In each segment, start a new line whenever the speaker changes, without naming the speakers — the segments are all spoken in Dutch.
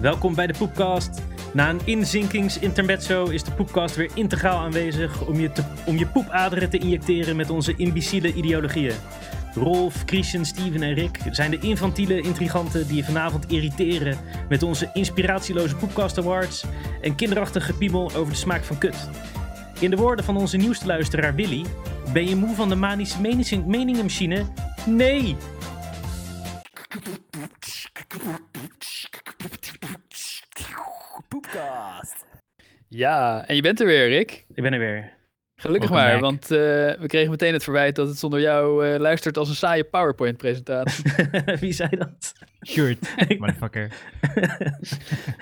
Welkom bij de Poepcast. Na een inzinkingsintermezzo is de Poepcast weer integraal aanwezig om je, te, om je poepaderen te injecteren met onze imbeciele ideologieën. Rolf, Christian, Steven en Rick zijn de infantiele intriganten die je vanavond irriteren met onze inspiratieloze Poepcast Awards en kinderachtige piemel over de smaak van kut. In de woorden van onze nieuwste luisteraar Willy, ben je moe van de manische menis- meningenmachine? Nee!
Poepcast. Ja, en je bent er weer, Rick.
Ik ben er weer.
Gelukkig
Welkom back.
maar, want eh, we kregen meteen het verwijt dat het zonder jou eh, luistert als een saaie PowerPoint-presentatie.
Wie zei dat?
Sjoerd, motherfucker.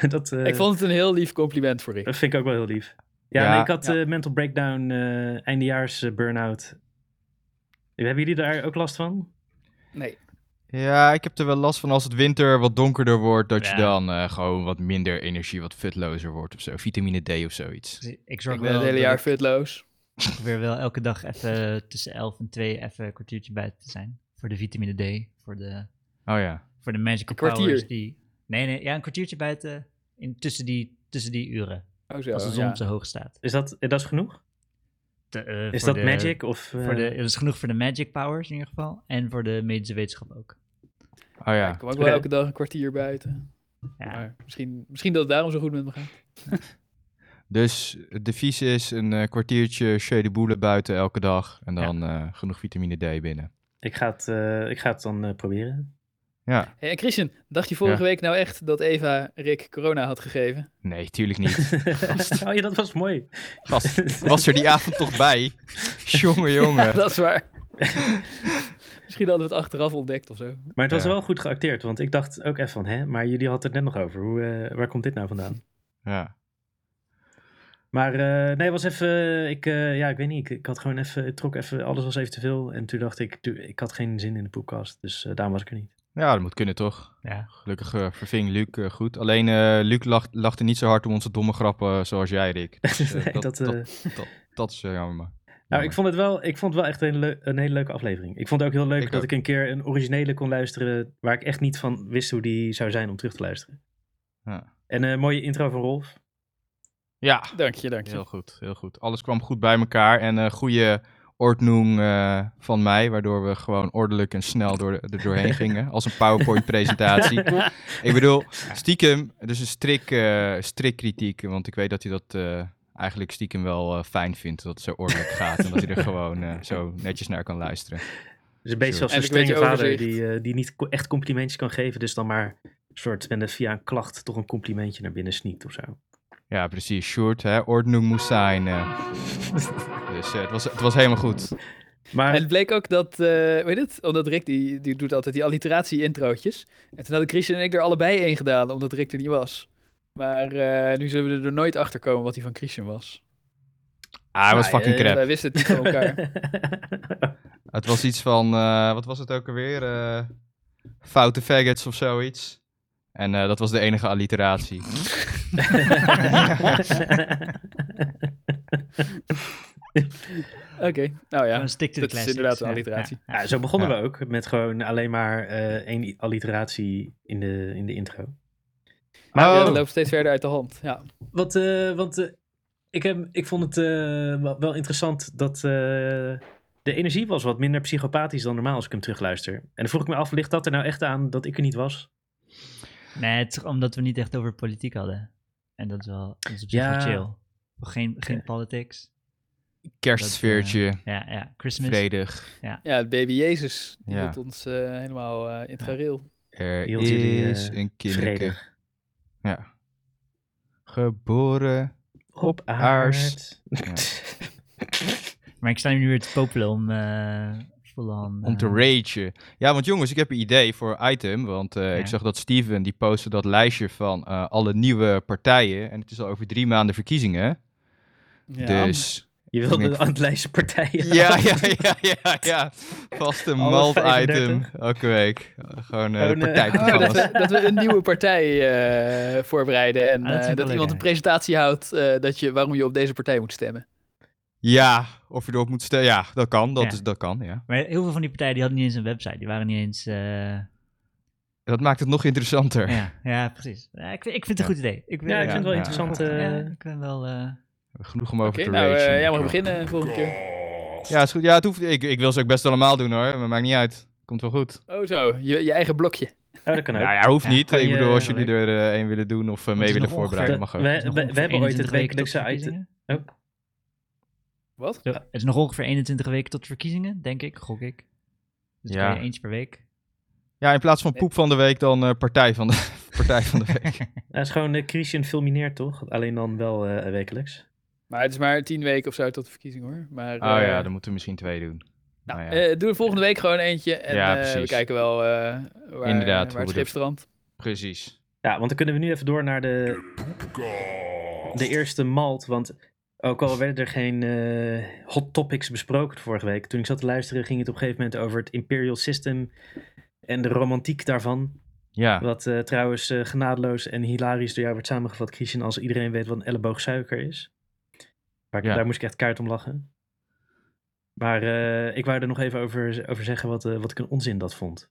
dat eh,
ik vond het een heel lief compliment voor Rick.
dat vind ik ook wel heel lief. Ja,
Ja.
nee, ik had eh, mental breakdown, eh, eindejaars eh, burn-out. Hebben jullie daar ook last van?
Nee.
Ja, ik heb er wel last van als het winter wat donkerder wordt, dat
Ja.
je dan eh, gewoon wat minder energie, wat futlozer wordt of zo. Vitamine D of zoiets.
Dus ik zorg
Ik ben
wel
het hele
dat
jaar
ik
fitloos.
weer wel elke dag even tussen 11 en 2 even een kwartiertje buiten te zijn. Voor de vitamine D, voor de,
Oh ja.
voor de magical
Een kwartier?
powers die... Nee, nee, ja, een kwartiertje buiten in, tussen, die, tussen die uren,
Oh zo,
als de zon
ja.
zo hoog staat.
Is dat, eh, dat is genoeg?
Te, eh,
Is
voor
dat
de-
magic? Of, eh,
Voor de, dat is genoeg voor de magic powers in ieder geval. En voor de medische wetenschap ook.
Oh ja.
Ik kom ook
Oké.
wel elke dag een kwartier buiten.
Ja,
Maar misschien, misschien dat het daarom zo goed met me gaat.
Dus het devies is een eh, kwartiertje shady boelen buiten elke dag en dan eh, genoeg vitamine D binnen.
ik, ga het, eh, ik ga het dan eh, proberen.
Ja,
Hey, en Christian, dacht je vorige
Ja.
week nou echt dat Eva Rick corona had gegeven?
nee, tuurlijk niet.
oh ja, dat was mooi.
Gast, was er die avond toch bij? Jongen, jongen.
Dat is waar. misschien hadden we het achteraf ontdekt of zo.
Maar het was
Ja.
wel goed geacteerd, want ik dacht ook even van, hè, maar jullie hadden het net nog over. Hoe, eh, waar komt dit nou vandaan?
Ja.
Maar eh, nee, was even. Ik, eh, ja, ik weet niet. Ik, ik had gewoon even. Het trok even. Alles was even te veel. En toen dacht ik. tu- Ik had geen zin in de podcast. Dus eh, daarom was ik er niet.
ja, dat moet kunnen toch?
ja.
Gelukkig eh, verving Luc eh, goed. Alleen eh, Luc lacht, lachte niet zo hard om onze domme grappen eh, zoals jij, Rick. Dus, eh,
Nee, dat, eh,
dat, dat is eh, jammer.
nou, ik vond het wel. Ik vond het wel echt een, leu- een hele leuke aflevering. Ik vond het ook heel leuk
Ik
dat
ook.
ik een keer een originele kon luisteren. Waar ik echt niet van wist hoe die zou zijn om terug te luisteren.
Ja.
En een mooie intro van Rolf.
Ja,
Dank je, dank je.
heel goed, heel goed. Alles kwam goed bij elkaar en eh goede ordnoem eh, van mij, waardoor we gewoon ordelijk en snel door, er doorheen gingen, als een PowerPoint-presentatie. ik bedoel, stiekem, dus een strik, eh, strikkritiek, want ik weet dat hij dat eh, eigenlijk stiekem wel eh, fijn vindt, dat het zo ordelijk gaat en dat hij er gewoon eh, zo netjes naar kan luisteren.
Dus een beetje
Sure.
zoals een
Eigenlijk een
strenge vader.
beetje
Die,
overzicht.
eh, die niet ko- echt complimentjes kan geven. Dus dan maar. Een soort. En via een klacht toch een complimentje naar binnen sneakt of zo.
Ja, precies, short, hè, ordnoem moest zijn. eh. dus eh, het, was, het was helemaal goed.
Maar.
En het bleek ook dat, weet weet het, omdat Rick die, die doet altijd die alliteratie-introotjes. En toen hadden Christian en ik er allebei één gedaan, omdat Rick er niet was. Maar eh, nu zullen we er nooit achter komen wat die van Christian was.
Ah, hij was
Maar,
fucking
eh,
crap.
Wij wisten het niet van elkaar.
Het was iets van, eh, wat was het ook alweer? Eh, foute faggots of zoiets. En eh, dat was de enige alliteratie.
Oké, nou ja.
Gewoon stick to the
Dat is
classics.
inderdaad een
Ja,
alliteratie.
ja, ja.
Ja, zo begonnen
Ja.
we ook met gewoon alleen maar eh, één i- alliteratie in de, in de intro.
Ja,
Maar
dat loopt steeds verder uit de hand. Ja.
Wat, eh, want eh, ik, heb, ik vond het eh, wel, wel interessant dat eh, de energie was wat minder psychopathisch dan normaal als ik hem terugluister. En dan vroeg ik me af, ligt dat er nou echt aan dat ik er niet was?
Nee, het is omdat we niet echt over politiek hadden. En dat is wel, dat is op zich
Ja.
wel chill. Geen, geen politics.
kerstsfeertje,
Ja, ja. Christmas.
vredig.
ja, het baby Jezus, die
Ja.
hield ons eh, helemaal eh in het gareel.
Er
Hield jullie, eh,
is een kindje.
Vredig.
Ja. Geboren.
Op aard.
aard.
Maar ik sta nu weer te popelen om eh vol aan...
Om te
eh,
ragen. Ja, want jongens, ik heb een idee voor een item. Want eh, ik
Ja.
zag dat Steven, die postte dat lijstje van eh, alle nieuwe partijen. En het is al over drie maanden verkiezingen.
Ja.
Dus...
Je
Ik
wilde
denk-
aan het lijstje partijen.
Ja, ja, ja, ja, ja. Vast een
Alle
malt-item
35.
elke week. Gewoon eh de
Gewoon, eh,
Oh, dat,
partijprogramma's.
we, dat we een nieuwe partij eh, voorbereiden. En
Ah, dat vind
eh,
ik
dat,
wel leuk
iemand een
eigenlijk.
presentatie houdt eh, dat je, waarom je op deze partij moet stemmen.
Ja, of je erop moet stellen. Ja, dat kan. Dat,
Ja.
Is, dat kan, ja.
Maar heel veel van die partijen die hadden niet eens een website. Die waren niet eens... eh,
Dat maakt het nog interessanter.
Ja, ja precies. Ja, ik, vind- ik vind het een goed idee. Ik, wil-
Ja, ik vind het wel
ja.
interessant.
Ja,
eh,
ik ben wel... eh,
Genoeg om over
Oké,
te
nou,
ragen.
eh, jij mag beginnen volgende keer.
Ja, is goed. Ja, het hoeft, ik, ik wil ze ook best allemaal doen hoor, maar maakt niet uit. Komt wel goed.
Oh zo, je, je eigen blokje.
Oh, dat kan ook.
Nou ja, hoeft
Ja,
niet.
kan
ik
je-
bedoel, als
kan
jullie er eh, een willen doen of eh, mee
is
willen
nog ongeveer-
voorbereiden, mag ook.
We,
het is nog
we- we
ongeveer
hebben ooit het
21 weken tot
wekelijkse item.
verkiezingen.
Wat?
Zo, Het is nog ongeveer 21 weken tot verkiezingen, denk ik, gok ik. Dus
Ja.
ja. eens per week.
Ja, in plaats van poep van de week, dan eh, partij, van de, partij van de week.
Dat is gewoon eh, Christian filmineert, toch? Alleen dan wel eh, wekelijks.
Maar het is maar tien weken of zo tot de verkiezing hoor. Maar,
Oh
eh,
ja, dan moeten we misschien twee doen.
nou,
nou ja.
eh, doe er volgende week gewoon eentje. En
Ja,
eh, we
precies.
kijken wel eh waar,
Inderdaad,
waar
hoe
het
we
schip
dat-
strandt.
Precies.
Ja, want dan kunnen we nu even door naar de, de eerste malt. Want ook al werden er geen eh, hot topics besproken vorige week, toen ik zat te luisteren ging het op een gegeven moment over het Imperial System en de romantiek daarvan.
Ja,
Wat eh, trouwens eh, genadeloos en hilarisch door jou werd samengevat, Christian, als iedereen weet wat een elleboog suiker is. Maar ik-
Ja.
daar moest ik echt kaart om lachen. Maar eh, ik wou er nog even over, over zeggen wat, eh, wat ik een onzin dat vond.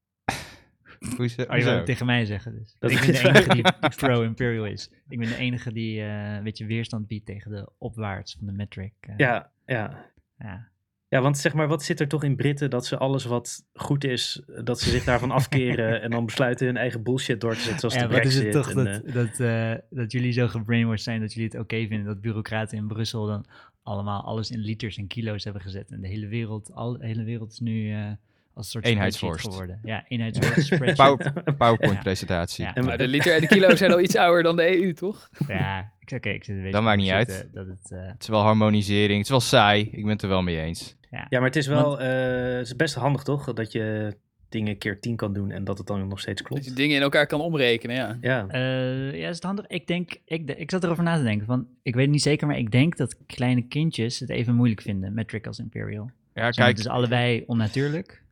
hoe is
Oh, je wou het tegen mij zeggen dus.
Dat
ik ben
is
de enige die pro-imperial is. Ik ben de enige die eh, een beetje weerstand biedt tegen de opwaarts van de metric. eh,
Ja, ja.
ja.
ja, want zeg maar, wat zit er toch in Britten dat ze alles wat goed is, dat ze zich daarvan afkeren en dan besluiten hun eigen bullshit door te zetten, zoals
Ja,
de
wat is
brexit.
het toch
en,
dat,
eh,
dat, eh, dat jullie zo gebrainwashed zijn dat jullie het oké vinden dat bureaucraten in Brussel dan allemaal alles in liters en kilo's hebben gezet. En de hele wereld, al, de hele wereld is nu eh, als een soort
Eenheidsworst.
spreadsheet geworden. Ja, eenheidsworst, spreadsheet.
PowerPoint presentatie.
Ja.
en-
Maar de liter en de kilo zijn al iets ouder dan de EU, toch?
Ja, ik oké, ik zit een beetje
Dat maakt
te
niet
zitten
uit.
Dat het, eh,
Het is wel harmonisering, het is wel saai. Ik ben het er wel mee eens.
Ja, maar het is wel eh, het is best handig toch, dat je dingen keer tien kan doen en dat het dan nog steeds
Dat je
klopt.
dingen in elkaar kan omrekenen, ja.
Ja. Nou,
eh, ja, is het handig? Ik denk, ik, de- ik zat erover na te denken. Van, ik weet het niet zeker, maar ik denk dat kleine kindjes het even moeilijk vinden met Trick als Imperial.
Ja,
Kijk, het
kijk.
is allebei onnatuurlijk.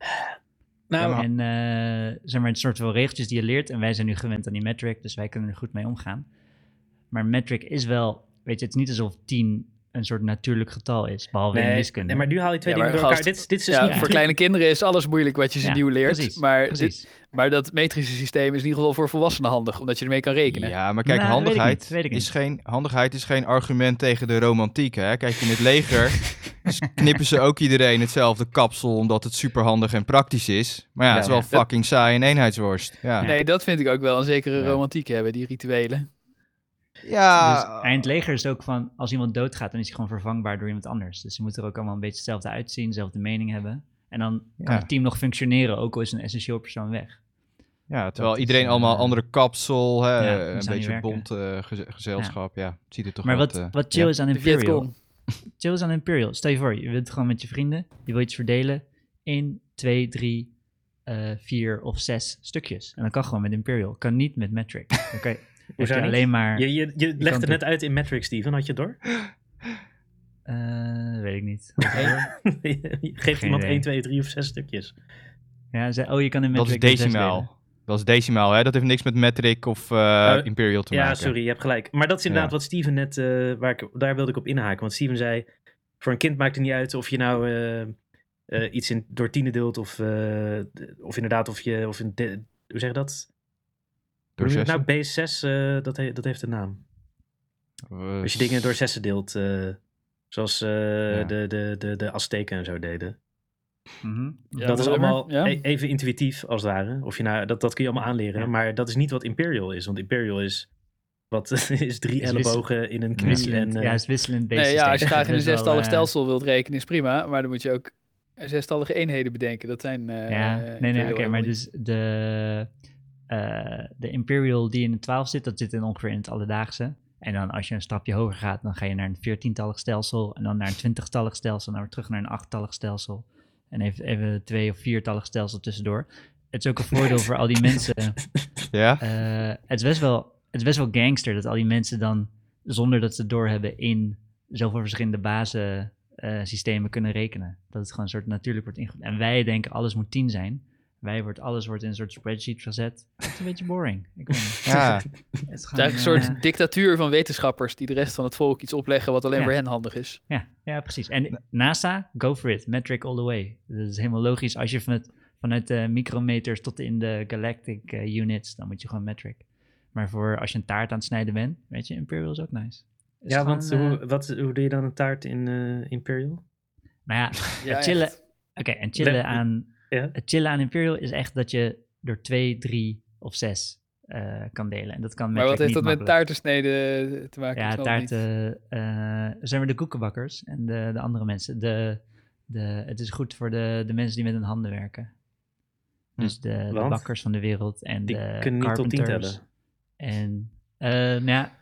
Nou,
Ja, maar-
En eh, zeg maar, het soort van regeltjes die je leert. En wij zijn nu gewend aan die metric, dus wij kunnen er goed mee omgaan. Maar metric is wel, weet je, het is niet alsof 10 een soort natuurlijk getal is, behalve in
Nee,
wiskunde.
nee, maar nu haal je twee
Ja,
dingen
maar
door elkaar.
gast,
Dit, is- dit is dus
ja
niet
Voor kleine kinderen is alles moeilijk wat je ze
Ja,
nieuw leert.
precies,
maar, dit,
precies.
maar dat metrische systeem is in ieder geval voor volwassenen handig, omdat je ermee kan rekenen.
Ja, maar kijk,
Nou, weet ik
handigheid,
niet, weet ik
is
niet.
geen, handigheid is geen argument tegen de romantiek. Hè? Kijk, in het leger s- knippen ze ook iedereen hetzelfde kapsel omdat het superhandig en praktisch is. Maar ja,
Ja,
het is wel
ja.
fucking saai en eenheidsworst. Ja,
Nee, dat vind ik ook wel een zekere
Ja.
romantiek hebben, die rituelen.
ja
Dus eindleger is ook van, als iemand doodgaat, dan is hij gewoon vervangbaar door iemand anders. Dus ze moeten er ook allemaal een beetje hetzelfde uitzien, dezelfde mening hebben. En dan kan
Ja.
het team nog functioneren, ook al is een essentieel persoon weg.
ja terwijl
is,
iedereen
eh,
allemaal andere kapsel, hè,
ja,
eh,
dat
een
zou niet
beetje
werken.
bont eh, geze- gezelschap. Ja, het ziet er toch
Maar
wat,
wat,
eh,
wat chill
ja.
is aan
De
Imperial,
Vietcong.
chill is aan Imperial. Stel je voor, je wilt gewoon met je vrienden, je wil iets verdelen in twee, drie, eh, vier of zes stukjes. En dat kan gewoon met Imperial, kan niet met metric. Dan kan je, heb je
niet?
alleen maar,
Je, je, je legt
kan
het
het
net uit in Matrix, Steven. Had je het door?
eh, weet ik niet.
Je Geeft
Geen
iemand
idee.
1, 2, 3 of 6 stukjes.
Ja, ze, oh, je kan in
Dat is
metric in zes delen.
decimaal. Dat is decimaal, hè? Dat heeft niks met metric of eh,
Eh,
imperial te maken.
Ja, sorry, je hebt gelijk. Maar dat is inderdaad
Ja.
wat Steven net, eh, waar ik, daar wilde ik op inhaken. Want Steven zei, voor een kind maakt het niet uit of je nou eh, eh, iets in, door tienen deelt of, eh, de- of inderdaad of je, of een, de- hoe zeg je dat?
Door
Hoe noem je
zessen?
dat Nou, B6, eh, dat, he- dat heeft een naam.
Eh,
Als je dingen door zessen deelt, eh, zoals eh,
Ja.
de, de, de, de Azteken en zo deden.
Mhm.
Ja,
dat is
whatever.
allemaal
Ja.
e- even intuïtief als het ware. Of je nou, dat, dat kun je allemaal aanleren.
Ja.
Maar dat is niet wat Imperial is. Want Imperial is, wat, is drie
Is
ellebogen in een knie. En,
Wisselend,
eh,
ja, het is wisselend
Nee, ja, als je graag in een zestallig
zestallig
stelsel wilt rekenen is prima, maar dan moet je ook zestallige eenheden bedenken. Dat zijn... eh,
Ja,
eh,
nee, nee,
Imperial
oké, maar
helemaal
dus de, eh, de Imperial die in de 12 zit, dat zit in ongeveer in het alledaagse. En dan als je een stapje hoger gaat, dan ga je naar een veertientallig stelsel en dan naar een twintigtallig stelsel, en dan weer terug naar een achttallig stelsel. En even, even twee of viertallig stelsel tussendoor. Het is ook een voordeel voor al die mensen.
Ja?
Eh, het, is best wel, het is best wel gangster dat al die mensen dan, zonder dat ze het doorhebben, in zoveel verschillende bazen eh, systemen kunnen rekenen. Dat het gewoon een soort natuurlijk wordt ingevoerd. En wij denken alles moet 10 zijn. Wij wordt, alles wordt in een soort spreadsheet gezet. Het is een beetje boring. Ik weet niet.
Ja.
Het is
niet. Het is eigenlijk
gewoon,
een
eh,
soort dictatuur van wetenschappers die de rest van het volk iets opleggen wat alleen
Ja.
voor hen handig is.
ja, ja, precies. En NASA, go for it. Metric all the way. Dat is helemaal logisch. Als je van het, vanuit de micrometers tot in de galactic eh, units, dan moet je gewoon metric. Maar voor als je een taart aan het snijden bent, weet je, Imperial is ook nice. Is
ja,
gewoon,
want
eh,
hoe, wat, hoe doe je dan een taart in eh, Imperial?
nou ja,
Ja,
chillen.
echt.
Oké, en chillen
Le-
aan,
Ja.
het chillen aan Imperial is echt dat je door twee, drie of zes eh, kan delen. En dat kan
Maar wat
Magic
heeft
niet
dat met
makkelijk.
taartensneden te maken? Ik
Ja,
snap het niet.
taarten eh, zijn we de koekenbakkers en de, de andere mensen. De, de, het is goed voor de, de mensen die met hun handen werken.
Hm.
Dus de, de
Want?
bakkers van de wereld en
Die
de
kunnen niet tot tien
carpenters.
tellen.
En eh, nou ja,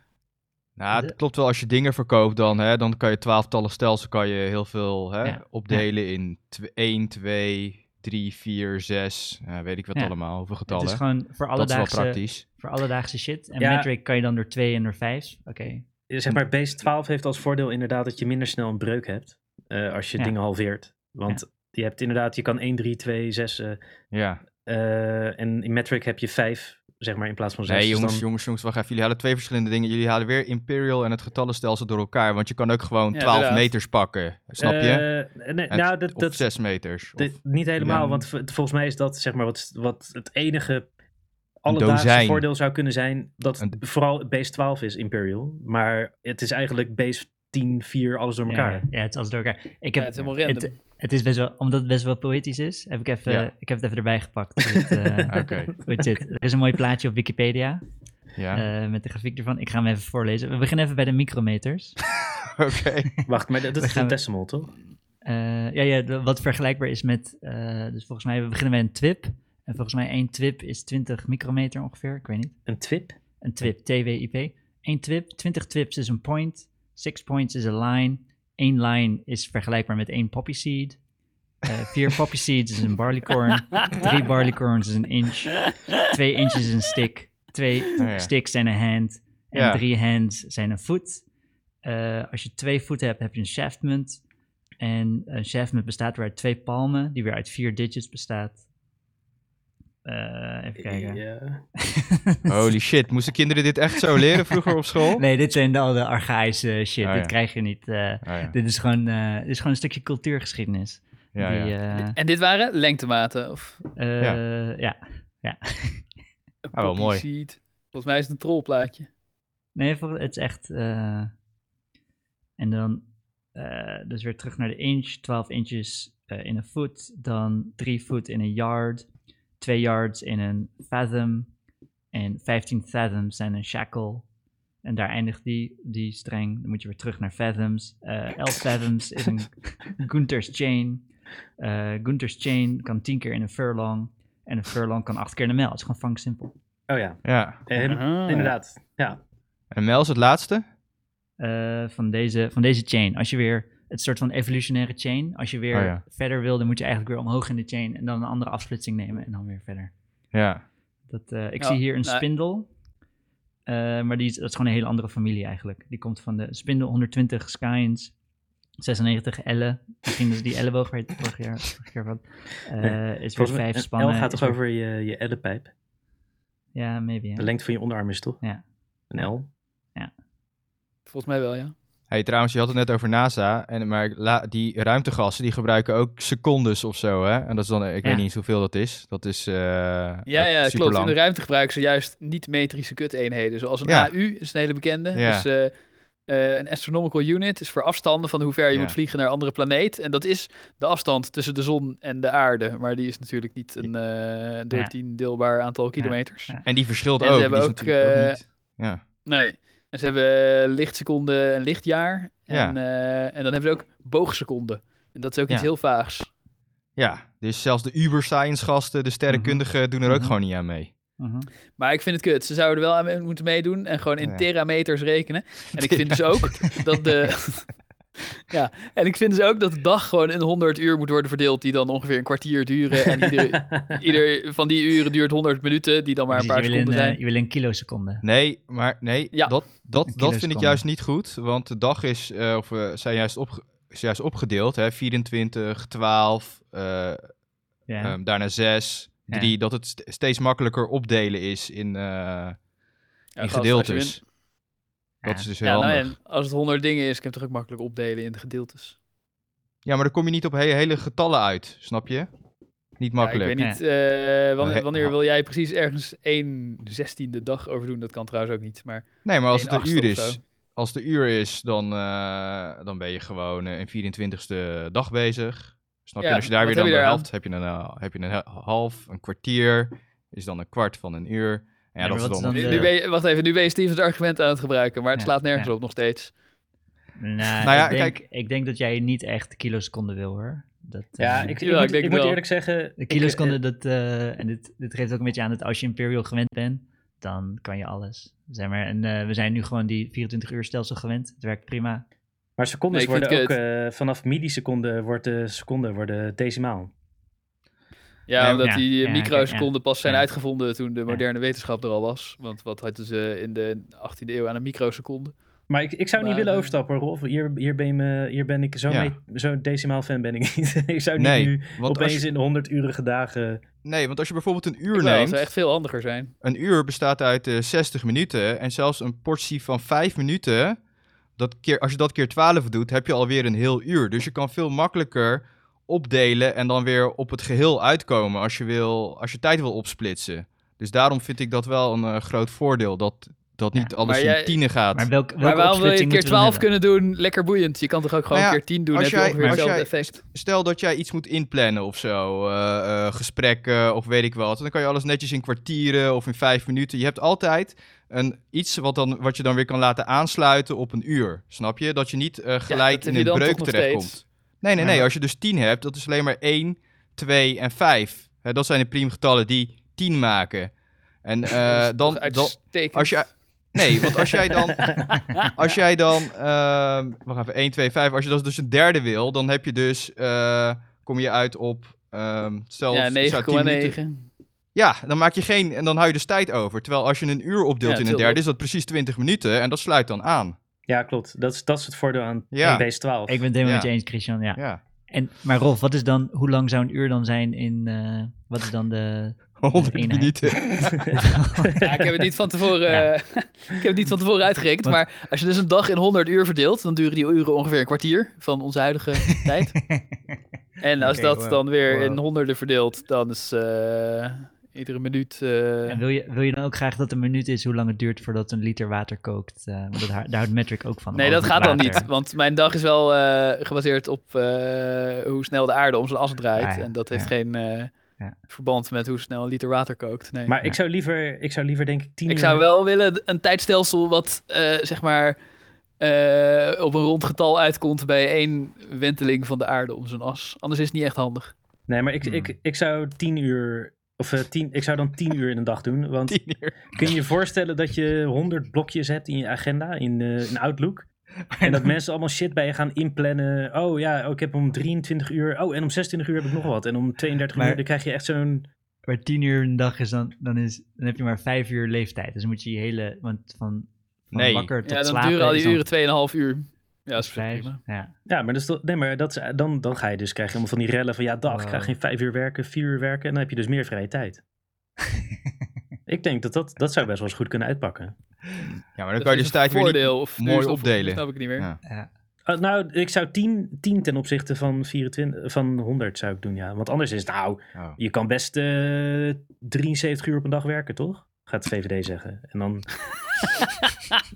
Nou,
De-
het klopt wel. Als je dingen verkoopt, dan, hè, dan kan je twaalftallig stelsel kan je heel veel hè,
Ja.
opdelen in 1, 2, 3, 4, 6. weet ik wat
Ja.
allemaal, hoeveel
het
getallen.
is gewoon voor
dat is wel
alledaagse,
praktisch.
voor alledaagse shit. En
Ja.
metric kan je dan door twee en door vijf. Oké,
Zeg maar, base 12 heeft als voordeel inderdaad dat je minder snel een breuk hebt eh, als je
Ja.
dingen halveert. Want je hebt inderdaad, je kan 1, 3, 2, 6 eh,
Ja.
eh, en in metric heb je 5, zeg maar, in plaats van Dus 6.
Nee, jongens, jongens, jongens, wacht even. Jullie halen twee verschillende dingen. Jullie halen weer Imperial en het getallenstelsel door elkaar. Want je kan ook gewoon
Ja,
12
inderdaad.
meters pakken. Snap je?
nee,
En-
Eh, nou, dat,
of
dat,
6 meters. Of
dit- niet helemaal,
ja.
want v- volgens mij is dat zeg maar wat, wat het enige
dozijn.
alledaagse voordeel zou kunnen zijn dat
Een-
vooral base 12 is Imperial, maar het is eigenlijk base 10, 4, alles door elkaar.
Ja, ja, het is alles door elkaar. Ik
Ja,
heb,
het is helemaal random.
het is best wel, omdat het best wel poëtisch is, heb ik, even,
Ja.
ik heb het even erbij gepakt. hoe het, eh,
Oké,
hoe het zit. Er is een mooi plaatje op Wikipedia
ja.
eh, met de grafiek ervan. Ik ga hem even voorlezen. We beginnen even bij de micrometers.
Oké.
Wacht, maar dat, dat
We
is
gaan-
een decimal, toch?
Eh, ja, ja, de- wat vergelijkbaar is met, eh, dus volgens mij, we beginnen bij een twip. En volgens mij één twip is 20 micrometer ongeveer, ik weet niet.
Een twip?
Een twip, T-W-I-P. Eén twip, 20 twips is een point. Six points is een line. Eén line is vergelijkbaar met één poppy seed. Eh, vier poppy seeds is een barleycorn. Drie barleycorns is een inch. Twee inches is een stick. Twee
Oh, ja.
sticks zijn een hand. En
Ja.
drie hands zijn een voet. Eh, als je twee voeten hebt, heb je een shaftmunt. En een shaftmunt bestaat weer uit twee palmen, die weer uit vier digits bestaat. Eh, even kijken.
Ja.
Holy shit, moesten kinderen dit echt zo leren vroeger op school?
Nee, dit zijn al de archaïsche shit.
Oh,
dit
ja.
krijg je niet. eh,
Oh, ja.
dit, is gewoon, eh, dit is gewoon een stukje cultuurgeschiedenis.
Ja,
Die,
ja.
eh,
En dit waren lengtematen? Of
eh, ja.
een
Oh,
Ah, wel
poppy
mooi.
seed? Volgens mij is het een trollplaatje.
Nee, voor- het is echt... eh, en dan eh, dus weer terug naar de inch. 12 inches eh, in een voet. Dan 3 voet in een yard. 2 yards in een fathom. En 15 fathoms zijn een shackle. En daar eindigt die, die streng. Dan moet je weer terug naar fathoms. Eh 11 fathoms is een Gunther's chain. Eh Gunther's chain kan 10 keer in een furlong. En een furlong kan 8 keer in een mijl. Het is gewoon fucking simpel.
Oh ja,
ja.
Eh,
Ah.
inderdaad. Ja.
En Mel is het laatste?
eh, van, deze, van deze chain. Als je weer het soort van evolutionaire chain. Als je weer
Oh ja.
verder wil, dan moet je eigenlijk weer omhoog in de chain. En dan een andere afsplitsing nemen en dan weer verder.
Ja.
Dat, eh, ik
Ja,
zie hier een
nou-
spindel. eh, maar die is, dat is gewoon een hele andere familie eigenlijk. Die komt van de spindel 120 skynes. 96 ellen. Misschien dus die elleboog waar je het vorige jaar- vorige keer van. Eh is weer
Volgens mij-
vijf
een
spannen.
L gaat
is
toch
weer-
over je, je ellenpijp?
Ja, maybe. ja.
De lengte van je onderarm is toch?
Ja.
Een L?
Volgens mij wel, ja.
Hey, trouwens, je had het net over NASA, en, maar la- die ruimtegassen die gebruiken ook secondes of zo, hè? En dat is dan, eh, ik
Ja.
weet niet eens hoeveel dat is. Dat is eh
Ja, ja
super
klopt. In de
lang.
ruimte gebruiken ze juist niet-metrische kut-eenheden. Zoals een
Ja.
AU is een hele bekende.
Ja.
Dus, eh, eh, een astronomical unit is voor afstanden van hoe ver je
Ja.
moet vliegen naar een andere planeet. En dat is de afstand tussen de zon en de aarde. Maar die is natuurlijk niet een eh 13 deelbaar aantal kilometers.
Ja.
En die verschilt
En
ook.
ze
die
hebben
is
ook,
natuurlijk ook
eh,
niet- Ja.
Nee. En ze hebben eh, lichtseconden en lichtjaar.
Ja.
En, eh, en dan hebben ze ook boogseconden. En dat is ook
Ja.
iets heel vaags.
ja, dus zelfs de uber science gasten, de sterrenkundigen, doen er ook
Mhm.
gewoon niet aan mee.
Mhm.
Maar ik vind het kut. Ze zouden er wel aan mee- moeten meedoen en gewoon in
Ja.
terameters rekenen. En ik vind dus ook dat de... ja, en ik vind dus ook dat de dag gewoon in 100 uur moet worden verdeeld... die dan ongeveer een kwartier duren. En ieder, ieder van die uren duurt 100 minuten, die dan maar een
Precies,
paar
je wil een,
seconden
eh,
zijn.
je wil een kiloseconde.
Nee, maar nee,
Ja.
dat, dat,
Een
dat vind ik
kiloseconde.
juist niet goed. Want de dag is, eh, of eh, zijn juist, opge- is juist opgedeeld, hè? 24, 12, eh,
Ja.
ehm, daarna 6,
Ja.
3. Dat het st- steeds makkelijker opdelen is in, eh,
Ja,
in
gast, als je
gedeeltes.
win-
Dat
Ja.
is dus heel
Ja, nou,
handig.
en als het 100 dingen is, kan je het toch ook makkelijk opdelen in de gedeeltes.
Ja, maar dan kom je niet op he- hele getallen uit, snap je? Niet Niet
Ja, ik
makkelijk.
weet niet, eh, wanneer, wanneer wil jij precies ergens 1 zestiende dag over doen? Dat kan trouwens ook niet, maar
nee, maar als
één
het een
achtste
uur
of zo.
is, als het een uur is, dan, eh, dan ben je gewoon eh, een 24ste dag bezig. Snap je?
Ja,
En als je daar
wat
weer
heb je
dan de
daaraan?
helft, heb je een, eh, heb je een he- half, een kwartier, is dan een kwart van een uur. En
Ja,
ja,
maar
dat is
wat is
dan, eh,
dan
Nu,
Ja.
nu ben je, wacht even, nu ben je Steven's argument aan het gebruiken, maar het
Ja,
slaat nergens
ja.
op nog steeds.
Nou,
ja,
ik, denk,
kijk-
ik denk dat jij niet echt kiloseconden wil hoor. Dat,
Ja,
eh,
ik, ik,
Ja, ik
moet,
denk
ik
wel.
moet eerlijk zeggen...
De
ik,
kilo's
eh,
konden dat, eh, en dit, dit geeft ook een beetje aan dat als je Imperial gewend bent, dan kan je alles. Zeg maar, en eh, we zijn nu gewoon die 24 uur stelsel gewend. Het werkt prima.
eh, Maar secondes
Nee, ik vind
worden ook...
het
eh, vanaf milliseconden wordt de seconde worden decimaal.
Ja,
Ja,
omdat
ja,
die eh,
ja,
microseconden pas zijn
ja.
uitgevonden toen de moderne wetenschap er al was. Want wat hadden ze in de 18e eeuw aan een microseconde?
Maar ik, ik zou niet
Maar,
willen
eh,
overstappen, Rolf. Hier, hier, ben, je me, hier ben ik zo'n
Ja.
mee- zo'n decimaal fan ben ik niet. ik zou niet
Nee,
nu
want als
opeens
je-
in 100 urige dagen...
nee, want als je bijvoorbeeld een
Ik
uur
wou dat
neemt,
zou echt veel handiger zijn.
een uur bestaat uit eh, 60 minuten en zelfs een portie van 5 minuten, dat keer, als je dat keer 12 doet, heb je alweer een heel uur. Dus je kan veel makkelijker opdelen en dan weer op het geheel uitkomen als je, wil, als je tijd wil opsplitsen. Dus daarom vind ik dat wel een eh, groot voordeel, dat, dat
Ja,
niet alles
maar
in
jij-
tienen gaat.
Maar welke, welke
Maar waarom wil je het
opsplitsing
keer
moeten we dan
12
hebben?
kunnen doen? Lekker boeiend. Je kan toch ook gewoon
Nou ja,
keer 10 doen?
als
Heb je
jij-
ongeveer
als
hetzelfde
jij-
effect?
Stel dat jij iets moet inplannen of zo, eh, eh, gesprekken of weet ik wat. Dan kan je alles netjes in kwartieren of in vijf minuten. Je hebt altijd een, iets wat, dan, wat je dan weer kan laten aansluiten op een uur. Snap je? Dat je niet eh, gelijk
dat heb
in
je
een
dan
breuk
toch nog steeds.
terechtkomt. Nee, nee,
Ja,
nee.
maar-
Als je dus tien hebt, dat is alleen maar één, twee en vijf. Hè, dat zijn de priemgetallen die tien maken. En eh,
Dat is
dan,
toch
dan,
uitstekend.
als je- Nee, want als jij dan. Als jij dan. ehm wacht even, 1, 2, 5. Als je dat dus een derde wil, dan heb je dus. eh, kom je uit op. ehm stel,
Ja,
het zou 10 minuten-
9,9.
Ja, dan maak je geen. En dan hou je dus tijd over. Terwijl als je een uur opdeelt
Ja,
in een
tilt
derde,
op.
is dat precies 20 minuten. En dat sluit dan aan.
Ja, klopt. Dat is, dat is het voordeel aan
Ja.
1 base 12.
Ik ben het helemaal
Ja.
met je eens, Christian. Ja.
Ja.
En, maar Rolf, wat is dan, hoe lang zou een uur dan zijn in, eh, wat is dan de...
100
Eenheid.
minuten.
Ja, ik heb het niet van tevoren,
Ja.
eh, ik heb het niet van tevoren uitgerekend.
Want-
Maar als je dus een dag in 100 uur verdeelt, dan duren die uren ongeveer een kwartier van onze huidige tijd. En als
Oké,
dat
wow.
dan weer in
Wow.
honderden verdeelt, dan is eh, iedere minuut. eh,
En wil je, wil je dan ook graag dat een minuut is hoe lang het duurt voordat een liter water kookt? Eh, want dat, hou- daar houdt Metric ook van.
nee,
over
dat
het
gaat dan
water.
niet. Want mijn dag is wel eh, gebaseerd op eh, hoe snel de aarde om zijn as draait.
Ah, ja.
En dat heeft
Ja.
geen eh,
Ja.
verband met hoe snel een liter water kookt. Nee.
Maar ik zou liever, ik zou liever denk ik 10
Ik
uur...
zou wel willen een tijdstelsel wat eh, zeg maar eh, op een rond getal uitkomt bij één wenteling van de aarde om zijn as. Anders is het niet echt handig.
Nee, maar
Hmm.
ik, ik, ik zou 10 uur... Of eh, 10 ik zou dan 10 uur in een dag doen. Want
10 uur.
kun je je voorstellen dat je 100 blokjes hebt in je agenda, in, eh, in Outlook? En dat mensen allemaal shit bij je gaan inplannen. Oh ja, oh, ik heb om 23 uur... Oh, en om 26 uur heb ik nog wat. En om 32
Maar-
uur, dan krijg je echt zo'n...
Maar tien uur een dag is dan, dan, is, dan heb je maar vijf uur leeftijd. Dus dan moet je je hele, want van, van
Nee.
wakker tot
Ja, dan
slapen
duren al die
is dan
uren 2,5 uur. Ja, dat is
vijf.
prima.
Ja.
Ja, maar, dat is toch- nee, maar dat is- dan, dan ga je dus krijgen allemaal van die rellen van ja, dag, ik ga
Wow.
geen vijf uur werken, vier uur werken. En dan heb je dus meer vrije tijd. ik denk dat, dat dat zou best wel eens goed kunnen uitpakken.
Ja, maar dan kan je dus tijd weer niet...
voordeel, of nu
mooi
is het op-
opdelen.
Snap ik niet meer.
Ja.
Ah, nou, ik zou 10, 10 ten opzichte van, 24, van 100 zou ik doen, ja. Want anders is het, nou,
Oh.
je kan best eh, 73 uur op een dag werken, toch? Gaat het VVD zeggen. En dan,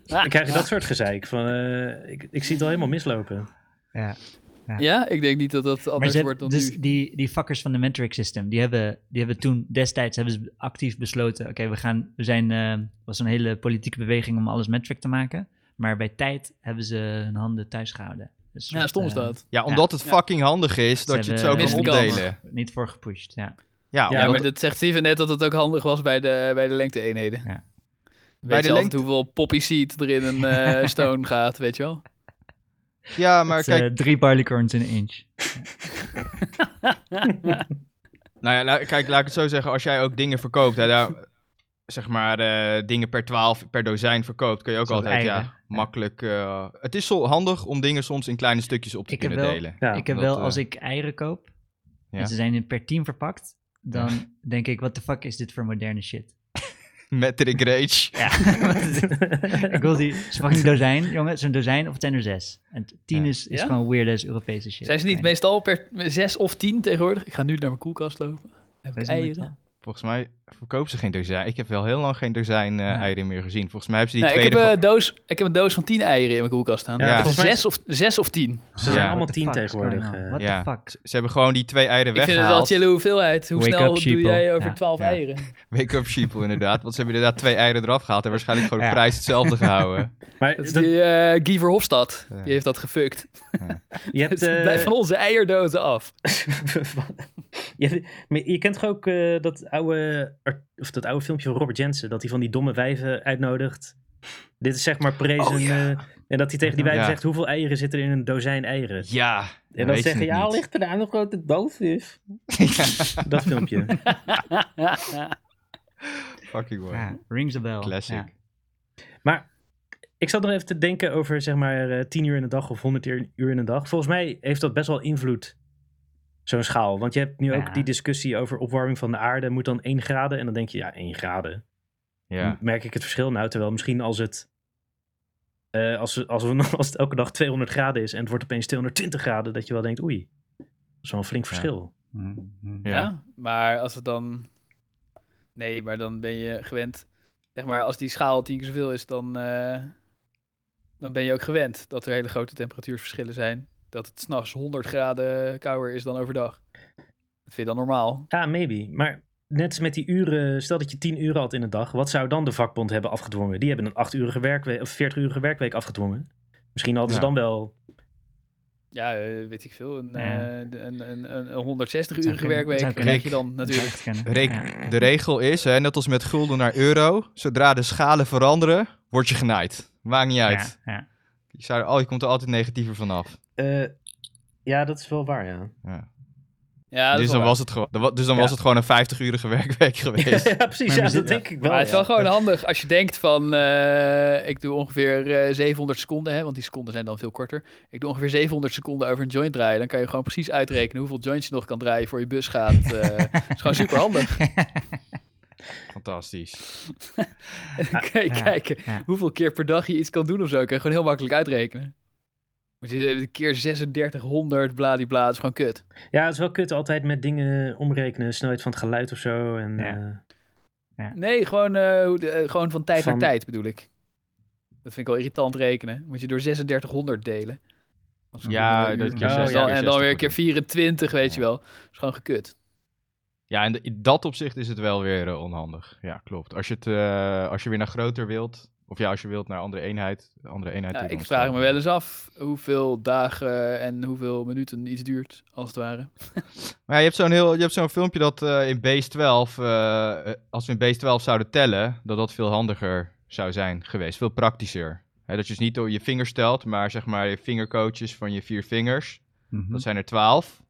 dan krijg je dat soort gezeik van, eh, ik, ik zie het al helemaal mislopen.
ja.
Ja, ik denk niet dat dat
Maar
anders
ze
wordt dan
hebben- dus
nu.
die, die fuckers van de metric system, die hebben, die hebben toen destijds hebben ze actief besloten, oké, we gaan, we zijn, eh was een hele politieke beweging om alles metric te maken, maar bij tijd hebben ze hun handen thuis gehouden. Dus
Ja, stom is dat.
Ja, omdat het
Ja.
fucking handig is dat je
Ze
het zo
hebben-
kan
Mist de kans.
opdelen.
niet voor gepusht, ja.
Ja,
Ja,
omdat-
maar dat zegt Steven net dat het ook handig was bij de, bij de lengte-eenheden.
Ja.
Weet bij
de
je altijd
lengte-
hoeveel poppy seed er in een eh, stone gaat, weet je wel?
ja, maar
Het,
kijk,
eh, drie barleycorns in een inch.
Nou ja, la- kijk, laat ik het zo zeggen. Als jij ook dingen verkoopt, hè, daar, zeg maar eh, dingen per 12, per dozijn verkoopt, kun je ook
Zoals
altijd ja,
eieren.
makkelijk. eh, het is zo handig om dingen soms in kleine stukjes op te
Ik heb
kunnen
wel-
delen.
Ja,
ik heb
dat,
wel,
eh,
als ik eieren koop,
Ja.
en ze zijn in per team verpakt, dan denk ik, wat de fuck is dit voor moderne shit?
Met Rick Rage.
Ja, ik wil die, ze pakken een dozijn, jongen, zo'n dozijn of het zijn er zes. En t- tien
Ja.
is, is
Ja?
gewoon weird as Europese shit.
Zijn ze niet
mee?
meestal per 6 of 10 tegenwoordig? Ik ga nu naar mijn koelkast lopen. Heb ik
Weet je niet,
eieren?
Volgens mij verkopen ze geen dozijn. Ik heb wel heel lang geen dozijn eh,
Ja.
eieren meer gezien. Volgens mij hebben ze die
Nee, ik, heb,
tweede...
een doos, ik heb een doos van 10 eieren in mijn koelkast staan.
Ja,
Ja,
volgens
mij-
zes, of, zes of tien.
Ze
Ja.
zijn allemaal
What the
tien
fuck is
tegenwoordig.
going on?
eh.
What
Ja.
the fuck?
Ze hebben gewoon die twee eieren
Ik vind het wel
weggehaald.
een chille hoeveelheid. Hoe
Wake
snel
up,
doe
sheeple.
jij over
Ja.
12
Ja.
eieren?
Wake up sheeple inderdaad. Want ze hebben inderdaad twee eieren eraf gehaald. En waarschijnlijk gewoon de
Ja.
prijs hetzelfde gehouden.
Maar
Dat is
dat-
die eh Guy Verhofstadt.
Ja.
Die heeft dat gefukt.
je hebt...
Dus
eh,
blijf van onze eierdozen af.
je, maar je kent toch ook eh, dat, oude, art- of dat oude filmpje van Robert Jensen, dat hij van die domme wijven uitnodigt. Dit is zeg maar prezen.
Oh, ja.
eh, en dat hij tegen die wijven
Ja.
zegt, hoeveel eieren zitten er in een dozijn eieren?
Ja.
en
weet
dan
je
zeggen,
het
ja,
niet.
ligt er daar nog grote doodvis. Dat filmpje.
Fucking mooi.
Ja, rings the bell.
Classic.
Ja.
Maar ik zat nog even te denken over zeg maar eh, 10 uur in de dag of 100 uur uur in de dag. Volgens mij heeft dat best wel invloed, zo'n schaal. Want je hebt nu ook
Ja.
die discussie over opwarming van de aarde. Moet dan 1 graden? En dan denk je, ja, 1 graden.
Ja.
merk ik het verschil nou. Terwijl misschien als het, eh, als, we- als, we, nog- als het elke dag 200 graden is en het wordt opeens 220 graden, dat je wel denkt, oei, dat is wel een flink verschil.
Mm, mm.
Ja.
Ja, maar als het dan. Nee, maar dan ben je gewend. Zeg maar, als die schaal tien keer zoveel is, dan. eh, dan ben je ook gewend dat er hele grote temperatuurverschillen zijn. Dat het s'nachts 100 graden kouder is dan overdag. Dat vind je dan normaal?
Ja, maybe. Maar net als met die uren, stel dat je 10 uren had in een dag, wat zou dan de vakbond hebben afgedwongen? Die hebben een 8-urige werkweek of 40-urige werkweek afgedwongen. Misschien hadden ze
Ja.
dan wel.
Ja, eh, weet ik veel. Een,
Ja.
eh, een, een, een,
Zou
160-urige
kunnen, zou
werkweek
kunnen.
krijg je dan natuurlijk.
Zou het kunnen.
Rick,
Ja.
de regel is, hè, net als met gulden naar euro, zodra de schalen veranderen, word je genaaid. Maakt niet uit.
Ja, ja.
Je, zou, al- je komt er altijd negatiever vanaf.
eh, ja, dat is wel waar, ja.
Ja.
Ja, dat
dus
is
dan,
wel
was het, gewoon- dan wa- dus dan
Ja.
was het gewoon een 50-urige werkweek geweest.
ja, precies. Ja,
Maar we
dat
zitten-
denk ik
Maar
wel.
het is
ja.
wel gewoon handig als je denkt van, eh, ik doe ongeveer eh, 700 seconden, hè, want die seconden zijn dan veel korter. Ik doe ongeveer 700 seconden over een joint draaien. Dan kan je gewoon precies uitrekenen hoeveel joints je nog kan draaien voor je bus gaat. eh. Dat is gewoon super handig.
Fantastisch.
Dan kan je
Ja,
kijken
ja.
hoeveel keer per dag je iets kan doen of zo. Kan je gewoon heel makkelijk uitrekenen. Moet je eh, keer 3600 bladibla, dat is gewoon kut.
Ja, het is wel kut altijd met dingen omrekenen. Snelheid van het geluid of zo. En,
Ja.
eh,
Nee, gewoon, eh, hoe de- eh, gewoon van tijd
Van-
naar tijd bedoel ik. Dat vind ik wel irritant rekenen. Moet je door 3600 delen. Dat is een
Ja,
miljoen.
dat keer
En dan-
60,
en
keer
dan weer een keer
60.
24, weet je wel. Dat is gewoon gekut.
Ja, en de- in dat opzicht is het wel weer eh, onhandig. Ja, klopt. Als je, het, eh, als je weer naar groter wilt, of ja, als je wilt naar andere eenheid, andere eenheid.
Ja,
die
ik
dan
vraag
staat.
me wel eens af hoeveel dagen en hoeveel minuten iets duurt, als het ware.
Maar ja, je hebt zo'n heel, je hebt zo'n filmpje dat eh, in Base 12, eh, eh, als we in Base 12 zouden tellen, dat dat veel handiger zou zijn geweest, veel praktischer. Hè, dat je dus niet door je vingers telt, maar zeg maar je vingercoaches van je vier vingers,
Mhm.
dat zijn er 12.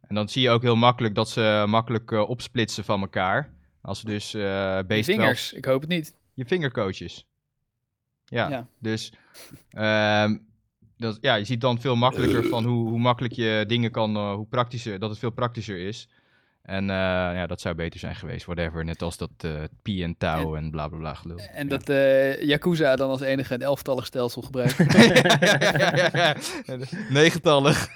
En dan zie je ook heel makkelijk dat ze makkelijk eh, opsplitsen van elkaar. Als ze dus eh Base 12
Vingers, ik hoop het niet.
je vingercoaches. Ja,
Ja.
dus ehm, dat, ja, je ziet dan veel makkelijker van hoe, hoe makkelijk je dingen kan, eh, hoe praktischer, dat het veel praktischer is. En eh, ja, dat zou beter zijn geweest, whatever. Net als dat eh pi en tau en bla bla bla gelul.
En dat eh Yakuza dan als enige een elftallig stelsel gebruikt.
Negentallig.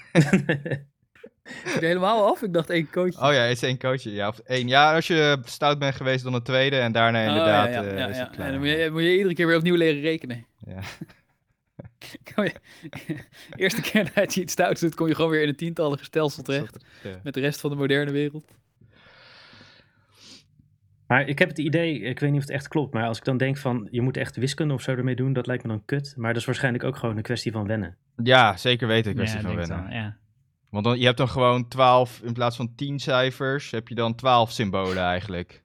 Ik er helemaal af, ik dacht één coach.
Oh ja, het is één coachje. Ja, of één. Ja, als je stout bent geweest dan een tweede en daarna inderdaad.
Oh, ja, ja,
eh,
ja,
is
ja.
het klaar.
En dan moet je, moet je iedere keer weer opnieuw leren rekenen.
Ja.
Kom je- Eerste keer dat je iets stouts doet, kom je gewoon weer in een tientallige stelsel terecht.
ja.
Met de rest van de moderne wereld.
Maar ik heb het idee, ik weet niet of het echt klopt, maar als ik dan denk van je moet echt wiskunde of zo ermee doen, dat lijkt me dan kut. Maar dat is waarschijnlijk ook gewoon een kwestie van wennen.
Ja, zeker weten. Ik was
Ja,
van
denk het
wennen.
wel, Ja.
Want dan, je hebt dan gewoon 12, in plaats van 10 cijfers, heb je dan 12 symbolen eigenlijk.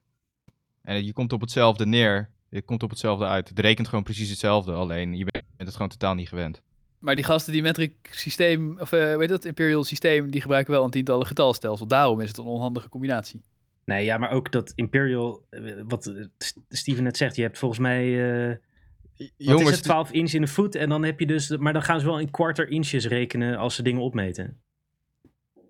En je komt op hetzelfde neer. Je komt op hetzelfde uit. Het rekent gewoon precies hetzelfde, alleen je bent het gewoon totaal niet gewend.
Maar die gasten die metric systeem, of eh weet dat, imperial systeem, die gebruiken wel een tientallig getalstelsel. Daarom is het een onhandige combinatie.
Nee, ja, maar ook dat Imperial, eh, wat eh, S- Steven net zegt, je hebt volgens mij eh wat is het, 12 inch in de voet en dan heb je dus, maar dan gaan ze wel in quarter inches rekenen als ze dingen opmeten.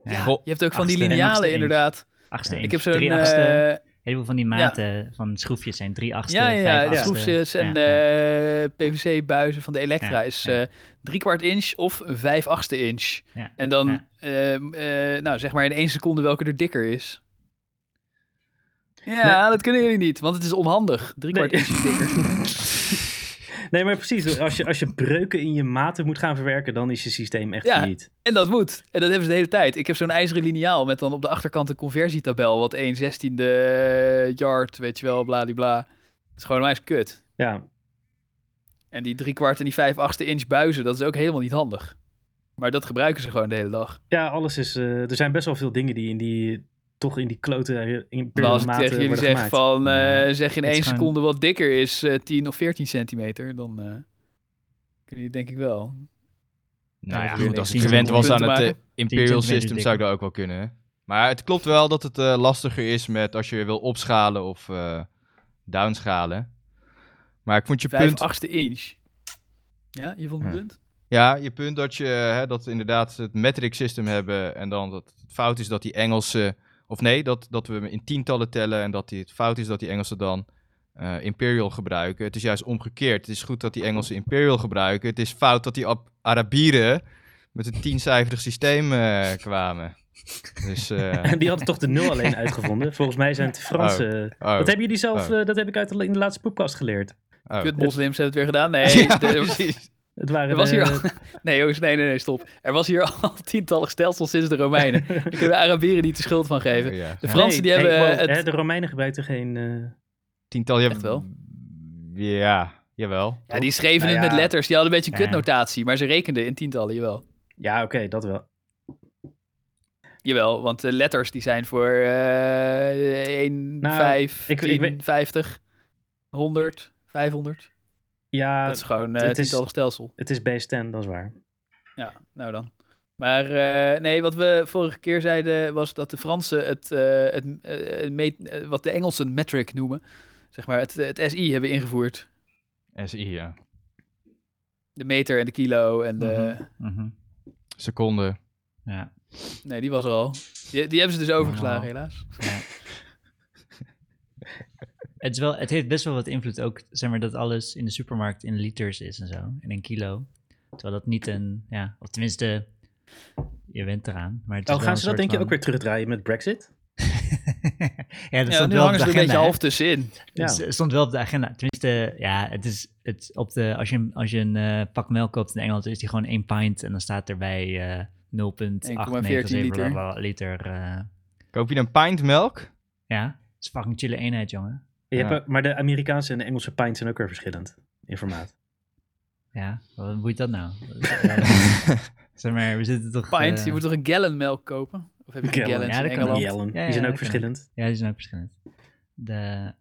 Ja.
Ja,
Goh,
je hebt ook van die
achtste en
linealen
achtste inch.
inderdaad.
Achtste
Ik
inch,
heb zo'n...
drie achtste. Een
eh,
heleboel van die maten van schroefjes zijn drie achtste,
ja, ja, ja.
vijf achtste.
schroefjes en
Ja, ja.
eh, PVC-buizen van de Electra
Ja,
is
ja.
eh drie kwart inch of een vijf achtste inch.
Ja.
En dan,
Ja.
ehm, eh, nou zeg maar in één seconde welke er dikker is. Ja, dat kunnen jullie niet, want het is onhandig. Drie
Nee.
kwart inch dikker.
Nee, maar precies. Als je, als je breuken in je maten moet gaan verwerken, dan is je systeem echt
Ja.
niet.
En dat moet. En dat hebben ze de hele tijd. Ik heb zo'n ijzeren liniaal met dan op de achterkant een conversietabel. Wat 1 16e yard, weet je wel, bladibla. Het is gewoon een kut.
Ja,
En die drie kwart en die vijf achtste inch buizen, dat is ook helemaal niet handig. Maar dat gebruiken ze gewoon de hele dag.
ja alles is. eh, er zijn best wel veel dingen die in die. toch in die klote. eh, in
Maar als ik
maten
tegen jullie
worden
zeg
gemaakt.
van, eh,
Ja,
zeg in
het is
één
gewoon-
seconde wat dikker is, eh 10 of 14 centimeter, dan eh kunnen jullie het denk ik wel.
Nou ja,
Ja,
goed,
nee,
als ik
tien
gewend was aan
centimeter
het eh,
maken.
Imperial
centimeter
System, zou ik dat ook wel kunnen. hè. Maar het klopt wel dat het eh, lastiger is met als je wil opschalen of eh, downschalen. Maar ik vond je
Vijf
punt,
achtste inch. Ja, je vond het
Ja.
punt?
ja, je punt dat je eh, hè, dat we inderdaad het metric system hebben en dan dat het fout is dat die Engelsen, of nee, dat, dat we hem in tientallen tellen en dat die, het fout is dat die Engelsen dan eh, Imperial gebruiken. Het is juist omgekeerd. Het is goed dat die Engelsen Imperial gebruiken. Het is fout dat die Ab- Arabieren met een tiencijferig systeem eh, kwamen. Dus eh,
En die hadden toch de nul alleen uitgevonden. Volgens mij zijn het Fransen.
Oh,
Dat hebben jullie zelf.
Oh.
eh, dat heb ik uit de, in de laatste podcast geleerd.
oh.
Kut moslims hebben het weer gedaan. Nee,
Ja,
de-
precies.
Het waren.
Er was
de-
hier al... Nee, jongens, nee, nee, nee, stop. Er was hier al tientallen stelsels sinds de Romeinen. Daar kunnen de Arabieren niet de schuld van geven.
Ja.
De Fransen die
Nee,
hebben
hey,
eh,
wow, hè,
het...
De Romeinen gebruikten geen. eh,
Tiental, je
Echt wel?
Ja, jawel.
Ja, die schreven
Nou
het
ja.
met letters. Die hadden een beetje een
Ja.
kutnotatie, maar ze rekenden in tientallen, jawel.
Ja, oké, dat wel.
Jawel, want de letters die zijn voor eh 1,
Nou,
5,
ik- ik
10,
weet-
50, 100, 500.
Ja,
dat is gewoon eh
het is-
tientallig stelsel.
het is base 10, dat is waar.
Ja, nou dan. Maar eh, nee, wat we vorige keer zeiden was dat de Fransen het, eh, het eh, het meet- eh, wat de Engelsen metric noemen, zeg maar, het, het SI hebben ingevoerd.
SI, ja.
De meter en de kilo en de... eh,
Mhm.
Seconde.
Ja.
Nee, die was er al. Die, die hebben ze dus overgeslagen,
Oh.
Wow.
helaas.
Het, is wel, het heeft best wel wat invloed ook, zeg maar, dat alles in de supermarkt in liters is en zo, en in kilo. Terwijl dat niet een, ja, of tenminste, je went eraan. Maar het is
Oh, gaan ze dat denk je ook weer terugdraaien met Brexit?
ja, dat
Ja,
stond
nu
wel
hangen
op de
ze er een beetje
agenda. hè?
half tussenin.
Ja.
Het s- stond wel op de agenda. Tenminste, ja, het is het, op de, als je, een- als je een eh, pak melk koopt in Engeland, is die gewoon 1 pint en dan staat erbij eh 0,897
1,14 liter.
blablabla liter. eh.
Koop je een pint melk?
ja, het is fucking chille eenheid, jongen.
Je hebt
Ja.
ook- maar de Amerikaanse en de Engelse pint zijn ook weer verschillend in formaat.
Ja, wat boeit dat nou? Eh, zeg maar, we zitten toch...
Pint,
eh,
je moet toch een gallon melk kopen? Of heb je een
Gallon,
gallon
ja,
in
dat kan
Engeland?
wel.
Jellen,
Ja,
die zijn
ja,
ook
dat
verschillend.
Ja, die zijn ook verschillend. De,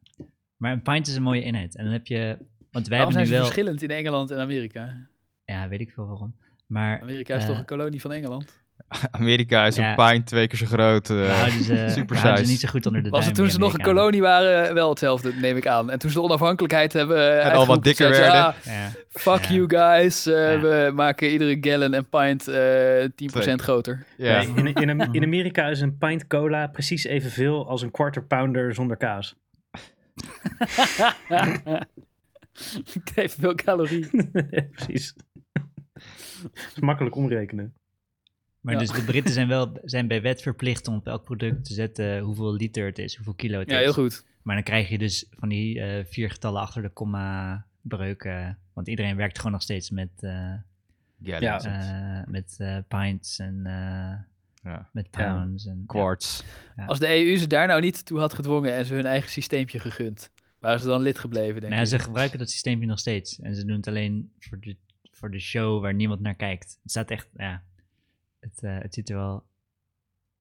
maar een pint is een mooie eenheid. En dan heb je... Want
Waarom
wij hebben
zijn
nu
ze
wel...
verschillend in Engeland en Amerika?
Ja, weet ik veel waarom. Maar
Amerika is
Eh.
toch een kolonie van Engeland?
Amerika is
Ja.
een pint twee keer zo groot. eh.
we houden ze, we
super
houden ze
size.
niet zo goed onder de
Was
duim
het toen
die
ze nog een
Amerikanen.
kolonie waren eh, wel hetzelfde, neem ik aan. En toen ze de onafhankelijkheid hebben eh,
al wat
uitgeroepen,
dikker
zeiden ze,
werden.
Ja.
"Ah, fuck
Ja.
you guys, eh,
Ja.
we maken iedere gallon en pint eh 10% groter.
ja.
Nee, in, in, in Amerika is een pint cola precies evenveel als een quarter pounder zonder kaas.
Het heeft veel calorieën.
precies. Dat is makkelijk omrekenen.
Maar
Ja.
dus de Britten zijn wel zijn bij wet verplicht om op elk product te zetten hoeveel liter het is, hoeveel kilo het
Ja,
is.
heel goed.
Maar dan krijg je dus van die eh, vier getallen achter de komma breuken. Want iedereen werkt gewoon nog steeds met, eh,
Ja,
Ja.
dat is het.
eh, met eh, pints en eh,
Ja.
met pounds. En,
Quartz.
Als de EU ze daar nou niet toe had gedwongen en ze hun eigen systeempje gegund, waren ze dan lid gebleven, denk
Nou, ja,
ik.
ze gebruiken dat systeempje nog steeds. En ze doen het alleen voor de, voor de show waar niemand naar kijkt. Het staat echt, ja. Het, eh, het ziet er wel...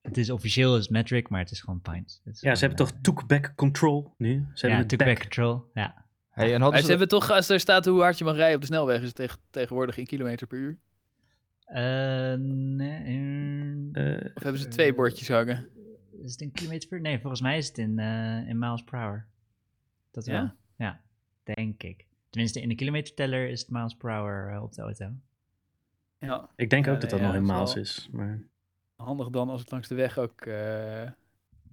Het is officieel als metric, maar het is gewoon pints. Het is
Ja, ze
gewoon,
hebben toch
eh,
took-back control nu? Ze
Ja,
hebben het
took
back.
back control. Ja.
Hey, en
Maar
hadden
ze
ze...
hebben toch, als er staat hoe hard je mag rijden op de snelweg, is het teg- tegenwoordig in kilometer per uur.
Eh, nee, eh,
Eh,
Of hebben ze twee bordjes hangen?
is het in kilometer per... Nee, volgens mij is het in, eh, in miles per hour. Dat wel?
Ja?
Ja? denk ik. Tenminste, in de kilometerteller is het miles per hour eh, op de auto.
Ja.
ik denk
Ja,
ook dat dat
Eh,
nee,
nog
ja,
in
dat
Maals
is wel-
is. Maar...
Handig dan als het langs de weg ook. eh,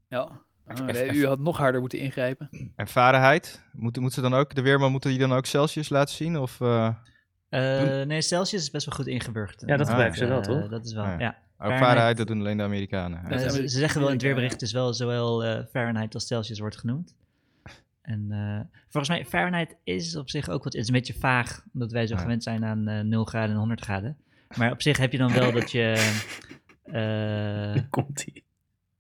Ja. Ah,
Echt,
de
echt.
EU had nog harder moeten ingrijpen.
Ervarenheid? Moeten moeten ze dan ook... De weerman moeten die dan ook Celsius laten zien? Of... eh,
Eh, nee, Celsius is best wel goed ingeburgerd.
Ja, dat
Ah,
gebruiken ze
eh,
wel, toch?
Dat is wel,
Ah, ja.
ja.
Oh,
Fahrenheit-
Fahrenheit, dat doen alleen de Amerikanen.
Eh,
Ja,
ze,
maar-
ze zeggen wel in het
ja.
weerbericht, dus wel zowel eh, Fahrenheit als Celsius wordt genoemd. En eh, volgens mij, Fahrenheit is op zich ook wat, het is een beetje vaag, omdat wij zo
Ja.
gewend zijn aan eh 0 graden en 100 graden. Maar op zich heb je dan wel dat je, eh,
Komt ie.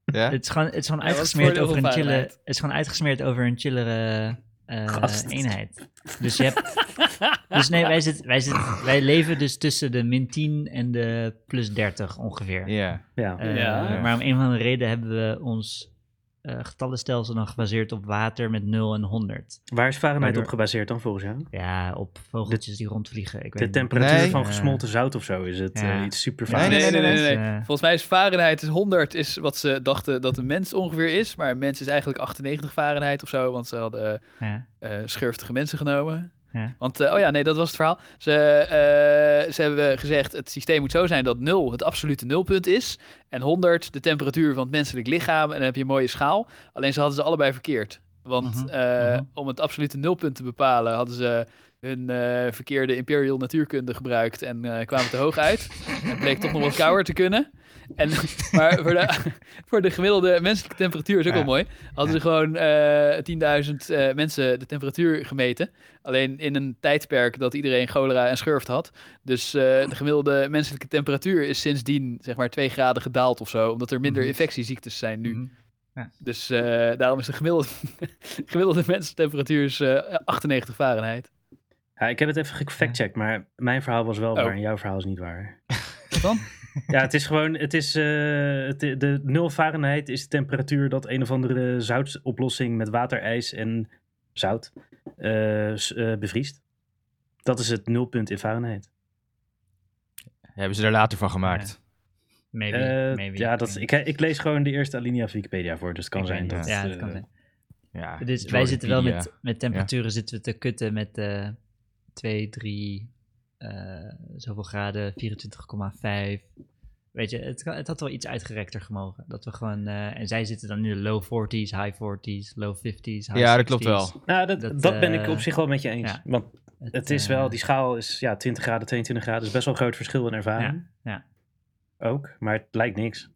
Ja?
het is gewoon, het is gewoon
Ja, wat is het
uitgesmeerd
voordeel
over een
van
chille, het
Fahrenheit?
is gewoon uitgesmeerd over een chillere eh,
Gast.
eenheid. Dus je hebt, dus nee, wij, zit, wij, zit, wij leven dus tussen de min 10 en de plus 30 ongeveer.
Ja.
Ja.
Eh,
Ja.
Maar om een van de reden hebben we ons eh, getallenstelsel dan gebaseerd op water met 0 en 100.
Waar is Fahrenheit
Waardoor-
op gebaseerd dan volgens jou?
Ja, op vogeltjes die rondvliegen. Ik
De
weet
temperatuur
Nee.
van
Ja.
gesmolten zout of zo is het
Ja.
eh, iets super
Nee,
vaag.
nee, nee, nee,
niet.
nee.
Eh,
Volgens mij is Fahrenheit is 100 is wat ze dachten dat een mens ongeveer is. Maar een mens is eigenlijk 98 Fahrenheit of zo. Want ze hadden
ja.
eh, schurftige mensen genomen.
Ja.
Want, eh, oh ja, nee, dat was het verhaal. Ze, eh, ze hebben gezegd, het systeem moet zo zijn dat 0 het absolute nulpunt is. En 100 de temperatuur van het menselijk lichaam. En dan heb je een mooie schaal. Alleen ze hadden ze allebei verkeerd. Want
Mhm,
eh,
mhm.
om het absolute nulpunt te bepalen hadden ze hun eh, verkeerde imperial natuurkunde gebruikt. En eh, kwamen te hoog uit. En bleek toch nog wat kouder te kunnen. En, maar voor de, voor de gemiddelde menselijke temperatuur is ook
Ja.
wel mooi hadden ze gewoon eh 10.000 eh, mensen de temperatuur gemeten. Alleen in een tijdperk dat iedereen cholera en schurft had. Dus eh, de gemiddelde menselijke temperatuur is sindsdien zeg maar 2 graden gedaald of zo. Omdat er minder
Mhm.
infectieziektes zijn nu.
Mhm.
Dus eh, daarom is de gemiddelde, gemiddelde mensentemperatuur is, eh, 98 Fahrenheit.
Ja, ik heb het even gefactcheckt, maar mijn verhaal was wel
Oh.
waar en jouw verhaal is niet waar.
Wat dan?
Ja, het is gewoon, het is, eh, het, de 0 Fahrenheit is de temperatuur dat een of andere zoutoplossing met water, ijs en zout eh, s- eh, bevriest. Dat is het nulpunt in Fahrenheit.
Hebben ze er later van gemaakt.
Maybe,
Eh,
maybe.
ja, dat, ik, ik lees gewoon de eerste alinea van Wikipedia voor, dus het kan
Ik
zijn
weet
dat...
niet. Ja, het
eh,
kan zijn.
Ja.
Dus wij zitten wel met,
Jordipedia.
met temperaturen zitten we te kutten met eh 2, 3, eh, zoveel graden, 24,5. Weet je, het, kan- het had wel iets uitgerekter gemogen. Dat we gewoon, eh, en zij zitten dan in de low 40s, high 40s, low 50s, high
Ja, dat klopt
60s.
wel.
Nou, dat,
Dat,
dat, ben ik
eh,
op zich wel met je eens.
ja.
Want het is
eh,
wel, die schaal is ja, 20 graden, 22 graden, is best wel een groot verschil in ervaring.
ja.
Ook, maar het lijkt niks.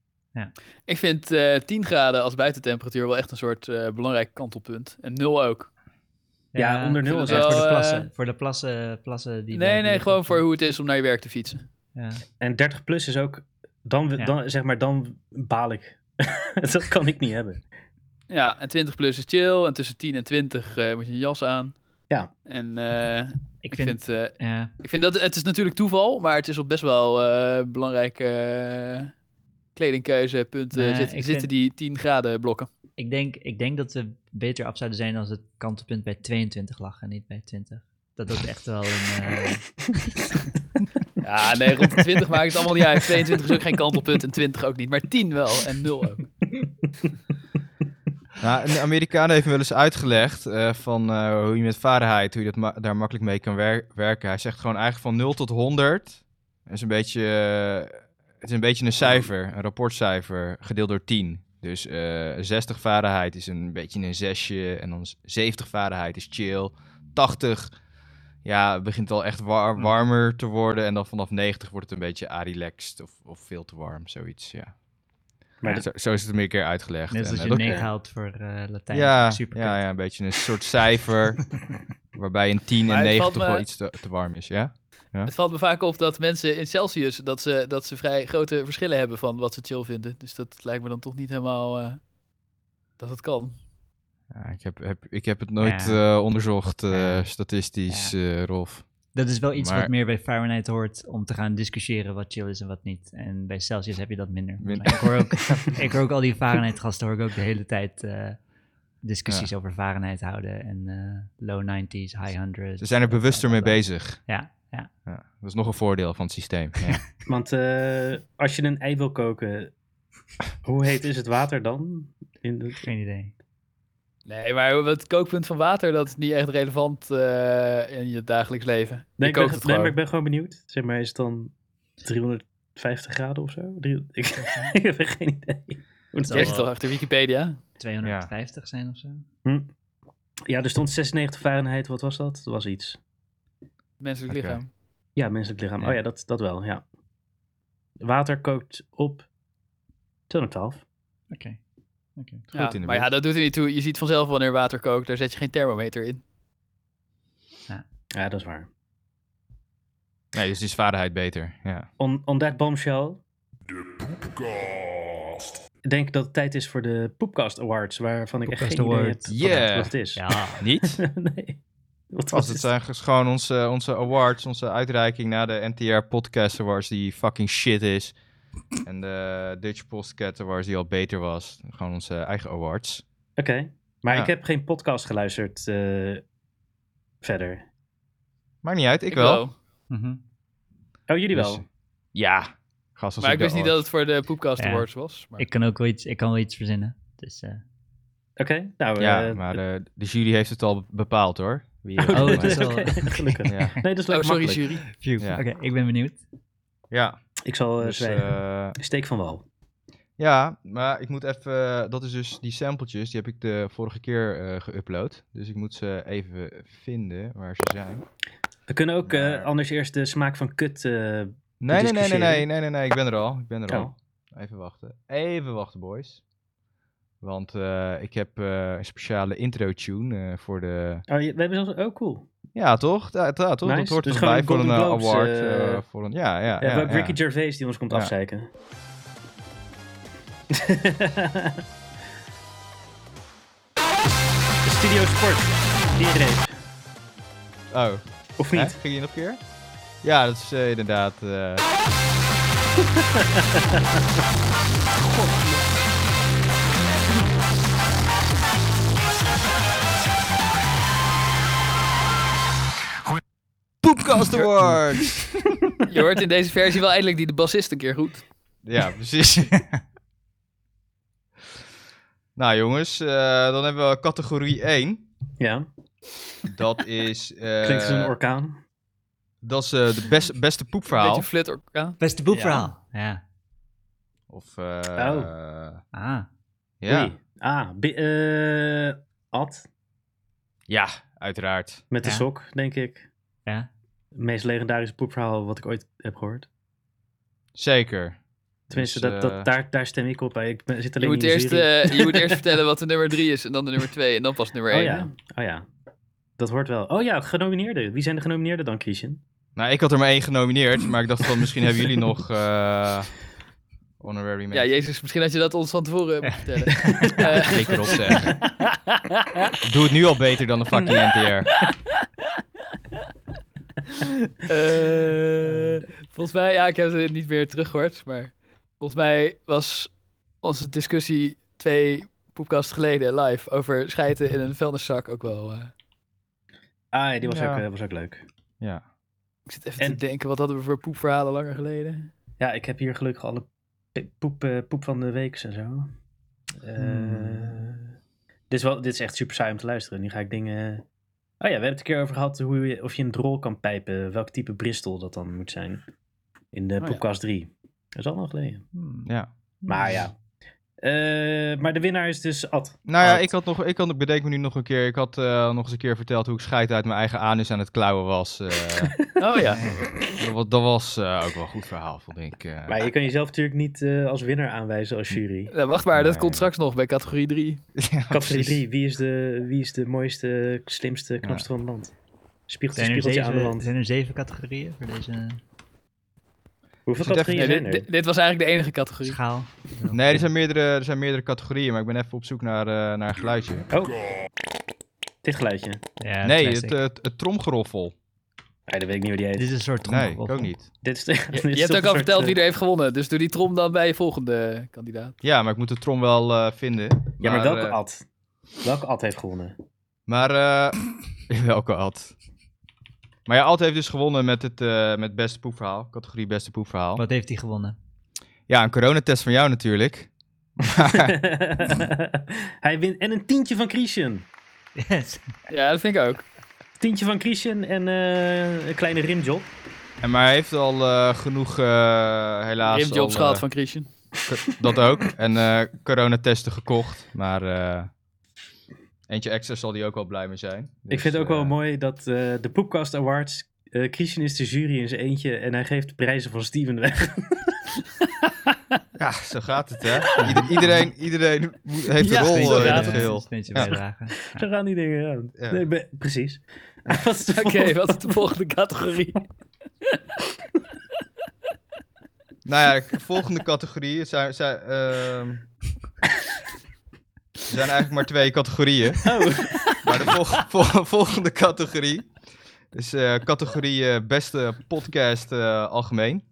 Ik vind eh 10 graden als buitentemperatuur wel echt een soort eh, belangrijk kantelpunt. En 0 ook.
Ja, onder nul
ik
is
vind het
echt
wel,
voor
eh,
de plassen. voor de plassen, plassen die
Nee,
wij-
nee,
die-
gewoon voor hoe het is om naar je werk te fietsen.
Ja.
En 30 plus is ook, dan,
Ja.
dan, zeg maar, dan baal ik. dat kan ik niet hebben.
Ja, en 20 plus is chill. En tussen 10 en 20 eh, moet je je jas aan.
Ja.
En eh,
Ik
ik,
vind,
vind, eh,
ja,
ik vind dat het is natuurlijk toeval, maar het is op best wel eh, belangrijke eh, kledingkeuzepunten.
Nee,
zit-
ik
zitten
vind-
die 10 graden blokken?
ik, denk, ik denk dat we beter af zouden zijn als het kantelpunt bij 22 lag en niet bij 20. Dat dat echt wel een... eh,
Ja, nee, rond de 20 maakt het allemaal niet uit. 22 is ook geen kantelpunt en 20 ook niet. Maar 10 wel en 0 ook.
Nou, de Amerikanen heeft me wel eens uitgelegd eh, van eh, hoe je met Fahrenheit, hoe je dat ma- daar makkelijk mee kan wer- werken. Hij zegt gewoon eigenlijk van 0 tot 100. Dat is een beetje, eh, het is een beetje een cijfer, een rapportcijfer, gedeeld door 10. Dus eh 60 Fahrenheit is een beetje een zesje en dan z- 70 Fahrenheit is chill. 80, ja, het begint al echt war- warmer te worden. En dan vanaf 90 wordt het een beetje relaxed of, of veel te warm, zoiets, ja.
Maar
Zo, zo is het meer een keer uitgelegd.
Net
En,
als
eh,
je
dat-
nee haalt voor eh, Latijn.
ja,
super.
ja, ja, een beetje een soort cijfer. waarbij een 10 en
Maar het
9
valt
toch
me-
wel iets te, te warm is, ja?
Het valt me vaak op dat mensen in Celsius, dat ze, dat ze vrij grote verschillen hebben van wat ze chill vinden. Dus dat lijkt me dan toch niet helemaal eh, dat het kan.
ja ik, heb, heb, ik heb het nooit eh, onderzocht, eh,
Ja.
statistisch, eh, Rolf.
Dat is wel iets wat
Maar-
meer bij Fahrenheit hoort om te gaan discussiëren wat chill is en wat niet. En bij Celsius heb je dat minder.
Min-
Maar ik, hoor ook, ik hoor ook al die Fahrenheit gasten hoor ik ook de hele tijd eh, discussies over Fahrenheit houden. En eh, low 90s, high 100s.
Ze zijn er bewuster mee bezig.
Ja, ja.
Ja, dat is nog een voordeel van het systeem. Ja.
Want eh, als je een ei wil koken, hoe heet is het water dan? In de-
Geen idee.
Nee, maar het kookpunt van water, dat is niet echt relevant eh, in je dagelijks leven.
Nee,
je
ik ben,
kookt
ge-
het
nee, maar
gewoon.
ik ben gewoon benieuwd. Zeg maar, is het dan 350 graden of zo? Drie- ik, ik heb echt geen idee. Hoe het is.
Je hebt
zal
eh,
het toch achter Wikipedia?
250 zijn of zo.
Hm. Ja, er stond 96 Fahrenheit. Wat was dat? Dat was iets.
Menselijk
Oké.
lichaam.
Ja, menselijk lichaam.
Ja.
Oh ja, dat, dat wel, ja. Water kookt op 212.
Oké.
Goed in de
maar ja,
weer.
dat doet er niet toe. Je ziet vanzelf wanneer water kookt. Daar zet je geen thermometer in.
Ja, dat is waar.
Nee, dus die is vaderheid beter. Ja.
On, on that bombshell Ik denk dat het tijd is voor de Poepcast Awards, waarvan ik echt geen
Poepcast
idee heb
Awards.
wat,
Yeah.
het, wat het is.
Dus Ja.
Niet?
nee. Wat
Als
was
het
het?
zijn ges- gewoon onze, onze awards, onze uitreiking naar de NTR Podcast Awards, die fucking shit is. En de Dutch Podcast Awards, die al beter was. Gewoon onze eigen awards.
Oké, maar
Ja.
ik heb geen podcast geluisterd eh, verder.
Maakt niet uit, ik, wel.
Mhm.
Oh, jullie
Dus-
wel?
Ja. Gast als
Maar ik
de
wist niet
award-
dat het voor de Poepcast
Ja.
Awards was. Maar...
Ik kan ook wel iets, ik kan wel iets verzinnen. Dus, eh,
Oké, nou...
Ja,
eh,
maar de, de jury heeft het al bepaald hoor. Wie
Oh, dat is wel-
Oké, gelukkig.
Ja.
Nee, dat is leuk.
Oh, sorry,
makkelijk.
jury.
phew.
Ja.
Oké, ik ben benieuwd.
ja,
Ik zal eh,
dus,
zwijgen.
eh,
Steek van wal.
ja, maar ik moet even... Dat is dus die sampletjes, die heb ik de vorige keer eh, geüpload. Dus ik moet ze even vinden waar ze zijn.
We kunnen ook eh,
Maar-
anders eerst de smaak van kut... eh,
Nee, nee, nee, nee,
discussiëren.
nee, nee, nee, nee, ik ben er al. Ik ben er
Oh.
al. Even wachten. Even wachten, boys. Want eh, ik heb eh, een speciale intro-tune eh, voor de...
oh, je- we hebben zelfs... Oh, cool.
Ja, toch? Ja, ja, toch?
Nice.
Dat hoort
Dus
erbij
gewoon
voor een eh,
Golden Globes,
award.
eh,
eh, voor een... Ja, ja,
we
ja.
hebben ook
ja.
Ricky Gervais die ons komt
Ja.
afzeiken. Studio Sport. Die reep.
Oh,
Of
hè?
niet?
ging je nog een keer? Ja, dat is eh, inderdaad... eh, Poepcast Awards!
Je hoort in deze versie wel eindelijk die de bassist een keer goed.
Ja, precies. nou jongens, eh, dan hebben we categorie 1.
Ja,
Dat is, eh,
klinkt als een orkaan.
dat is eh, de best, beste poepverhaal.
Beetje flut ook. Ja.
Beste boekverhaal. Ja.
Of, eh,
Oh.
Ah.
ja.
Oei. Ah, bi- eh, Ad
ja, uiteraard.
met de
Ja.
sok, denk ik.
Ja.
Het meest legendarische poepverhaal wat ik ooit heb gehoord.
Zeker.
Tenminste,
Dus,
dat,
eh,
dat, daar, daar stem ik op. bij. Ik ben- zit
Je,
alleen
moet
in de
eerst,
jury.
eh, je moet eerst vertellen wat de nummer 3 is en dan de nummer 2 en dan pas nummer 1.
oh, ja. oh ja, dat hoort wel. Oh ja, genomineerden. Wie zijn de genomineerden dan, Christian?
Nou, ik had er maar één genomineerd, maar ik dacht van misschien hebben jullie nog eh honorary
Ja,
mention.
Jezus, misschien had je dat ons van tevoren moeten vertellen. Eh,
Zeker op zeggen. Doe het nu al beter dan de fucking NTR.
Eh, volgens mij, ja, ik heb het niet meer teruggehoord, maar volgens mij was onze discussie twee poepkasten geleden live over schijten in een vuilniszak ook wel. eh.
Ah, ja, die was,
Ja.
ook, eh, was ook leuk.
Ja.
ik zit even
En-
te denken, wat hadden we voor poepverhalen langer geleden?
Ja, ik heb hier gelukkig alle pe- poep, eh, poep van de week en zo. Eh, dit, is wel, dit is echt super saai om te luisteren. Nu ga ik dingen. Oh ja, we hebben het een keer over gehad hoe je, of je een drol kan pijpen. Welk type bristel dat dan moet zijn. In de
ja.
podcast 3. Dat is al lang geleden.
Hmm.
ja.
Maar ja. Eh, maar de winnaar is dus Ad.
Nou ja,
Ad.
ik had nog, ik had, ik bedenk me nu nog een keer, ik had eh, nog eens een keer verteld hoe ik scheid uit mijn eigen anus aan het klauwen was. eh.
Oh ja.
dat, wa- dat was eh, ook wel een goed verhaal, vond ik. eh.
Maar je kan jezelf natuurlijk niet eh, als winnaar aanwijzen als jury.
Nou, wacht maar, dat
Nee.
komt straks nog bij categorie 3.
Ja,
Categorie
precies.
3. Wie is, de, wie is de mooiste, slimste, knapste van het land? Spiegeltje,
Zijn, er
spiegeltje aan de
zeven,
wand.
zijn er zeven categorieën voor deze
Hoeveel
Zit even-
categorieën
Nee,
zijn
dit,
er?
dit- dit was eigenlijk de enige categorie.
schaal?
Nee, er zijn, meerdere, er zijn meerdere categorieën, maar ik ben even op zoek naar, eh, naar een geluidje.
Oh. Dit geluidje.
Ja,
nee,
classic.
het, eh, het, het tromgeroffel.
Nee, dat weet ik niet hoe die heet.
Dit
Dit,
is een soort trom.
Nee, ik ook niet.
is, dit
Je,
is
je hebt
toch
ook
een
al
soort,
verteld
eh,
wie er heeft gewonnen, dus doe die trom dan bij je volgende eh, kandidaat.
Ja, maar ik moet de trom wel eh, vinden.
Ja, maar welke
eh,
ad? Welke ad heeft gewonnen?
Maar eh, welke ad? Maar ja, Ad heeft dus gewonnen met het eh, met beste poepverhaal. Categorie beste poepverhaal.
Wat heeft hij gewonnen?
Ja, een coronatest van jou natuurlijk.
Hij wint en een tientje van Christian.
Yes.
Ja, dat vind ik ook.
Tientje van Christian en eh, een kleine rimjob.
En maar hij heeft al eh, genoeg, eh, helaas.
Rimjobs
al, eh,
gehad van Christian.
Co- Dat ook. En eh, coronatesten gekocht. Maar eh, eentje extra zal die ook wel blij mee zijn.
ik
Dus,
vind het ook
eh,
wel mooi dat eh, de Poepcast Awards eh, Christian is de jury in zijn eentje en hij geeft de prijzen van Steven weg.
Ja, zo gaat het, hè? Ieder- iedereen iedereen moet- heeft
Ja,
een rol
zo
eh, in
gaat
het
het.
geheel.
Steentje
Ja.
bijdragen. Ja.
Zo gaan die dingen aan.
Ja.
Nee, be- precies. Wat is de
Oké,
volgende?
wat is de volgende categorie?
Nou ja, de volgende categorie zijn, zijn, ehm, er zijn eigenlijk maar twee categorieën.
Oh,
Maar de volg- vol- volgende categorie is eh, categorie eh, beste podcast eh, algemeen.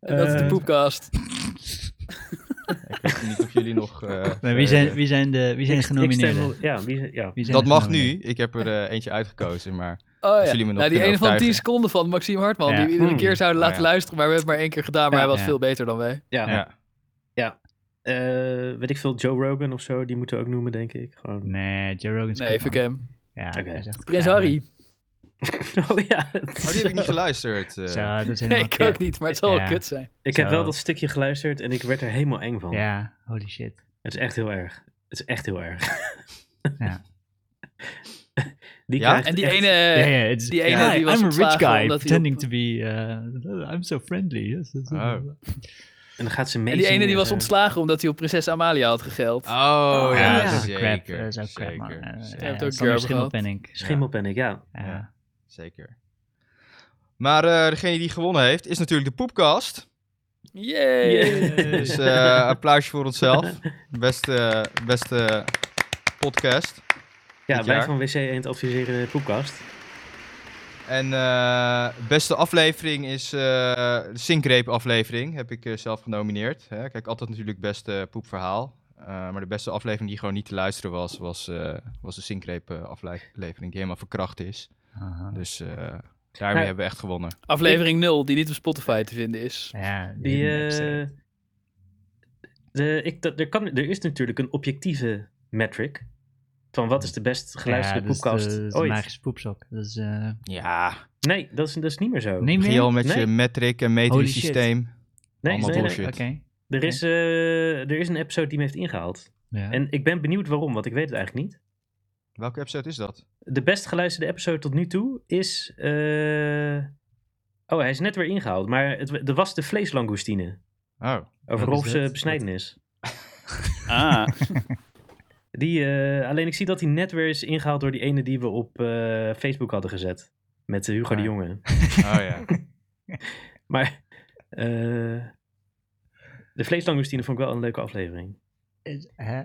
En dat is de
Eh,
poepcast.
Ik weet niet of jullie nog... eh,
Maar wie zijn,
eh,
wie zijn, de, wie zijn de
ik stem
genomineerden?
wel- Ja, wie zijn- ja.
Wie zijn nou?
dat
de
mag
genomineerden?
nu. Ik heb er eh, eentje uitgekozen, maar...
Oh
Als
ja.
jullie me nog
nou, die
kunnen
ene van 10
overtuigen.
seconden van Maxime Hartman,
Ja.
die we iedere
Hmm.
keer zouden
Oh,
laten
ja.
luisteren, maar we hebben het maar één keer gedaan, maar
Ja.
hij was
Ja.
veel beter dan wij.
Ja,
Ja.
Eh, weet ik veel, Joe Rogan of zo, die moeten we ook noemen, denk ik. Gewoon.
Nee, Joe Rogan. is
Nee,
goed,
fuck
man.
hem.
Ja,
Oké.
hij is echt-
Prins
ja,
Harry.
Oh ja. het
Maar
is-
die heb ik niet geluisterd. eh.
Zo, dat is helemaal
Nee, ik
kut.
ook niet, maar het zal
Ja.
wel kut zijn.
ik heb
Zo.
wel dat stukje geluisterd en ik werd er helemaal eng van.
Ja, holy shit.
Het is echt heel erg. Het is echt heel erg.
Ja.
Die
Ja?
krijgt
En die
echt-
ene,
ja, ja, het is-
Eh, die ene
Ja,
die was
I'm a rich
ontslagen
guy
omdat hij
pretending to be... eh, I'm so friendly. Yes, yes, yes.
Oh.
En dan gaat ze mee.
en die ene
zingen
die was
en-
ontslagen omdat hij op prinses Amalia had gegeld.
Oh,
Oh,
ja,
ja.
Dat is ook Ah, crap,
zeker.
dat is ook crap, man.
zeker,
Eh,
zeker,
hebt
eh,
ook
Sander
Gerber
Schimmelpenninck. Ja.
Schimmelpennink, ja.
Ja.
Ja. zeker. Maar eh, degene die gewonnen heeft, is natuurlijk de Poepkast.
Yay!
Yeah.
Dus eh applausje voor onszelf. Beste, beste podcast.
Ja,
dit
wij
jaar.
van WC Eend adviseren de poepkast.
En eh, beste aflevering is eh, de Sinkreep aflevering. Heb ik eh, zelf genomineerd. Hè? Kijk, altijd natuurlijk beste poepverhaal. Eh, maar de beste aflevering die gewoon niet te luisteren was, was, eh, was de Sinkreep eh, aflevering. Die helemaal verkracht is.
Aha.
Dus eh, daarmee
Nou-
hebben we echt gewonnen.
Aflevering 0, die niet op Spotify te vinden is.
Ja, die
Die,
hidden episode.
eh, de, ik, dat, er, kan, er is natuurlijk een objectieve metric. Van wat is de best geluisterde
ja, dus dat is de-
poepkast
dat is de
ooit?
magische poepsok. Dat is, eh,
Ja,
Nee, dat is, dat is niet meer zo.
nee,
begin je
meer?
al met
Nee.
je metric en
Holy
metrisch
shit.
systeem.
nee,
allemaal
nee, nee.
bullshit.
Oké.
Er, is, eh, er is een episode die me heeft ingehaald.
Ja.
En ik ben benieuwd waarom, want ik weet het eigenlijk niet.
Welke episode is dat?
De best geluisterde episode tot nu toe is... eh, Oh, hij is net weer ingehaald. Maar het, er was de vleeslangoustine.
Oh,
Over
Wat is
Rolfse
dat?
besnijdenis.
Ah.
Die, eh, alleen ik zie dat hij net weer is ingehaald door die ene die we op eh, Facebook hadden gezet. Met eh, Hugo de
Ah.
Jonge.
oh ja.
Maar eh, de vleeslangoustine vond ik wel een leuke aflevering.
Is- hè?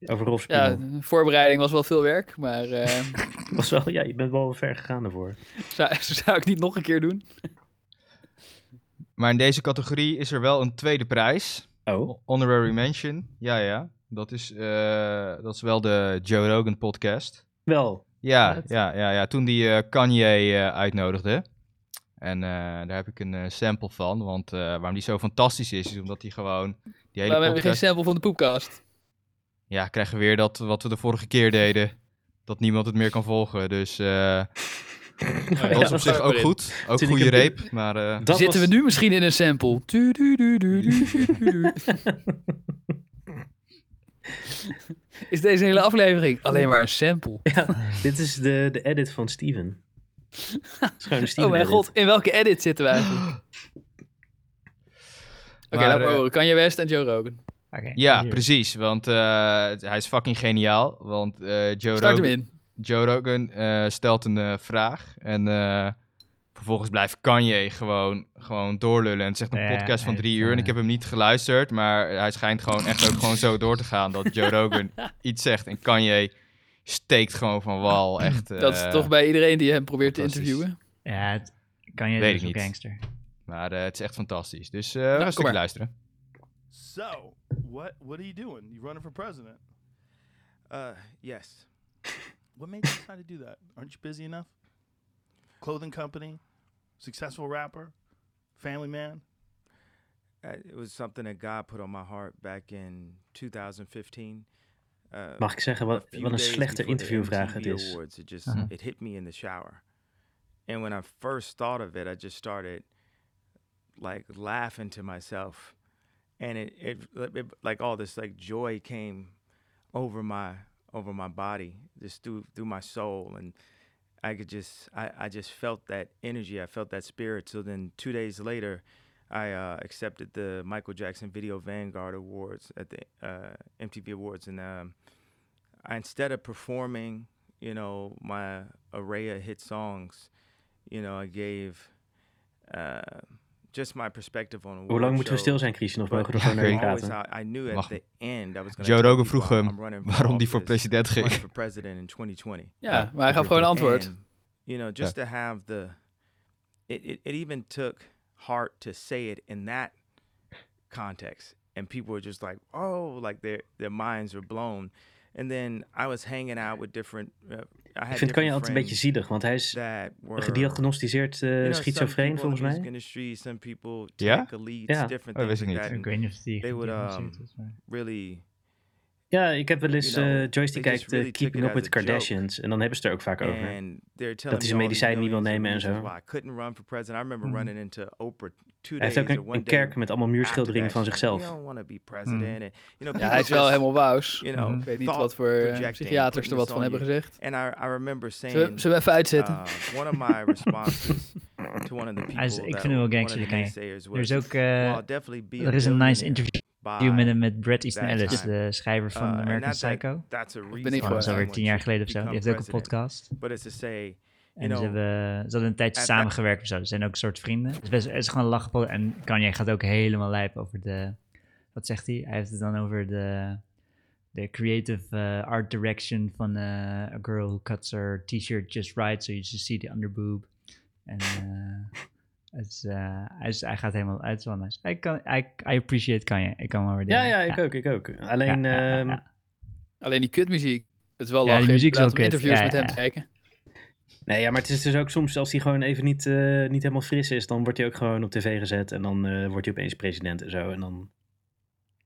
Over Rolfse
Ja,
ja.
de voorbereiding was wel veel werk, maar eh,
Was wel, ja, je bent wel ver gegaan daarvoor.
zou, zou ik niet nog een keer doen.
Maar in deze categorie is er wel een tweede prijs.
Oh,
Honorary mention. Ja, ja. Dat is, eh, dat is wel de Joe Rogan podcast.
wel.
Ja,
Wat?
ja, ja, ja. Toen die eh, Kanye eh, uitnodigde. En eh, daar heb ik een eh, sample van. Want eh, waarom die zo fantastisch is, is omdat hij gewoon... Die hele
Maar we hebben geen
podcast...
sample van de poepcast.
Ja, krijgen we weer dat wat we de vorige keer deden. Dat niemand het meer kan volgen. Dus eh, dat is op zich ook goed. Ook
Toen ik
goede
hem-
reep. Maar eh,
Dat
Zitten
was-
we nu misschien in een sample? Du- du- du- du- du- du- du- du. Is deze hele aflevering alleen maar een sample?
Dit is de, de edit van Steven. Het is gewoon een Steven
Oh mijn
edit.
god, in welke edit zitten we eigenlijk? Oké,
Maar,
laat maar
eh,
horen. Kanye West en Joe Rogan.
Oké,
ja,
hier.
precies. Want eh, hij is fucking geniaal. Want eh, Joe
Start hem
Rogan...
in.
Joe Rogan eh, stelt een eh, vraag en eh, vervolgens blijft Kanye gewoon, gewoon doorlullen. En het zegt een
Ja,
podcast van
hij
drie
is,
uur en
eh,
ik heb hem niet geluisterd, maar hij schijnt gewoon echt ook gewoon zo door te gaan dat Joe Rogan iets zegt en Kanye steekt gewoon van wal. Echt,
Dat is
eh,
toch bij iedereen die hem probeert te
fantastisch.
interviewen.
Ja, het, kan je
Weet
dus
ik
een
niet.
gangster.
Maar eh, het is echt fantastisch. Dus eh
Nou, kom
een stukje
maar.
luisteren.
So, what what are you doing? You running for president? Uh, yes. What made you decide to do that? Aren't you busy enough? Clothing company, successful rapper, family man.
Uh, It was something that God put on my heart back in 2015. Uh,
Mag ik zeggen
a
wat,
few
wat een
days
slechte
before the
interviewvraag
MTV
het is?
Awards, it just
Uh-huh.
it hit me in the shower, and when I first thought of it, I just started like laughing to myself, and it, it, it like all this like joy came over my over my body, just through through my soul, and I- I could just I, I just felt that energy. I felt that spirit. So then two days later, I uh, accepted the Michael Jackson Video Vanguard Awards at the uh, MTV Awards, and um, I, instead of performing, you know, my array of hit songs, you know, I gave uh, just my perspective on.
Hoe
award
lang moeten we
shows.
stil zijn, Christian? Of
But
mogen we er gewoon
Ja,
naar
oké.
je
I always-
praten?
I- I knew at
Mag-
the end I was gonna
Joe
tell
Rogan
people
vroeg hem
I'm running for
waarom die voor
office,
president
running
ging.
for president in 2020.
Ja, maar hij gaf gewoon een antwoord.
And, you know, just to have the it, it, it even took heart to say it in that context. And people were just like, oh, like their their minds were blown. And then I was hanging out with different. Uh, I
Ik
had
vind Kanye
different
altijd een beetje
friends
zielig, want hij is
that were
gediagnosticeerd eh,
you know, some
schizofreen,
people in the
volgens mij.
music Industry, some people
Ja?
take elites,
Ja.
different
Oh, dat
things
wist ik
like
niet.
that,
Ik
and
weet niet of die
They would,
um,
gediagnosticeerd is, maar-
really
Ja, ik heb wel eens
You know,
eh, Joyce die
they
kijkt
just
eh,
really took
Keeping
it
Up
as
With The
a joke.
Kardashians. En dan hebben ze het er ook vaak over.
And they're
hij
telling me
zijn
all these
medicijn niet wil
millions of
nemen en zo. Mm.
reasons Why I couldn't run for president. I remember running into Oprah two
Hij
days
heeft ook
or
een,
one
een
day
kerk met allemaal
after
muurschilderingen
that,
van
she's like,
zichzelf.
You don't want to be president. And, you know,
Ja, hij
people
is wel
just,
helemaal wauws.
You know,
Ik weet niet
thought
wat voor eh,
projecting,
psychiaters er
putting
wat
this
van
on
hebben
you.
gezegd.
And I, I remember saying,
Zullen we zullen we even uitzetten?
uh, one of my responses to one of the people
Hij is- ik
that
vind hem wel
one of
gangster,
the
die guy.
naysayers
Er is
was,
ook,
well,
eh,
I'll definitely be a
er is een nice
billionaire
interview
by-
met hem met Brad Easton
Ah, that
Ellis,
time.
de schrijver van
uh, and
American
not that
Psycho.
that's a reason
ik
Van
voor.
dat is alweer
someone
tien jaar
should
geleden of zo. Die
become
heeft ook een
president.
podcast.
But it's to say, you
En ze,
know,
hebben, ze hadden een tijdje
at that-
samengewerkt of zo. Ze zijn ook een soort vrienden. Het is, best, het is gewoon een lachpot. En Kanye gaat ook helemaal lijp over de... Wat zegt hij? Hij heeft het dan over de, de creative eh, art direction van eh, a girl who cuts her t-shirt just right. So you just see the underboob. En eh, het is, eh, hij, is- hij gaat helemaal uit. Van nice. I, kan, I, I appreciate Kanye. Ik kan hem wel
Ja,
waarderen.
ja, ik ook, ik ook. Alleen,
Ja, ja, ja,
ehm,
ja.
Alleen die kutmuziek. Het is wel
Ja, die
lachen
muziek is
inderdaad,
wel
om
kut.
interviews
Ja,
met
ja,
hem
ja.
te kijken.
nee, ja, maar het is dus ook soms als hij gewoon even niet, eh, niet helemaal fris is, dan wordt hij ook gewoon op tv gezet en dan eh, wordt hij opeens president en zo. En dan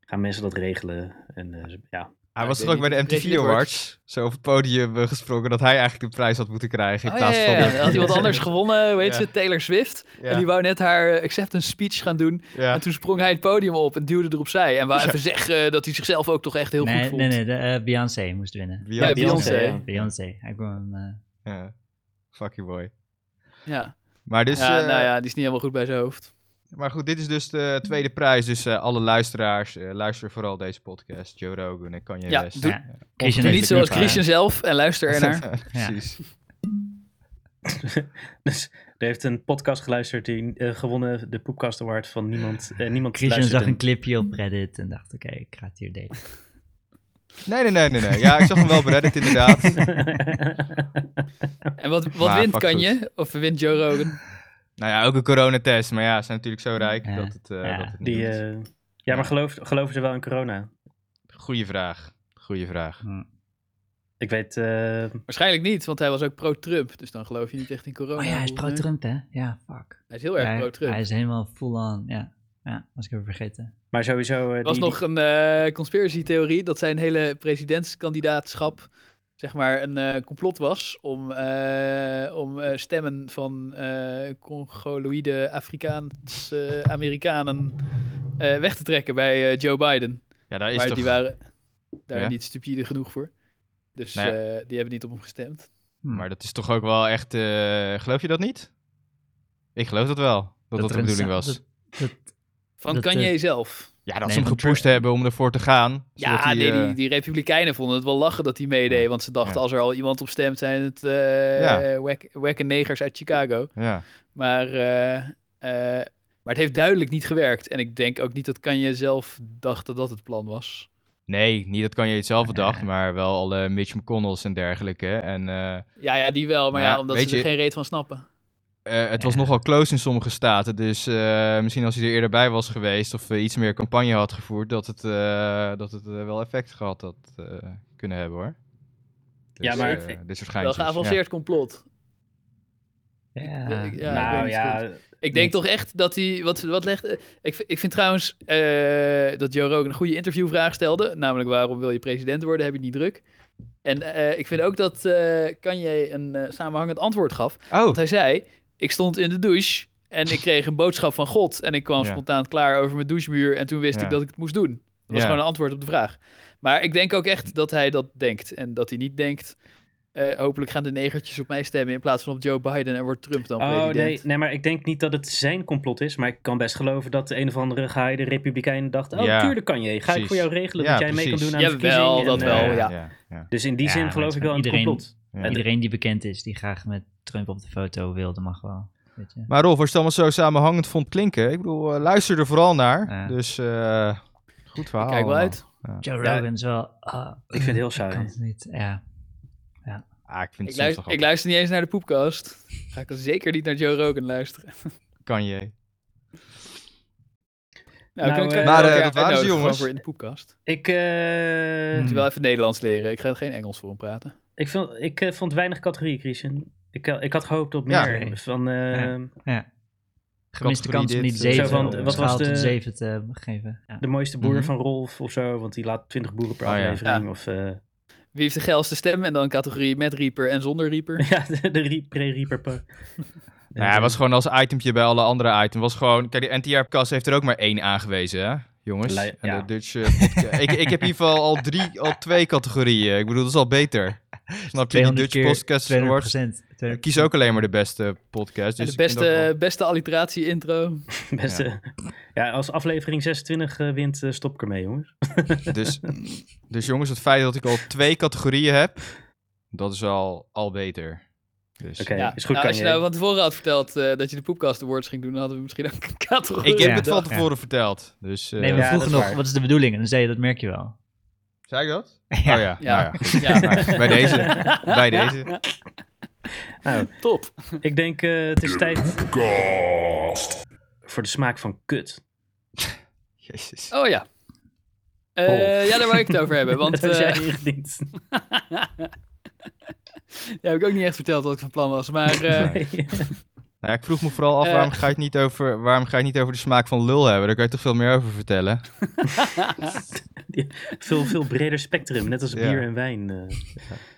gaan mensen dat regelen. En eh, ze- ja,
Hij
Ja,
was
ik
er
weet
ook bij
niet
de
of het
MTV
president wordt.
Awards zo op het podium eh, gesproken dat hij eigenlijk de prijs had moeten krijgen. In
Oh, ja,
plaats
ja,
van
ja.
de-
Dan had iemand anders gewonnen, hoe heet
Ja.
ze, Taylor Swift.
Ja.
En die wou net haar eh, acceptance speech gaan doen.
Ja.
En toen sprong hij het podium op en duwde erop zij. En wou even zeggen dat hij zichzelf ook toch echt heel goed
Nee,
vond.
nee, nee. De, eh, Beyoncé moest winnen.
Beyoncé.
Ja, Beyoncé.
Ja, Beyoncé. Hij kwam... eh,
Ja. Fuck you boy.
Ja.
Maar, dus,
ja,
eh,
nou ja, die is niet helemaal goed bij zijn hoofd.
maar goed, dit is dus de tweede prijs. Dus eh, alle luisteraars, eh, luister vooral deze podcast. Joe Rogan en Kanye
Ja,
West.
doe-
Ja.
Doe
heeft eh,
niet
het
zoals
gedaan.
Christian zelf en luister ernaar.
Precies.
dus er heeft een podcast geluisterd die eh, gewonnen de Poepcast Award van niemand. eh, niemand
Ah, Christian
luistert
zag
hem.
een clipje op Reddit en dacht, oké, ik ga het hier delen.
Oh,
Nee, nee, nee, nee, nee. Ja, ik zag hem wel op Reddit inderdaad.
En wat, wat
Maar
wint
fuck
kan
goed.
je? Of wint Joe Rogan?
Nou ja, ook een coronatest. Maar ja, ze zijn natuurlijk zo rijk
Ja,
dat het, eh
ja.
dat het niet
Die,
doet.
eh, ja, maar geloof, geloven ze wel in corona?
Goeie vraag. Goeie vraag.
Ik weet, eh,
Waarschijnlijk niet, want hij was ook pro-Trump. Dus dan geloof je niet echt in corona.
Oh ja, hij is
hoe- Oh
pro-Trump, hè? Ja, fuck.
Hij is heel erg
Hij,
pro-Trump.
hij is helemaal full-on, ja. Ja, was ik even vergeten.
maar sowieso... eh,
Er was
die-
nog een eh conspiracy-theorie dat zijn hele presidentskandidaatschap zeg maar een eh, complot was om, eh, om eh, stemmen van eh congoloïde Afrikaanse Amerikanen eh, weg te trekken bij eh, Joe Biden.
Ja, daar is
Maar
toch...
die waren daar
Ja.
niet stupide genoeg voor. Dus
Nou ja.
eh, die hebben niet op hem gestemd.
Hm.
Maar dat is toch ook wel echt... eh, geloof je dat niet? Ik geloof dat wel. Dat dat,
er
de
een
bedoeling
sa-
was.
dat- dat-
Van
Dat,
Kanye
eh,
zelf.
Ja, dat
Nee,
ze hem
van
gepusht
Trump.
hebben om ervoor te gaan. zodat
Ja,
hij,
die,
eh,
die, die Republikeinen vonden het wel lachen dat hij meedeed. Want ze dachten,
Ja.
als er al iemand op stemt, zijn het eh
Ja.
wek- wekke negers uit Chicago.
Ja.
Maar, eh, eh, maar het heeft duidelijk niet gewerkt. En ik denk ook niet dat Kanye zelf dacht dat dat het plan was.
Nee, niet dat kan je het zelf bedacht,
Nee.
maar wel alle Mitch McConnell's en dergelijke. En eh,
Ja, ja die wel, maar ja,
Ja,
omdat
Nou, weet
ze er
je-
geen reet van snappen.
Eh, het was
Ja.
nogal close in sommige staten. Dus eh, misschien als hij er eerder bij was geweest of eh, iets meer campagne had gevoerd, dat het, eh, dat het eh, wel effect gehad had eh, kunnen hebben hoor. Dus,
Ja, maar-
eh, dit soort
Wel
geintjes.
geavanceerd complot.
Ja,
ik- ja,
nou
ik weet niet
ja,
goed. Ik denk toch echt dat hij. Wat, wat legt, eh, ik, v- ik vind trouwens eh, dat Joe Rogan een goede interviewvraag stelde. Namelijk: waarom wil je president worden? Heb je het niet druk? En eh, ik vind ook dat eh Kanye een eh, samenhangend antwoord gaf.
Oh,
Want hij zei: Ik stond in de douche en ik kreeg een boodschap van God. En ik kwam
Ja.
spontaan klaar over mijn douchemuur. En toen wist
Ja.
ik dat ik het moest doen. Dat was
Ja.
gewoon een antwoord op de vraag. Maar ik denk ook echt dat hij dat denkt. En dat hij niet denkt eh, hopelijk gaan de negertjes op mij stemmen in plaats van op Joe Biden en wordt Trump dan
Oh
president.
nee, nee, maar ik denk niet dat het zijn complot is. Maar ik kan best geloven dat de een of andere gehaaide republikein dacht... Oh,
Ja,
tuurlijk kan je. Ga ik
precies.
voor jou regelen
Ja,
dat jij mee
precies.
kan doen aan de
Jawel,
verkiezing.
dat wel,
eh,
ja.
Dus in die
Ja,
zin
maar
geloof
het
ik wel aan
is
het
gewoon
complot.
ja.
Iedereen die bekend is, die graag met Trump op de foto wilde, mag wel. Weet je.
Maar Rolf, als je het allemaal zo samenhangend vond klinken, ik bedoel, eh, luister er vooral naar.
Ja.
Dus eh, goed verhaal.
Kijk wel
allemaal.
uit.
Joe
Ja.
Rogan is wel... ah,
Ik vind het heel
ik kan
saai.
het niet. Ja.
Ah, ik vind
Ik
het soms
luister,
toch ook.
ik luister niet eens naar de poepcast. Ga ik dan zeker niet naar Joe Rogan luisteren.
Kan je.
Nou,
Nou,
kan ik
eh,
elkaar
Maar, eh, dat waren ze,
uitnodigen gewoon
jongens. Mhm.
Voor in de poepcast.
Ik, eh,
Moet je wel even Nederlands leren. Ik ga geen Engels voor hem praten.
ik, vond, ik eh, vond weinig categorieën, Christian. Ik, eh, ik had gehoopt op
Ja.
meer. Van, eh,
Gemiste
Categorie
kans om
dit,
niet
eh,
zeven
Zo van,
op
wat
een
was
schaal
de-
tot zeven te eh, geven. Ja.
De mooiste boer
Mhm.
van Rolf of zo. Want die laat 20 boeren per
Oh, ja.
aflevering.
Ja.
Of, eh,
Wie heeft de geilste stem? En dan categorie met Reaper en zonder Reaper.
ja, de, de re- pre-reaper. pa-
Nou, ja, het was gewoon als itempje bij alle andere items. Was gewoon, kijk, die NTR-kast heeft er ook maar één aangewezen, hè? Jongens,
Lui-
en
ja.
de Dutch, eh, podcast- ik, ik heb in ieder geval al, drie, al twee categorieën. Ik bedoel, dat is al beter. Snap je, die
200
Dutch
keer
Podcast Awards.
200%, 200%.
Ik kies ook alleen maar de beste podcast.
En
Dus
de
ik vind dat wel-
beste, beste alliteratie intro.
Beste. eh, Ja. als aflevering 26 eh, wint, eh, stop ik ermee, jongens.
eh,
Dus, dus jongens, het feit dat ik al twee categorieën heb, dat is al, al beter. Dus,
Oké,
Ja.
is goed,
nou,
kan
als je
je.
nou van tevoren had verteld eh, dat je de Poepcast Awards ging doen, dan hadden we misschien ook een categorie.
Ik heb
Ja.
het van
Ja.
tevoren verteld. Dus,
Nee,
eh,
we
Ja, dat
vroegen
is
nog,
waar.
wat is de bedoeling? En dan zei je, dat merk je wel.
Zei ik dat?
Ja.
Oh ja,
Ja.
nou ja.
Ja,
Nou, bij deze. Bij deze.
Nou,
top.
ik denk, eh, het is tijd. Voor de smaak van kut.
Jezus.
Oh ja. Eh,
Rolf.
ja, daar wou ik het over hebben. Want
dat
eh,
is jij ingediend.
ja, heb ik ook niet echt verteld wat ik van plan was. Maar eh,
Nou ja, ik vroeg me vooral af,
Eh.
waarom ga, je het niet over, waarom ga je het niet over de smaak van lul hebben? Daar kan je toch veel meer over vertellen? Oh,
veel, veel breder spectrum, net als
Ja.
bier en wijn. eh.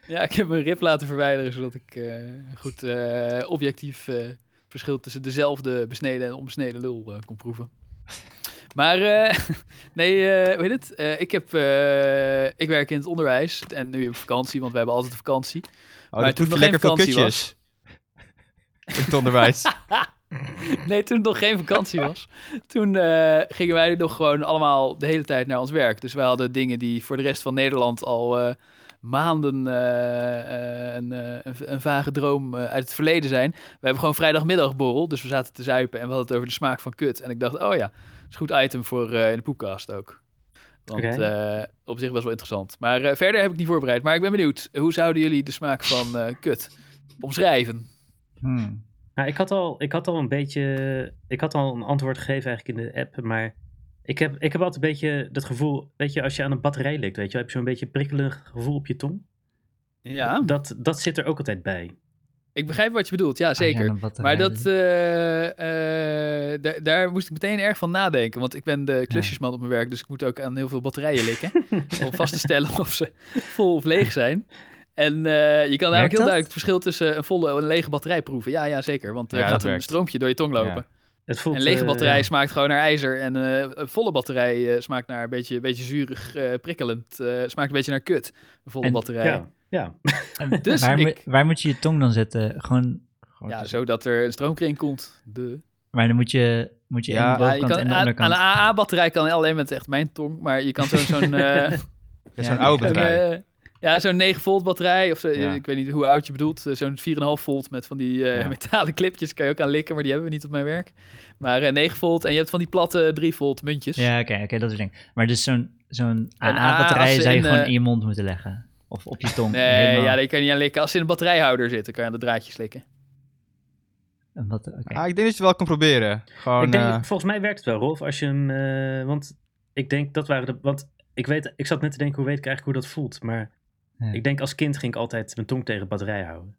ja, ik heb mijn rib laten verwijderen, zodat ik eh, een goed eh, objectief eh, verschil tussen dezelfde besneden en onbesneden lul eh, kon proeven. Maar eh, nee, eh, hoe heet het? Eh, ik, heb, eh, ik werk in het onderwijs en nu op vakantie, want we hebben altijd een vakantie.
Oh,
Maar
dat
toen
proef je
nog
lekker
geen
veel
vakantie
kutjes. In het onderwijs.
Nee, toen het nog geen vakantie was. Toen eh, gingen wij nog gewoon allemaal de hele tijd naar ons werk. Dus wij hadden dingen die voor de rest van Nederland al eh, maanden eh, eh, een, eh, een v- een vage droom eh, uit het verleden zijn. We hebben gewoon vrijdagmiddagborrel, dus we zaten te zuipen en we hadden het over de smaak van kut. En ik dacht, oh ja, dat is een goed item voor eh, in de podcast ook. Want
Oké.
eh, op zich was wel interessant. Maar eh, verder heb ik niet voorbereid. Maar ik ben benieuwd, hoe zouden jullie de smaak van eh, kut omschrijven?
Hmm.
Nou, ik had al, ik had al een beetje, ik had al een antwoord gegeven eigenlijk in de app, maar ik heb, ik heb altijd een beetje dat gevoel, weet je, als je aan een batterij likt, weet je, heb je zo'n beetje prikkelig gevoel op je tong.
Ja,
Dat, dat zit er ook altijd bij.
ik begrijp wat je bedoelt. Ja, zeker.
Ah, ja, een batterij.
Maar dat, eh, eh, da- daar moest ik meteen erg van nadenken. Want ik ben de klusjesman op mijn werk, dus ik moet ook aan heel veel batterijen likken. om vast te stellen of ze vol of leeg zijn. En eh, je kan eigenlijk heel
dat?
duidelijk het verschil tussen een volle en een lege batterij proeven. Ja, ja zeker. Want er
Ja, dat
gaat een
werkt.
stroompje door je tong lopen.
Het voelt,
Een lege
eh,
batterij smaakt gewoon naar ijzer. En eh, een volle batterij eh, smaakt naar een beetje, beetje zuurig, eh, prikkelend. eh, smaakt een beetje naar kut. Een volle
En-
batterij. Ja,
ja, ja.
dus
waar, mo-
ik-
waar moet je je tong dan zetten? Gewoon,
zodat er een stroomkring komt. De...
maar dan moet je, moet je
Ja,
aan de
Ja, Ah, je
bovenkant
kan,
en de
aan, aan
onderkant.
een AA-batterij kan alleen met echt mijn tong, maar je kan zo'n zo'n eh,
Dat is
Ja,
een oude
zo'n,
bedrijf.
eh, ja, zo'n 9 volt batterij, of zo,
Ja.
ik weet niet hoe oud je bedoelt, eh, zo'n 4,5 volt met van die eh,
Ja.
metalen clipjes kan je ook aan likken, maar die hebben we niet op mijn werk. Maar eh, 9 volt en je hebt van die platte 3 volt muntjes.
Ja, oké, oké, dat is het ding. Maar dus zo'n zo'n
Een
AA-batterij
AA
zou je
in,
gewoon
eh,
in je mond moeten leggen. Of op je tong.
Nee,
helemaal.
ja, die kan je niet aan likken. Als ze in een batterijhouder zitten, kan je aan de draadjes likken.
Een batter- oké.
Ah, ik denk dat je het wel kan proberen. Gewoon,
ik denk,
eh,
volgens mij werkt het wel, Rolf, als je hem, eh, want ik denk dat waren de, want ik weet, ik zat net te denken, hoe weet ik eigenlijk hoe dat voelt, maar
Ja.
ik denk als kind ging ik altijd mijn tong tegen de batterij houden.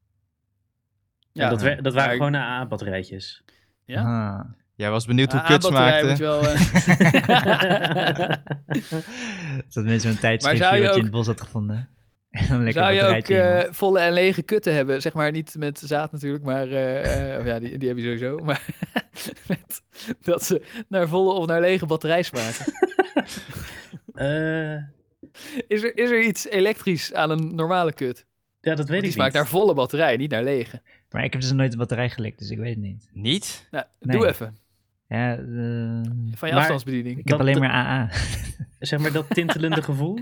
Ja,
Ja.
dat, wer- dat waren
Maar-
gewoon AA-batterijtjes.
ja.
Ah.
jij was benieuwd hoe kut
AA-batterij moet
smaakte.
je wel... eh,
Dat mensen zo'n tijdschriftje
zou
wat
je
je in
ook-
het bos had gevonden. En dan lekker
Zou je ook
batterijtje in je
eh,
mond.
volle en lege kutten hebben? Zeg maar niet met zaad natuurlijk, maar eh, eh, of ja, die, die heb je sowieso. Maar met, dat ze naar volle of naar lege batterij smaken.
Eh,
Is er, is er iets elektrisch aan een normale kut?
Ja, dat weet
Die
ik
smaakt
niet.
naar volle batterij, niet naar lege.
Maar ik heb dus nooit de batterij gelekt, dus ik weet het niet.
Niet?
Nou,
Nee.
Doe even.
Ja, eh,
Van je
Maar-
afstandsbediening.
ik heb
Dat-
alleen maar AA.
Zeg maar dat tintelende gevoel.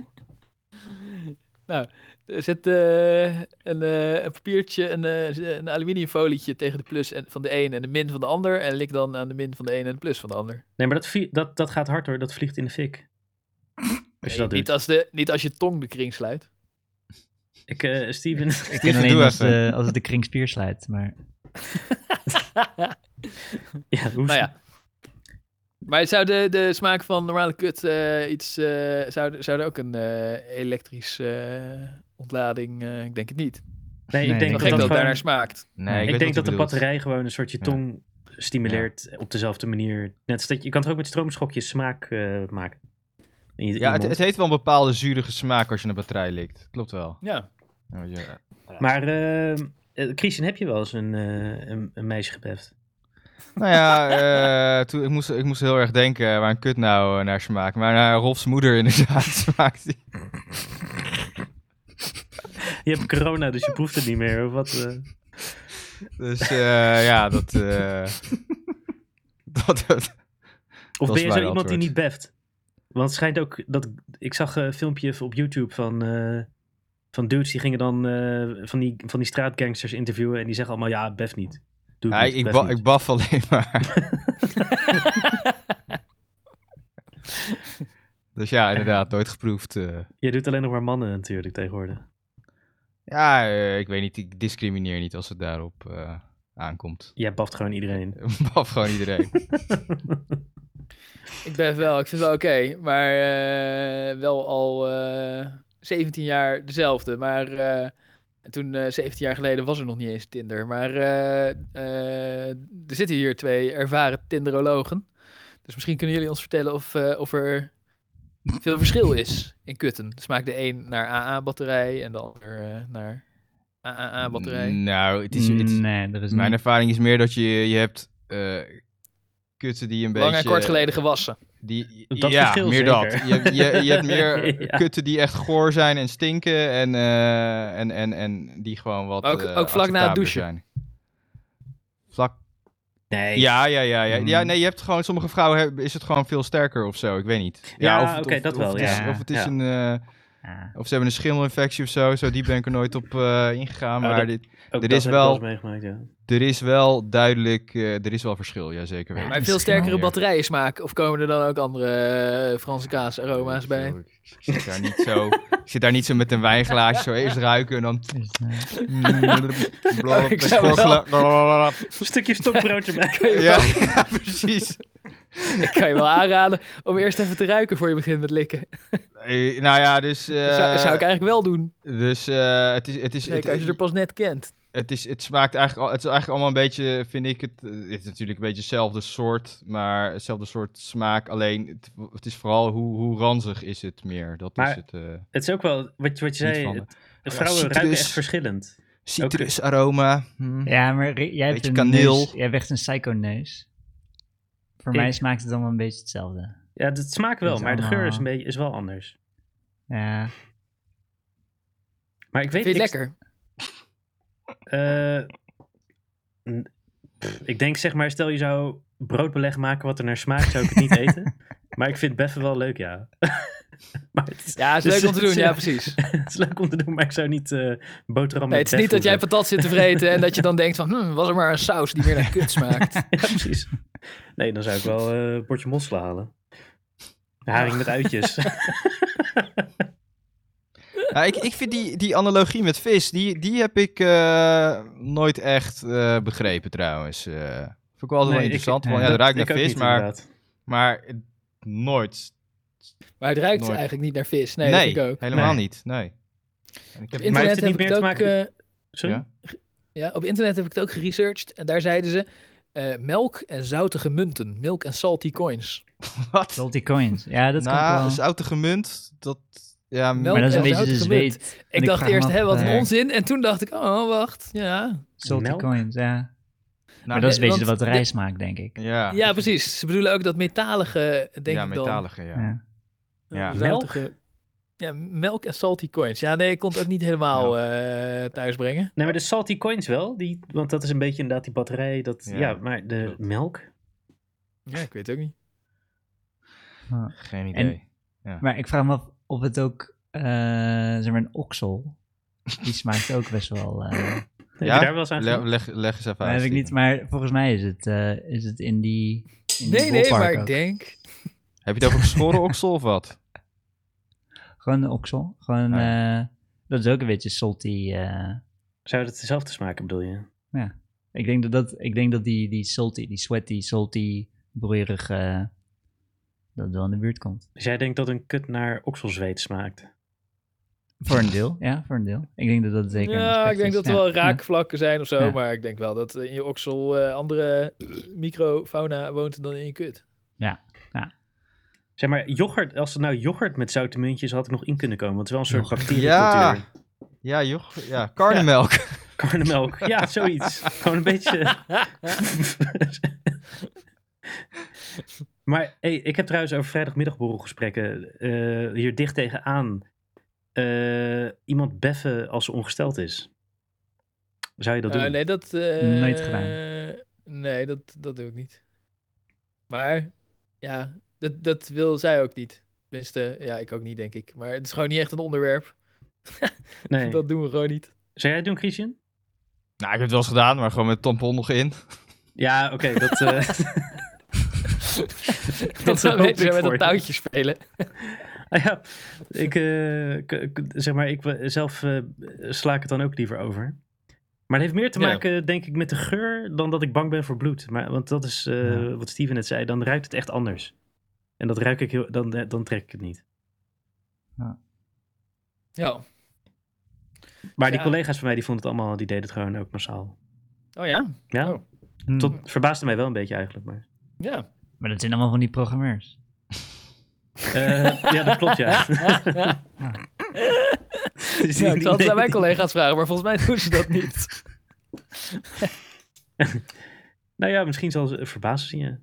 Zet eh, een, eh, een papiertje, een, eh, een aluminiumfolietje tegen de plus en, van de een en de min van de ander. En lik dan aan de min van de een en de plus van de ander.
Nee, maar dat, vie- dat, dat gaat hard hoor. Dat vliegt in de fik. Als je
Nee,
dat
niet,
doet.
als de, niet als je tong de kring sluit.
Ik, eh, Steven,
Ik
Steven,
ken alleen eh,
doe
als,
even.
de, als het de kringspier sluit, maar
ja, hoe,
nou ja. Maar zou de, de smaak van normale kut eh, iets... eh, zou, zou er ook een eh elektrisch eh, ontlading... eh, ik denk het niet.
nee, ik
Nee,
denk
Wel
dat dat
gek dat het
gewoon-
daarnaar smaakt.
Nee,
Ik
ik
weet
denk dat
wat
de
je bedoelt.
batterij gewoon een soort je
Ja.
tong stimuleert op dezelfde manier. Net als dat je, je kan het ook met stroomschokjes smaak eh, maken. In je- in je
Ja, het,
mond.
het heeft wel een bepaalde zurige smaak als je een batterij likt. Klopt wel.
Ja.
Ja, ja.
Maar eh, eh, Christian, heb je wel eens een, eh, een, een meisje gebeft?
Nou ja, eh, toen, ik, moest, ik moest heel erg denken waar een kut nou eh, naar smaakt. Maar naar Rolfs moeder inderdaad smaakt die.
Je hebt corona, dus je proeft het niet meer. Of wat, eh?
Dus eh, ja, dat, eh, dat, dat-
Of
is
ben je zo
mijn
iemand die
antwoord.
niet beft? Want het schijnt ook dat. Ik zag eh, een filmpje op YouTube van. eh, van dudes die gingen dan. eh, van, die, van die straatgangsters interviewen. En die zeggen allemaal: ja, bef niet. Doe het
Ja,
niet,
ik, ik,
bef
ba-
niet.
ik baf alleen maar. dus ja, inderdaad, nooit geproefd. eh.
Je doet alleen nog maar mannen natuurlijk tegenwoordig.
Ja, eh, ik weet niet, ik discrimineer niet als het daarop eh, aankomt.
Jij baft gewoon iedereen.
baf gewoon iedereen.
Ik ben wel, ik vind het wel oké, maar eh, wel al eh, 17 jaar dezelfde. Maar eh, toen eh, 17 jaar geleden was er nog niet eens Tinder. Maar eh, eh, er zitten hier twee ervaren Tinderologen. Dus misschien kunnen jullie ons vertellen of, eh, of er veel verschil is in kutten. Smaakt de een naar AA-batterij en de ander eh, naar AAA-batterij.
Nou, het is, het is-
mm, nee, er
Mm,
is
mijn
niet.
ervaring is meer dat je, je hebt eh kutten die een
Lang
beetje...
en kort geleden gewassen.
Die,
Dat
ja,
verschil
meer dat.
zeker.
Je, hebt- je, je hebt meer
Ja.
kutten die echt goor zijn en stinken en, eh, en, en, en die gewoon wat
Maar ook-
eh,
ook vlak na het
acceptabeler
douchen.
Zijn. Vlak,
Nee.
ja, ja, ja, ja. ja.
Mm.
Nee, je hebt gewoon, sommige vrouwen hebben, is het gewoon veel sterker of zo. Ik weet niet.
Ja,
of het-
oké,
of-
dat
of
wel,
het is-
ja.
Of het is
Ja.
een... eh,
Ah,
of ze hebben een schimmelinfectie of zo. Zo, die ben ik er nooit op eh, ingegaan.
Oh,
maar
dat-
dit,
Ook
Er
dat
is
heb ik
wel-
eens meegemaakt, ja.
er is wel duidelijk... eh, er is wel verschil, ja, zeker weten.
Maar veel sterkere batterijen smaak. Of komen er dan ook andere eh, Franse kaasaroma's bij?
Ik zit daar niet zo, ik zit daar niet zo met een wijnglaasje zo eerst ruiken en dan...
dus, eh,
Mm.
Ik zou wel-
Schorgelen.
Een stukje stokbroodje maken.
Ja, ja, precies.
Ik kan je wel aanraden om eerst even te ruiken voor je begint met likken.
Eh, Nou ja, dus... eh,
Dat zou, zou ik eigenlijk wel doen.
Dus eh, het is... Het is, het,
Zeker als je er pas net kent.
het is, het smaakt eigenlijk, al- het is eigenlijk allemaal een beetje, vind ik het, eh, het is natuurlijk een beetje hetzelfde soort, maar hetzelfde soort smaak, alleen het, het is vooral hoe, hoe ranzig is het meer, dat
Maar
is het. eh,
Het is ook wel wat, je- wat je
Niet
zei.
van me.
het- vrouwen
citrus.
ruiken echt verschillend.
citrusaroma. hm.
ja, maar Ri- jij hebt
Beetje
een
kaneel.
neus- jij hebt echt een psycho-neus. Voor
Ik-
mij smaakt het allemaal een beetje hetzelfde.
Ja, het smaakt wel,
Het is
maar de geur is, een
allemaal-
beetje, is wel anders.
Ja,
Maar ik weet
Vind je het
ik-
lekker?
Eh, n- pff, ik denk zeg maar, stel je zou broodbeleg maken wat er naar smaakt, zou ik het niet eten. Maar ik vind beffen wel leuk, ja. maar het is,
Ja, is leuk om te doen. Ja, precies.
het is leuk om te doen, maar ik zou niet eh boterham
Nee,
met
het is niet dat jij
beffen
patat zit te vreten en dat je dan denkt van... Hmm, was er maar een saus die meer naar kut smaakt.
hoeven. ja, precies. Nee, dan zou ik wel eh, een bordje mosselen halen. Haring met uitjes.
Ja, Nou, ik, ik vind die, die analogie met vis, die, die heb ik eh, nooit echt eh, begrepen trouwens. eh vond ik wel altijd
Nee,
wel
ik-
interessant,
eh,
want ja,
dat
het ruikt
ik
naar
ook
vis,
niet,
maar,
inderdaad.
maar het- nooit.
Maar het ruikt
Nooit.
eigenlijk niet naar vis. Nee, dat vind ik ook.
helemaal
Nee.
niet, nee. En ik
Op
heb-
Maar heeft het
internet
niet
heb ik
meer
het
te
ook...
maken-
eh,
Sorry?
Ja.
Ja, op internet heb ik het ook geresearched. En daar zeiden ze... eh, melk en zoutige munten. Milk en salty coins.
Wat?
salty coins. Ja, dat
nou,
komt wel.
zoute gemunt, dat... Ja, nou,
Melk
Maar dat is een
en
beetje de
zoute gemunt.
zweet.
Ik
ik
dacht
vraag me
eerst,
af,
hè, wat
eh,
een onzin. En toen dacht ik, oh, wacht, ja.
Salty
Melk?
coins, ja. maar dat is een
nee,
beetje de
want
batterij
dit-
smaakt, denk ik.
ja,
Ja, precies. Ze bedoelen ook dat metalige, denk
ja
ik dan.
metalige, ja.
Ja.
Ja.
zoutige- Ja, melk en salty coins. Ja, nee, ik kon het ook niet helemaal eh thuisbrengen.
Nee, maar de salty coins wel. Die, want dat is een beetje inderdaad die batterij. Dat, ja.
Ja,
maar de
klopt.
melk.
Ja, ik weet het ook niet.
Geen
En-
idee.
Maar ik vraag me af of het ook, eh, zeg maar, een oksel. Die smaakt ook best wel. eh,
Heb
Ja?
je daar wel eens aan
Le-
gedaan?
leg, leg eens even
maar
uit.
heb ik niet,
Steven.
maar volgens mij is het, eh, is het in die. In die
Nee, nee,
ballpark
maar ik
ook.
denk...
Heb je het over geschoren oksel of wat?
Gewoon een oksel. Gewoon,
Ah,
eh, dat is ook een beetje salty. eh,
Zou het dezelfde smaken bedoel je?
ik, denk dat dat, ik denk dat die, die salty, die sweaty, salty, broeierige. eh, dat het wel in de buurt komt.
Dus jij denkt dat een kut naar okselzweet smaakt?
Voor een deel, ja, voor een deel. Ik denk dat dat zeker. een
Ja,
aspect
ik denk
is,
dat er
ja.
wel raakvlakken zijn of zo.
Ja.
Maar ik denk wel dat in je oksel eh, andere microfauna woont dan in je kut.
Zeg maar, yoghurt, als het nou yoghurt met zoute muntjes had ik nog in kunnen komen. Want het is wel een soort
Yoghurt.
bacteriecultuur.
Ja. Ja, joh. Ja, karnemelk.
Karnemelk. Ja, zoiets. Gewoon een beetje. maar hey, ik heb trouwens over vrijdagmiddagborrelgesprekken eh, hier dicht tegenaan. eh, iemand beffen als ze ongesteld is. Zou je dat
Eh,
doen?
nee, dat... eh,
Nooit gedaan.
Nee, dat, dat doe ik niet. Maar, ja, dat, dat wil zij ook niet. Tenminste, ja, ik ook niet, denk ik. Maar het is gewoon niet echt een onderwerp.
Nee.
Dat doen we gewoon niet.
Zou jij het doen, Christian?
Nou, ik heb het wel eens gedaan, maar gewoon met tampon nog in.
Ja, oké. dat, eh,
Dat
hoop
zou
ik
mensen met
voor
een
je.
touwtje spelen.
ah ja, ik, eh, k- k- zeg maar, ik w- zelf eh, sla ik het dan ook liever over. Maar het heeft meer te
Ja.
maken, denk ik, met de geur dan dat ik bang ben voor bloed. Maar, want dat is eh, wat Steven net zei, dan ruikt het echt anders. En dat ruik ik heel, dan, eh, dan trek ik het niet.
Ja.
Maar die
Ja.
collega's van mij, die vonden het allemaal, die deden het gewoon ook massaal.
Oh ja?
Ja,
Oh.
Hm.
tot verbaasde mij wel een beetje eigenlijk. Maar,
Ja.
Maar dat zijn allemaal van die programmeurs.
Eh, ja, dat klopt, ja. Dus die-
Ja, ik zal het
die-
aan mijn collega's vragen, maar volgens mij doen ze dat niet.
Nou ja, misschien zal ze verbaasd zien, ja.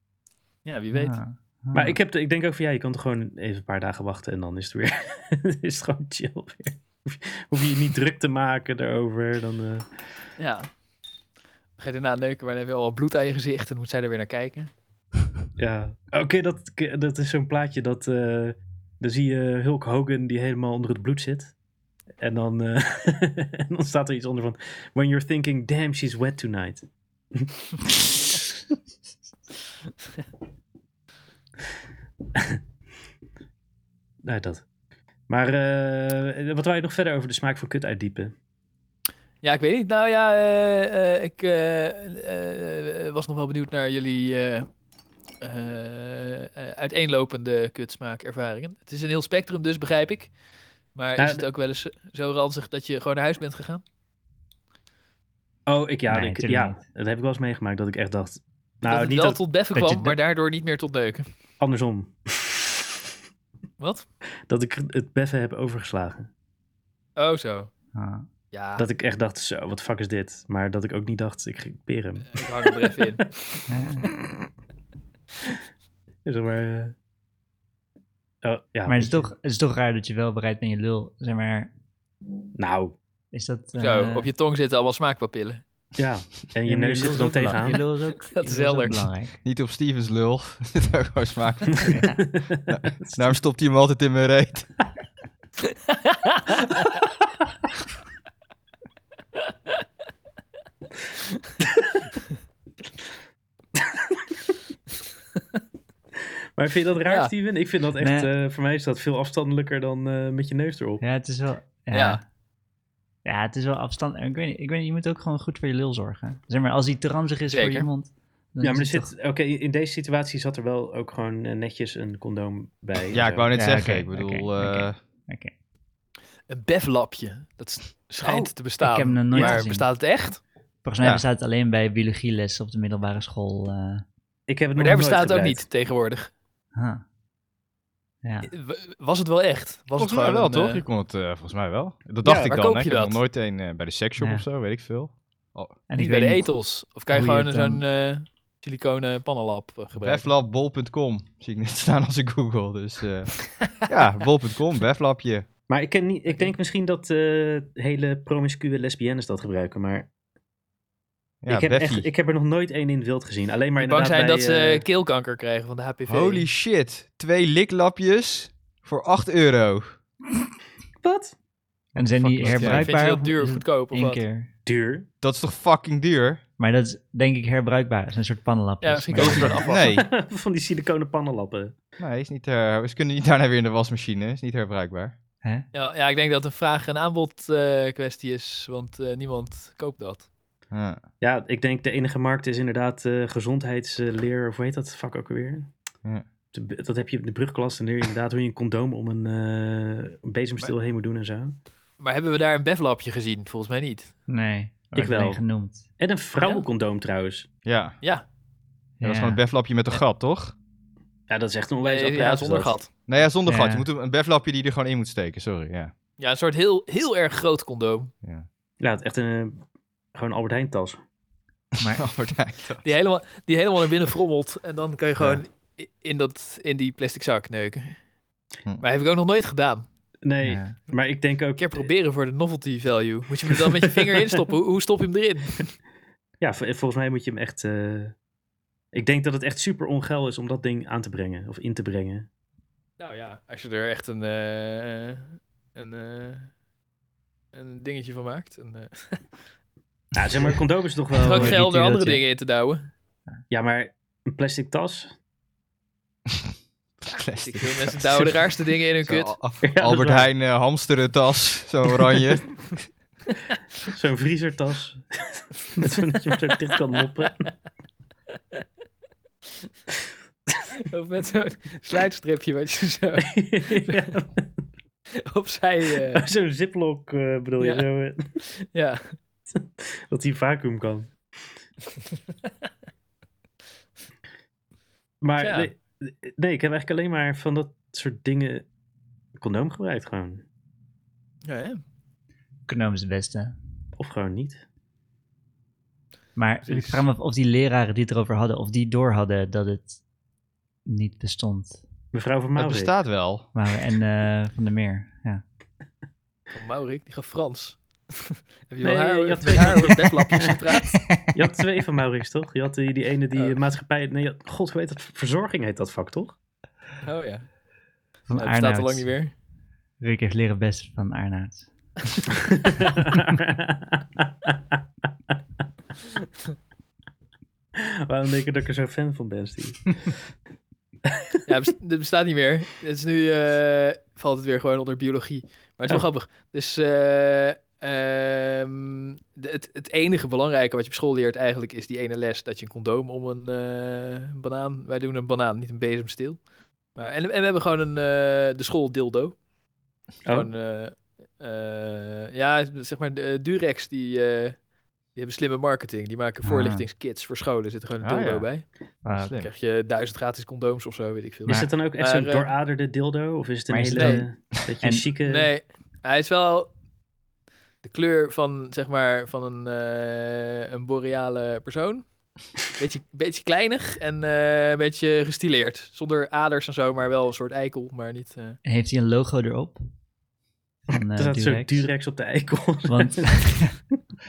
Ja, wie weet.
Ah, ah.
Maar ik, heb, de- ik denk ook van ja, je kan toch gewoon even een paar dagen wachten en dan is het weer. is het gewoon chill weer. Hoef je- Hoef je je niet druk te maken daarover. Dan, eh.
Ja. Dan ga je daarna neuken, maar dan heb je al wat bloed aan je gezicht. En dan moet zij er weer naar kijken.
ja. Oké, dat, dat is zo'n plaatje dat. eh dan zie je Hulk Hogan die helemaal onder het bloed zit. En dan, eh, en dan staat er iets onder van. When you're thinking, damn, she's wet tonight. nou, dat. Maar eh, wat wou je nog verder over de smaak van kut uitdiepen?
Ja, ik weet niet. Nou ja, eh, eh, ik eh, eh, was nog wel benieuwd naar jullie eh, eh, eh, uiteenlopende kutsmaakervaringen. Het is een heel spectrum dus, begrijp ik. Maar
Nou,
is het ook wel eens zo ranzig dat je gewoon naar huis bent gegaan?
Oh, ik ja,
Nee,
ik,
natuurlijk
ja dat heb ik wel eens meegemaakt dat ik echt dacht. Nou,
dat het
niet
wel
dat-
tot beffen
dat je
kwam,
de-
maar daardoor niet meer tot neuken.
andersom.
Wat?
Dat ik het beffen heb overgeslagen.
Oh zo.
Ah.
Ja,
Dat ik echt dacht, zo, wat fuck is dit? Maar dat ik ook niet dacht, ik ging peren.
ik hang hem er even in.
Ja.
Zeg Dus maar, eh, oh, ja,
Maar het
weet
is,
je.
toch, het is toch raar dat je wel bereid bent je lul. Zeg maar,
Nou,
is dat...
Zo,
eh,
op je tong zitten allemaal smaakpapillen.
ja. En je
ja, maar
neus zit
lul
er
is
dan
ook belangrijk.
tegenaan.
Je lul is ook, je lul is ook
helder.
belangrijk.
Niet op Stevens lul. Dit ook gewoon smaak. Daarom stopt hij hem altijd in mijn reet.
Maar vind je dat raar,
Ja.
Steven? Ik vind dat echt,
Nee.
eh, voor mij is dat veel afstandelijker dan eh, met je neus erop.
Ja, het is wel... Ja.
Ja.
ja. het is wel afstand. Ik weet, niet, ik weet niet, je moet ook gewoon goed voor je lul zorgen. Zeg maar, als die te ranzig is voor
Zeker.
je mond... dan
Ja, maar er
is het
zit, oké, in deze situatie zat er wel ook gewoon eh, netjes een condoom bij. en
Ja, ik
zo.
wou net
Ja,
zeggen.
oké,
ik bedoel,
oké,
eh,
toch- oké.
Een beflapje. Dat s- schijnt
Oh,
te bestaan.
ik heb hem nog nooit
maar
gezien.
bestaat het echt?
Volgens mij
Ja.
bestaat het alleen bij biologieles op de middelbare school. eh.
Ik heb het nog
Maar daar
nooit
bestaat het ook
gebruikt.
niet tegenwoordig.
Huh. Ja.
W- Was het wel echt? Was
volgens
het
mij
gewoon
wel,
een,
toch?
eh,
Ik kon het eh, volgens mij wel. Dat dacht ik
waar
dan.
koop
Hè? Ik
je
heb nog
dat?
nooit een eh, bij de seksshop
Ja.
of zo, weet ik veel.
En
niet
ik
bij
weet
de
niet
etels. Of kan je
hoe je
gewoon
het dan-
zo'n eh, siliconen pannenlab eh, gebruiken.
Weflabbol.com zie ik net staan als ik google. Dus eh, ja, bol.com, weflabje.
Maar ik, ken niet, ik denk misschien dat eh, hele promiscue lesbiennes dat gebruiken, maar
Ja,
ik, heb
Beffy.
echt, ik heb er nog nooit één in het wild gezien. Alleen maar
Die bang
inderdaad
zijn
bij,
dat ze
eh,
keelkanker krijgen van de HPV.
Holy shit, twee liklapjes voor 8 euro.
Wat?
En zijn
Fuck,
die
wat- ja,
herbruikbaar?
Vind je dat duur of
is het
goedkoop of
één
wat?
keer?
Duur?
Dat is toch fucking duur?
Maar dat is denk ik herbruikbaar. Dat is een soort pannenlapjes.
Ja, misschien
maar-
kopen ze er een afwas.
Nee,
Van die siliconen pannenlappen.
nee is niet, eh, ze kunnen niet daarna weer in de wasmachine. Is niet herbruikbaar.
Hè?
Ja, ja, ik denk dat het een vraag- en aanbod eh, kwestie is, want eh, niemand koopt dat.
Ja.
Ja, ik denk de enige markt is inderdaad eh, gezondheidsleer, of hoe heet dat vak ook alweer?
Ja.
De b- Dat heb je op de brugklas en leer je inderdaad hoe je een condoom om een eh, een bezemstil heen moet doen en zo.
Maar hebben we daar een bevlapje gezien? Volgens mij niet.
Nee.
Ik wel.
alleen genoemd.
En een vrouwencondoom trouwens.
Ja. Ja,
Ja,
dat is gewoon een beflapje met een gat, toch?
Ja, dat is echt een onwijs
eh, ja
apparaat,
zonder
dat.
gat.
Nou ja, zonder
Ja.
gat. Je moet een een beflapje die je er gewoon in moet steken, sorry. Ja.
Ja, een soort heel, heel erg groot condoom.
Ja, het is echt een, gewoon een Albert Heijn tas.
Maar
Albert Heijn, toch?
Die helemaal, die helemaal naar binnen frommelt. En dan kan je gewoon i- in, dat, in die plastic zak neuken.
Hm.
Maar heb ik ook nog nooit gedaan.
Nee,
Ja.
maar ik denk ook...
Een keer proberen voor de novelty value. Moet je hem er dan met je vinger instoppen? Hoe, hoe stop je hem erin?
Ja, vol- volgens mij moet je hem echt... eh, ik denk dat het echt super ongeil is om dat ding aan te brengen, of in te brengen.
Nou ja, als je er echt een, eh, een, eh, een dingetje van maakt. Een, eh,
Ja, zeg maar, een condoom is toch wel...
ook
eh,
geld er
iets-
andere
dat je-
dingen in te douwen.
Ja, maar een plastic tas?
Ik veel mensen douwen de raarste dingen in hun
Zo,
kut.
af-
Ja, dat
Albert
is waar.
Heijn eh, hamsterentas, zo oranje.
Zo'n vriezertas. Met van dat je hem zo dicht kan moppen.
Of met zo'n slijtstripje wat je zo
Ja,
opzij... eh,
Zo'n ziplock eh, bedoel je,
Ja.
zo, eh,
ja.
dat hij vacuüm kan. Maar
Ja.
nee, nee, ik heb eigenlijk alleen maar van dat soort dingen condoom gebruikt gewoon.
Ja, hè?
condoom is het beste.
Of gewoon niet.
Maar
Precies.
ik vraag me af of die leraren die het erover hadden, of die door hadden dat het niet bestond.
Mevrouw van
Dat
Maalbeek.
bestaat wel.
Maar, en eh, Van der Meer, ja.
Van Maurik, die gaat Frans. Heb
Nee,
je wel haar,
je had
je had
twee-
haar over bedlapjes gepraat?
Je had twee van Maurits, toch? Je had die, die ene die
Oh.
eh, maatschappij... Nee, je had- god weet dat verzorging heet dat vak, toch?
Oh ja, dat
Van
Nou, staat
Arnoud.
al lang niet meer.
Rick heeft leren best van Arnoud.
Waarom denk je dat ik er zo fan van ben, Steve?
Ja, bes- dit bestaat niet meer. Het is nu, eh, valt het weer gewoon onder biologie. Maar het is wel
Oh.
grappig. Dus eh, ehm, de- het, het enige belangrijke wat je op school leert eigenlijk is die ene les dat je een condoom om een eh, banaan... Wij doen een banaan, niet een bezemstil. Maar, en, en we hebben gewoon een, eh, de school dildo.
Oh.
Oh,
Gewoon, eh, eh, ja, zeg maar, de, Durex, die, eh, die hebben slimme marketing. Die maken
Ah.
voorlichtingskits voor scholen. Er zit gewoon een
Ah,
dildo
ja.
bij.
Wauw.
Slim.
Dan krijg je duizend gratis condooms of zo, weet ik veel.
is het dan ook echt
maar,
zo'n
eh,
dooraderde dildo? Of is het een
maar is
hele... Dat
het
je
En-
een chique...
Nee, hij is wel de kleur van, zeg maar, van een, eh, een boreale persoon. Beetje, beetje kleinig en eh, een beetje gestileerd. Zonder aders en zo, maar wel een soort eikel, maar niet... eh,
En Heeft hij een logo erop? Van, eh,
Er staat zo'n
Durex?
Durex op de eikel.
Want,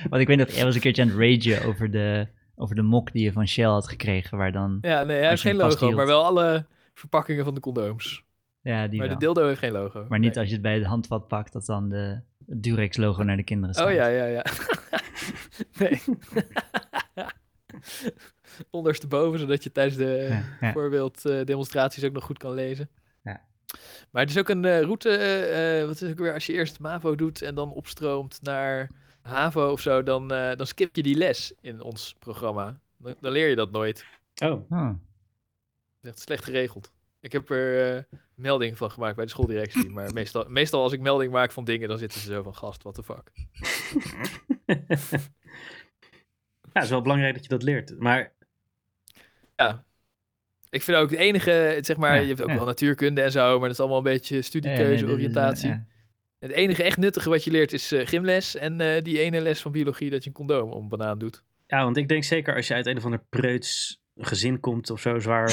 want ik weet dat jij was een keertje aan het ragen over de, over de mok die je van Shell had gekregen, waar dan...
Ja, nee, hij
Als
heeft
je
geen
hem
logo,
vasthield.
maar wel alle verpakkingen van de condooms.
Ja, die
Maar
wel.
de dildo heeft geen logo.
Maar niet
Nee.
als je het bij de handvat pakt, dat dan de het Durex-logo naar de kinderen staat.
Oh ja, ja, ja. nee. Ondersteboven, zodat je tijdens de
Ja, ja.
voorbeeld eh, demonstraties ook nog goed kan lezen.
Ja.
Maar het is ook een eh, route, eh, eh, wat is het ook weer, als je eerst MAVO doet en dan opstroomt naar HAVO of zo, dan, eh, dan skip je die les in ons programma. Dan, dan leer je dat nooit. Dat
Oh,
Oh,
is echt slecht geregeld. Ik heb er eh, melding van gemaakt bij de schooldirectie, maar meestal, meestal als ik melding maak van dingen, dan zitten ze zo van, gast, what the fuck.
ja, het is wel belangrijk dat je dat leert. Maar
Ja. Ik vind ook het enige, zeg maar,
Ja,
je hebt ook
ja.
wel natuurkunde en zo, maar dat is allemaal een beetje studiekeuze, oriëntatie.
eh, Ja,
Het enige echt nuttige wat je leert is eh, gymles en eh, die ene les van biologie dat je een condoom om banaan doet.
ja, want ik denk zeker als je uit een of ander preuts een gezin komt of zo, zwaar,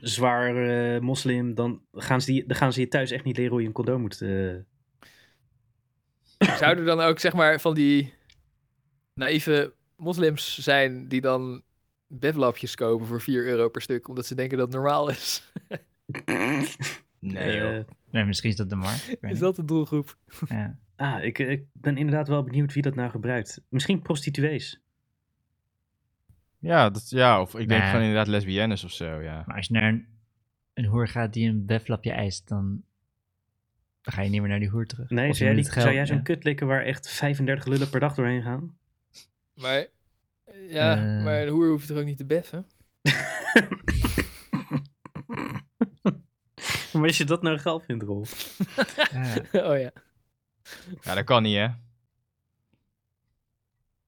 zwaar eh, moslim, dan gaan, ze die, dan gaan ze je thuis echt niet leren hoe je een condoom moet. eh,
Zouden er dan ook, zeg maar, van die naïeve moslims zijn die dan bedlapjes kopen voor 4 euro per stuk, omdat ze denken dat het normaal is?
Nee, joh.
eh,
Nee, misschien is dat de markt. ik
Is
weet niet.
dat de doelgroep?
Ja.
ah, ik, ik ben inderdaad wel benieuwd wie dat nou gebruikt. Misschien prostituees.
Ja, dat, ja, of ik denk
Nee.
gewoon inderdaad lesbiennes of zo, ja.
Maar als je naar een, een hoer gaat die een beflapje eist, dan ga je niet meer naar die hoer terug.
Nee,
Of je
zou jij,
moet
die-
het
zou jij
geld-
zo'n
ja.
kut likken waar echt 35 lullen per dag doorheen gaan?
Maar ja,
Eh.
maar een hoer hoeft er ook niet te beffen.
maar als je dat nou geil vindt, Rolf.
Ja.
oh ja.
Ja, dat kan niet, hè?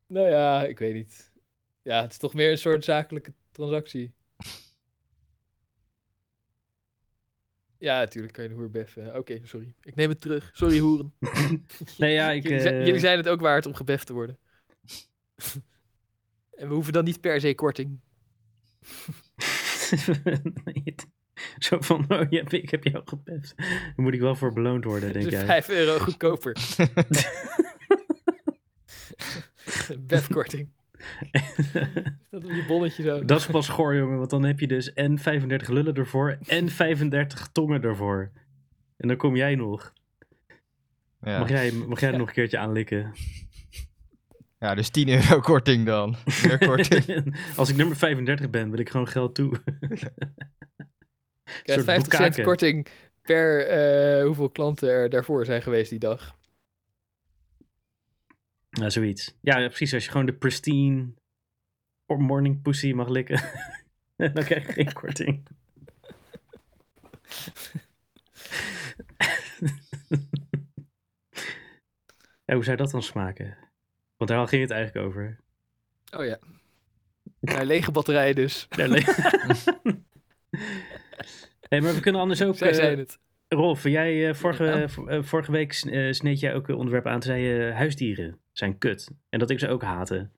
Nou ja, ik weet niet. Ja, het is toch meer een soort zakelijke transactie. Ja, natuurlijk kan je de hoer beffen. Oké, sorry. Ik neem het terug. Sorry, hoeren.
Nee, ja, ik...
jullie, zijn,
eh,
jullie zijn het ook waard om gebeft te worden. en we hoeven dan niet per se korting.
Nee, het- Zo van, oh, je hebt- ik heb jou gepest. Daar moet ik wel voor beloond worden,
Het
denk
is
jij.
5 euro goedkoper. Befkorting. Dat op je bonnetje zo.
Dat is pas goor, jongen. Want dan heb je dus en 35 lullen ervoor en 35 tongen ervoor. En dan kom jij nog.
Ja.
Mag jij, mag jij het nog een keertje aanlikken?
ja, dus 10 euro korting dan. Meer korting.
Als ik nummer 35 ben, wil ik gewoon geld toe.
Je krijgt
soort
50 cent
boekaken.
korting per eh, hoeveel klanten er daarvoor zijn geweest die dag.
Nou, zoiets. Ja, ja, precies. Als je gewoon de pristine morning pussy mag likken, dan krijg je geen korting. ja, hoe zou dat dan smaken? Want daar ging het eigenlijk over.
Oh ja. Nou, lege batterijen dus.
Nee, nee. hey, maar we kunnen anders ook...
Zij
eh,
zijn het.
Rolf, jij, eh, vorige,
Ja.
v- eh, vorige week s- eh, sneed jij ook een onderwerp aan. Toen zei je eh, huisdieren zijn kut. En dat ik ze ook haatte.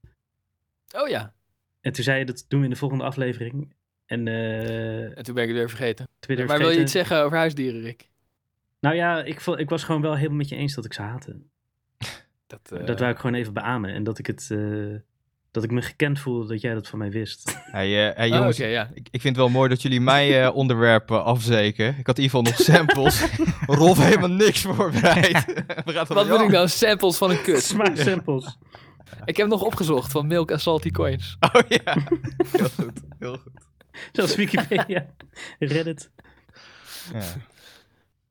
Oh ja.
En toen zei je dat doen we in de volgende aflevering. En eh,
En toen ben ik het weer vergeten.
Twitter
maar wil je
vergeten.
iets zeggen over huisdieren, Rick?
Nou ja, ik, vo- ik was gewoon wel helemaal met je eens dat ik ze haatte.
Dat,
Dat wou ik gewoon even beamen. En dat ik het... eh, dat ik me gekend voelde dat jij dat van mij wist.
Hey, eh, hey,
Oh, Oké,
jongens,
ja.
ik, ik vind het wel mooi dat jullie mij eh, onderwerpen afzeken. Ik had in ieder geval nog samples. Rolf helemaal niks voorbereid. We gaan
Wat moet ik nou? Samples van een kut.
Smaaksamples.
Ik heb nog opgezocht van Milk en Salty Coins.
Oh ja, heel goed. Heel goed.
Zoals Wikipedia. Reddit.
Ja.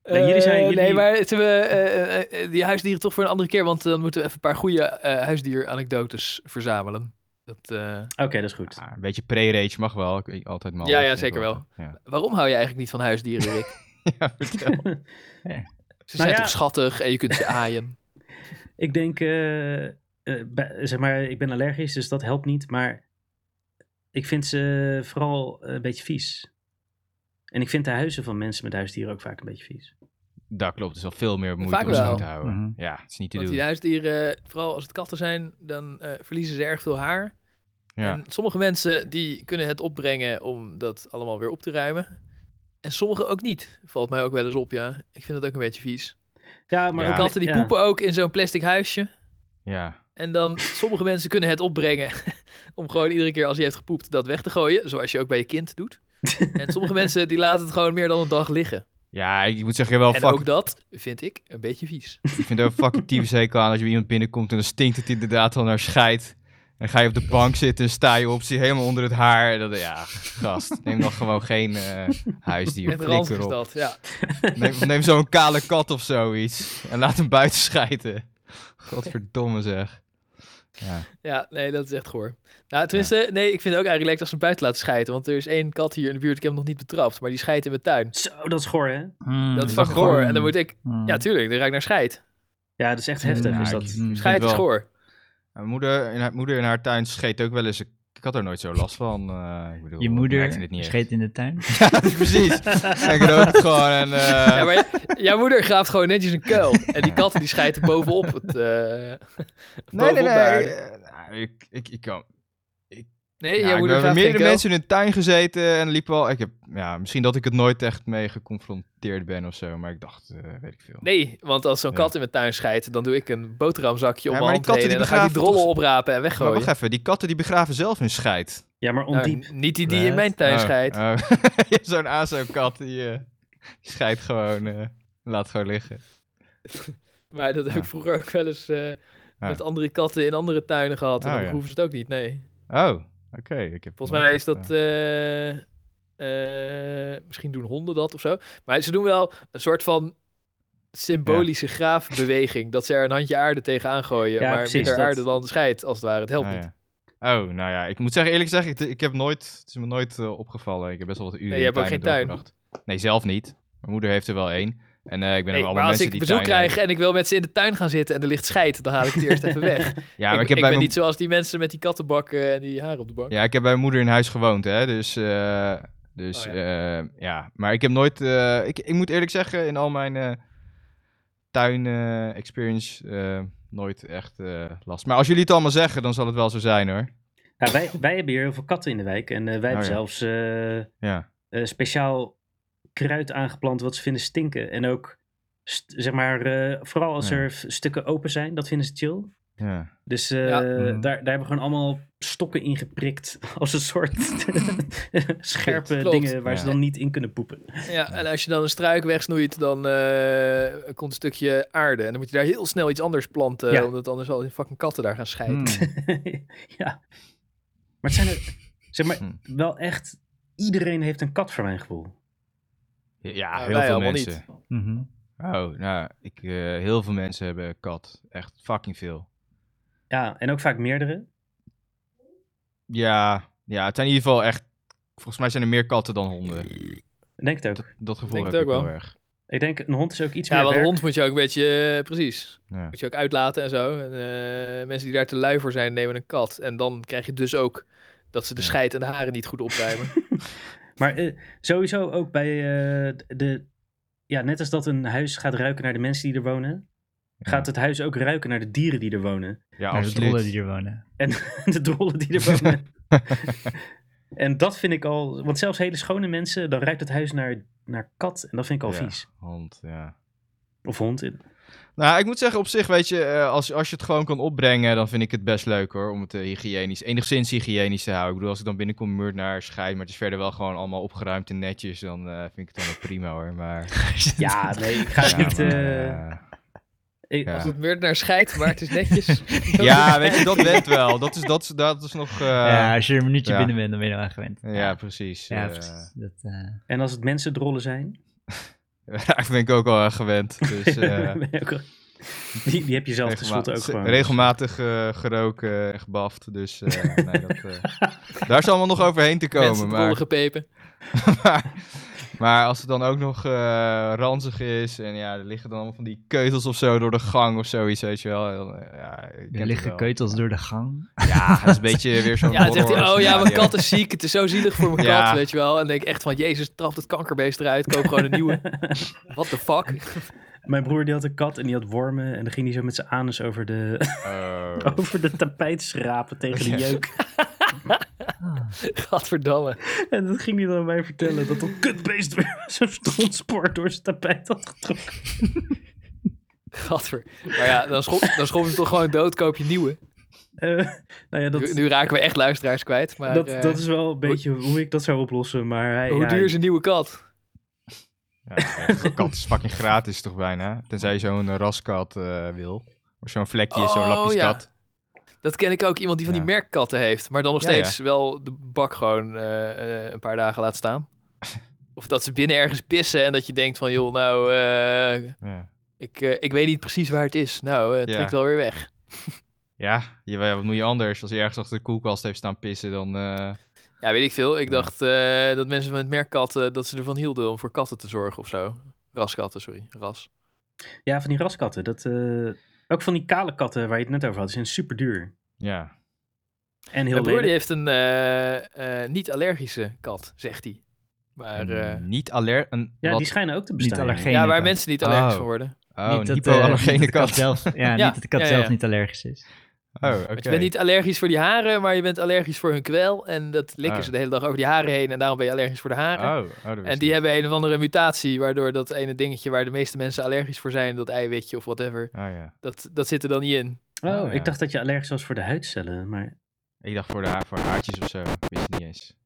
Nee, jullie zijn-
Eh,
jullie-
Nee, maar zullen we eh, eh, eh, die huisdieren toch voor een andere keer? Want dan moeten we even een paar goede eh huisdier-anekdotes verzamelen. Dat, eh,
Oké, dat is goed.
Ja, een beetje pre-rage mag wel. Ik- Ik, altijd mal.
Ja, ja, zeker wel.
Ja.
waarom hou je eigenlijk niet van huisdieren, Rick?
Ja, vertel.
Ze
Nou
zijn
ja.
toch schattig en je kunt ze aaien.
Ik denk, eh, eh, bij- zeg maar, ik ben allergisch, dus dat helpt niet. Maar ik vind ze vooral eh, een beetje vies. En ik vind de huizen van mensen met huisdieren ook vaak een beetje vies.
Dat klopt, dus al veel meer moeite
Vaak
om ze
wel.
goed te houden.
Mhm.
Ja, het is niet te
Want
doen.
die huisdieren, vooral als het katten zijn, dan eh, verliezen ze erg veel haar.
Ja.
En sommige mensen die kunnen het opbrengen om dat allemaal weer op te ruimen. En sommigen ook niet. Valt mij ook wel eens op, ja. Ik vind dat ook een beetje vies.
Ja, maar
Ja.
ook
Katten die
ja.
poepen ook in zo'n plastic huisje.
Ja.
En dan, sommige mensen kunnen het opbrengen om gewoon iedere keer als hij heeft gepoept dat weg te gooien. Zoals je ook bij je kind doet. En sommige mensen die laten het gewoon meer dan een dag liggen.
ja, ik moet zeggen, wel
en
Oh, fuck,
ook dat vind ik een beetje vies.
ik vind het ook fucking tyfushekel aan als je bij iemand binnenkomt en dan stinkt het inderdaad al naar scheid. En dan ga je op de bank zitten en sta je op, zie je helemaal onder het haar. En dan, ja, gast, neem nog gewoon geen eh, huisdier.
Echt
Flikker
ranzig is
op.
dat, ja.
Neem, neem zo'n kale kat of zoiets en laat hem buiten schijten. Godverdomme zeg. Ja.
Ja, nee, dat is echt goor. Nou, tenminste, nee, ik vind het ook eigenlijk lekker als ze hem buiten laten scheiden. Want er is één kat hier in de buurt, ik heb hem nog niet betrapt, maar die scheidt in mijn tuin.
Zo, dat is goor, hè?
Mm,
Dat is van goor. En dan moet ik,
mm.
ja, tuurlijk, dan ruik ik naar scheid.
Ja, dat is echt heftig.
Ja, hmm.
is
ik-
dat...
ik vind
Scheid is
wel-
goor.
Mijn moeder in, haar, moeder in haar tuin scheet ook wel eens. Ik, ik had er nooit zo last van. eh,
Je
ik bedoel, ik merkte
moeder
het niet echt.
scheet in de tuin.
Ja, precies. Ik rookt gewoon en... eh,
Ja, maar j- jouw moeder graaft gewoon netjes een kuil. En die katten die scheiden bovenop het. eh,
nee, nee,
bovenop de
nee.
aarde.
eh, nou, ik, ik, ik kan... Ik
Nee,
Ja,
jij
ik
moet
ben
er
met
graag
meerdere
denken, El.
mensen in de tuin gezeten en liep wel. Ik heb, ja, misschien dat ik het nooit echt mee geconfronteerd ben of zo, maar ik dacht, eh, weet ik veel.
Nee, want als zo'n
Ja.
kat in mijn tuin scheidt, dan doe ik een boterhamzakje om
Ja,
mijn
maar
hand
die katten
heen en dan
die
ga ik die
begraven
drollen
toch-
oprapen en
maar
weggooien.
wacht even, die katten die begraven zelf hun scheid.
Ja, maar
Nou,
ondiep.
niet die die in
Wat?
mijn tuin
Oh,
scheidt.
oh. Zo'n ASO-kat die, eh scheidt gewoon, eh, laat gewoon liggen.
Maar dat heb ik
Ja.
vroeger ook wel eens eh, met andere katten in andere tuinen gehad. En
Oh,
dan
ja.
hoeven ze het ook niet, nee.
Oh, oké. ik heb
Volgens
nog-
mij is dat... eh, eh, misschien doen honden dat of zo. Maar ze doen wel een soort van symbolische graafbeweging. Dat ze er een handje aarde tegenaan gooien.
Ja,
maar
precies,
minder
dat-
aarde dan scheidt, als het ware. Het helpt
Ah,
niet.
ja. Oh, nou ja, ik moet zeggen, eerlijk zeggen, ik, ik heb nooit, het is me nooit eh, opgevallen. Ik heb best wel wat uren
je
in
hebt ook
tuinen
geen tuin.
doorgebracht. Nee, zelf niet. Mijn moeder heeft er wel één. En eh, ik
Nee,
ben er allemaal
maar als
mensen
ik
die
bezoek
tuinen
krijg en ik wil met ze in de tuin gaan zitten en er ligt scheid, dan haal ik het eerst even weg.
Ja, maar
ik,
ik, heb
ik
bij
ben
mijn...
niet zoals die mensen met die kattenbakken en die haar op de bank.
Ja, ik heb bij mijn moeder in huis gewoond, hè. Dus, eh, dus
Oh,
ja. ja. Maar ik heb nooit... eh, ik, ik moet eerlijk zeggen, in al mijn eh, tuin-experience eh, nooit echt eh, last. Maar als jullie het allemaal zeggen, dan zal het wel zo zijn, hoor.
Ja, wij, wij hebben hier heel veel katten in de wijk. En eh, wij hebben
Oh, ja.
zelfs eh, eh,
Ja.
speciaal kruid aangeplant wat ze vinden stinken. En ook, st- zeg maar, eh, vooral als
Ja.
er f- stukken open zijn, dat vinden ze chill.
ja.
Dus eh,
Ja.
Mhm.
daar, daar hebben we gewoon allemaal stokken in geprikt. Als een soort scherpe
Klopt.
dingen waar ze
Ja.
dan niet in kunnen poepen.
Ja, en als je dan een struik wegsnoeit, dan eh, komt een stukje aarde. En dan moet je daar heel snel iets anders planten,
Ja.
omdat anders al die fucking katten daar gaan scheiden.
Hmm.
ja. Maar het zijn er, zeg maar,
Hm.
wel echt, iedereen heeft een kat voor mijn gevoel.
Ja,
wij
heel veel
allemaal
mensen.
niet.
Mhm.
Oh, nou, ik, eh, heel veel mensen hebben een kat. Echt fucking veel.
Ja, en ook vaak meerdere.
Ja, ja, het zijn in ieder geval echt... Volgens mij zijn er meer katten dan honden.
Ik denk het ook.
Dat gevoel
Denk
heb
het
ik
ook
wel
wel.
erg.
Ik denk, een hond is ook iets
Ja,
meer
want een
werk.
hond moet je ook een beetje, eh, precies,
Ja.
moet je ook uitlaten en zo. En, eh, mensen die daar te lui voor zijn, nemen een kat. En dan krijg je dus ook dat ze de
Ja.
scheid en de haren niet goed opruimen.
Maar eh, sowieso ook bij eh, de... Ja, net als dat een huis gaat ruiken naar de mensen die er wonen... gaat het huis ook ruiken naar de dieren die er wonen.
Ja,
Naar de trollen die
absoluut.
er wonen.
En de drollen die er wonen. en dat vind ik al... Want zelfs hele schone mensen, dan ruikt het huis naar, naar kat. En dat vind ik al
Ja,
vies.
Hond, ja.
Of hond.
Nou, ik moet zeggen, op zich, weet je, eh, als, als je het gewoon kan opbrengen, dan vind ik het best leuk hoor. Om het eh, hygiënisch, enigszins hygiënisch te houden. Ik bedoel, als ik dan binnenkom, muurt naar schijt, maar het is verder wel gewoon allemaal opgeruimd en netjes, dan eh, vind ik het dan wel prima hoor. Maar.
Ja, nee, ik ga het
Ja,
niet...
maar,
eh,
eh,
ik-
ja.
Als Dus het weer naar scheidt, maar het is netjes.
ja, weet je, dat went wel. Dat is, dat is, dat is nog. eh,
ja,
ja,
als je er een minuutje
ja.
binnen bent, dan ben je er wel aan gewend.
precies.
Ja,
eh,
precies. Dat, eh,
En als het mensen drollen zijn...
Daar ben ik ook al aan gewend. Dus, eh,
ben je ook al- die, die heb je zelf tenslotte ook
Regelma-
gewoon. dus.
Regelmatig eh, geroken en gebaft. Dus eh, nee, dat, eh, daar is allemaal nog overheen te komen.
Mensen rollen
Maar,
gepepen.
maar, maar als het dan ook nog eh, ranzig is. En ja, er liggen dan allemaal van die keutels of zo door de gang of zoiets. Weet je wel. En dan, eh, Ja, je kent
er
het
liggen
wel.
keutels door de gang.
Ja, dat is een beetje weer zo'n
Ja, dan zegt hij,
horror
oh ja, mijn
scenario.
kat is ziek. Het is zo zielig voor mijn
Ja.
kat, weet je wel. En dan denk ik echt van, jezus, trap dat kankerbeest eruit. Koop gewoon een nieuwe. What the fuck?
Mijn broer die had een kat en die had wormen. En dan ging hij zo met zijn anus over de,
Oh.
over de tapijt schrapen tegen de
Ja.
jeuk.
Gadverdamme.
En dat ging hij dan aan mij vertellen. Dat dat kutbeest weer zo'n strontspoor door zijn tapijt had getrokken.
Gadver. Maar ja, dan schop, dan schop je toch gewoon dood, koop je nieuwe.
Eh, nou ja, dat,
nu, nu raken we echt luisteraars kwijt. Maar
dat,
eh,
dat is wel een beetje hoe ik dat zou oplossen. Maar hij,
hoe
ja,
duur is een nieuwe kat?
Ja, echt, een kat is fucking gratis toch bijna. Tenzij je zo'n eh, raskat eh, wil. Of zo'n vlekje, zo'n
Oh,
lapjeskat.
Dat ken ik ook, iemand die van die
Ja.
merkkatten heeft. Maar dan nog
Ja, ja.
steeds wel de bak gewoon eh, eh, een paar dagen laat staan. Of dat ze binnen ergens pissen en dat je denkt van, joh, nou, eh,
Ja.
ik, eh, ik weet niet precies waar het is. Nou, eh, het
Ja.
trekt wel weer weg.
Ja, je, ja, wat moet je anders? Als je ergens achter de koelkast heeft staan pissen, dan... eh,
Ja, weet ik veel. Ik
Ja.
dacht eh, dat mensen met merkkatten, dat ze ervan hielden om voor katten te zorgen of zo. Raskatten, sorry. Ras.
ja, van die raskatten. Dat, eh, ook van die kale katten waar je het net over had. Die zijn super duur.
ja.
En heel
Mijn broer die
lelijk.
heeft een eh, eh, niet-allergische kat, zegt hij. Maar eh,
Een niet aller... Een,
Ja,
wat-
die schijnen ook te
Niet
bestaan. ja.
allergeen.
ja, waar
kat.
mensen niet allergisch
Oh.
voor worden.
Oh,
Niet
een
dat, eh,
hypoallergene
niet dat de
kat.
zelf, ja,
Ja,
niet dat de kat
ja, ja.
zelf niet allergisch is.
Oh, oké.
Want Je bent niet allergisch voor die haren, maar je bent allergisch voor hun kwel. En dat likken
Oh.
ze de hele dag over die haren heen. En daarom ben je allergisch voor de haren.
Oh, oh, dat wist
En die
ik niet.
hebben een of andere mutatie, waardoor dat ene dingetje waar de meeste mensen allergisch voor zijn, dat eiwitje of whatever,
Oh, ja.
dat, dat zit er dan niet in.
Oh,
Oh, ja.
ik dacht dat je allergisch was voor de huidcellen. Maar,
Ik dacht voor de haar, voor haartjes of zo. Wist ik niet eens.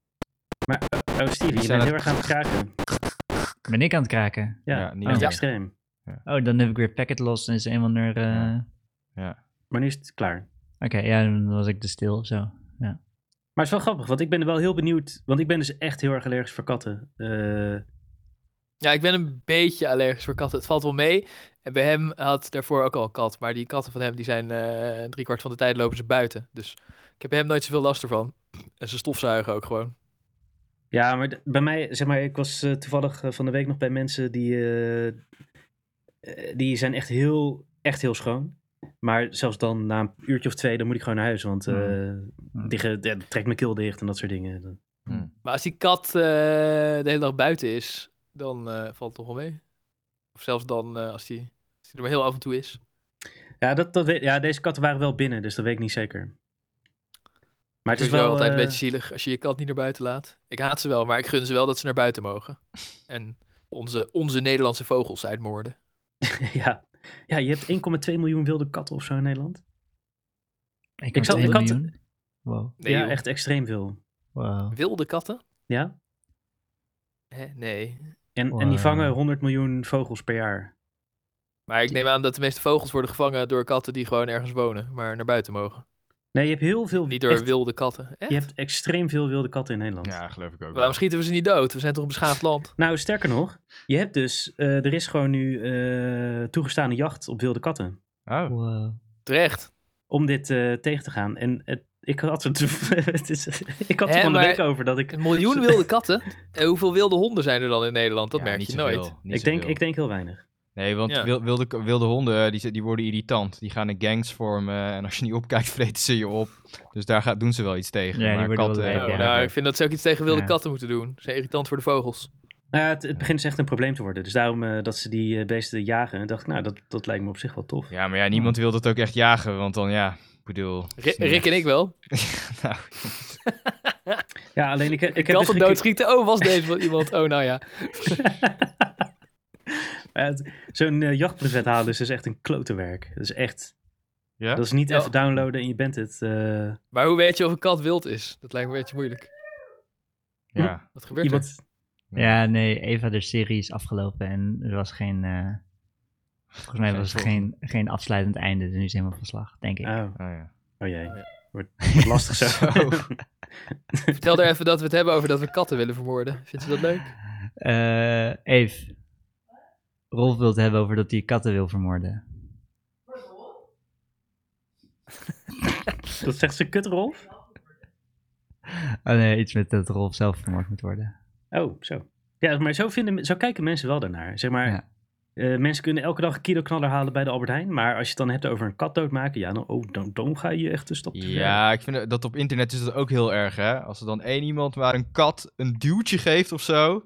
oh, Stevie, je
zijn
bent
het-
heel erg aan het kraken.
Ben ik aan het kraken?
Ja,
Ja, niet
dat is
meer.
extreem.
Oh, dan heb ik weer packet los en is een van er... eh,
Ja. Ja.
Maar nu is het klaar.
Oké, ja, dan was ik te stil of zo.
Maar het is wel grappig, want ik ben wel heel benieuwd. Want ik ben dus echt heel erg allergisch voor katten. Eh,
Ja, ik ben een beetje allergisch voor katten. Het valt wel mee. En bij hem had daarvoor ook al een kat. Maar die katten van hem, die zijn eh driekwart van de tijd lopen ze buiten. Dus ik heb bij hem nooit zoveel last ervan. En ze stofzuigen ook gewoon.
ja, maar d- bij mij, zeg maar, ik was eh, toevallig eh, van de week nog bij mensen die, eh, eh, die zijn echt heel, echt heel schoon. Maar zelfs dan, na een uurtje of twee, dan moet ik gewoon naar huis. Want eh
Hmm.
digge- ja, trek mijn keel dicht en dat soort dingen. Dan-
Maar als die kat eh, de hele dag buiten is, dan eh, valt het toch wel mee. Of zelfs dan eh, als, die, als die er maar heel af en toe is.
Ja, dat, dat weet, ja, deze katten waren wel binnen, dus dat weet ik niet zeker. Maar het
Het
is
is wel
wel...
altijd een
eh,
beetje zielig als je je kat niet naar buiten laat. Ik haat ze wel, maar ik gun ze wel dat ze naar buiten mogen. En onze, onze Nederlandse vogels uitmoorden.
ja. ja, je hebt 1,2 miljoen wilde katten of zo in Nederland.
Ik,
had-
één
ik had-
miljoen. Wow.
Nee,
ja,
joh.
echt extreem veel.
wow.
Wilde katten?
Ja?
Hè? Nee.
En, en die vangen
Wow.
100 miljoen vogels per jaar.
Maar ik neem aan dat de meeste vogels worden gevangen door katten die gewoon ergens wonen, maar naar buiten mogen.
Nee, je hebt heel veel...
Niet door
echt-
wilde katten. Echt?
Je hebt extreem veel wilde katten in Nederland.
ja, geloof ik ook wel.
Waarom schieten we ze niet dood? We zijn toch een beschaafd land?
Nou, sterker nog, je hebt dus... eh, er is gewoon nu eh, toegestane jacht op wilde katten.
Oh,
Wow.
Terecht.
Om dit eh, tegen te gaan. En het, ik had het, het is, ik had het
Hè,
van de
maar-
week over dat ik...
Een miljoen wilde katten? En hoeveel wilde honden zijn er dan in Nederland? Dat
ja,
merk
niet
je
zoveel,
nooit.
niet
Ik denk,
zoveel.
ik denk heel weinig.
Nee, want
Ja.
wil- wilde, k- wilde honden eh, die, z- die worden irritant. Die gaan in gangs vormen en als je niet opkijkt, vreten ze je op. Dus daar gaat, doen ze wel iets tegen.
Ja, die
maar
worden wel
katten,
lijp,
eh,
Nou,
ja.
nou, ik vind dat ze ook iets tegen wilde
Ja.
katten moeten doen. Ze zijn irritant voor de vogels.
Nou ja, het, het begint dus echt een probleem te worden. Dus daarom eh, dat ze die eh, beesten jagen, dacht ik, nou, dat, dat lijkt me op zich wel tof.
ja, maar ja, niemand wil dat ook echt jagen, want dan ja, ik bedoel... het
Ri-
is niet
Rick en ik wel.
echt- nou,
Ja, alleen ik, ik heb dus
katten
gekeken-
doodschieten. Oh, was deze wel iemand? Oh, nou ja.
Ja, het- Zo'n eh, jachtbrevet halen is dus echt een klote werk. Dat is echt,
ja?
Dus-
dat is niet
Ja.
even downloaden en je bent het. eh,
Maar hoe weet je of een kat wild is? Dat lijkt me een beetje moeilijk.
ja.
Wat gebeurt er?
iemand,
Ja, nee, Eva de serie is afgelopen en er was geen... eh, volgens mij
Geen
was er
volgende.
geen, geen afsluitend einde, dus nu is helemaal van slag, denk ik.
oh,
Oh, ja.
oh jee, wordt, wordt lastig zo.
Zo.
Vertel daar even dat we het hebben over dat we katten willen vermoorden. Vindt ze dat leuk?
Eh Eve, Rolf wil het hebben over dat hij katten wil vermoorden.
dat zegt ze kut, Rolf?
Oh nee, iets met dat Rolf zelf vermoord moet worden.
Oh, zo. Ja, maar zo, vinden, zo kijken mensen wel daarnaar. Zeg maar,
Ja.
eh, mensen kunnen elke dag een kilo knaller halen bij de Albert Heijn. Maar als je het dan hebt over een kat doodmaken, ja, dan, oh, dan, dan ga je echt een stap te ver.
Ja, ik vind dat op internet is dat ook heel erg, hè. Als er dan één iemand maar een kat een duwtje geeft of zo...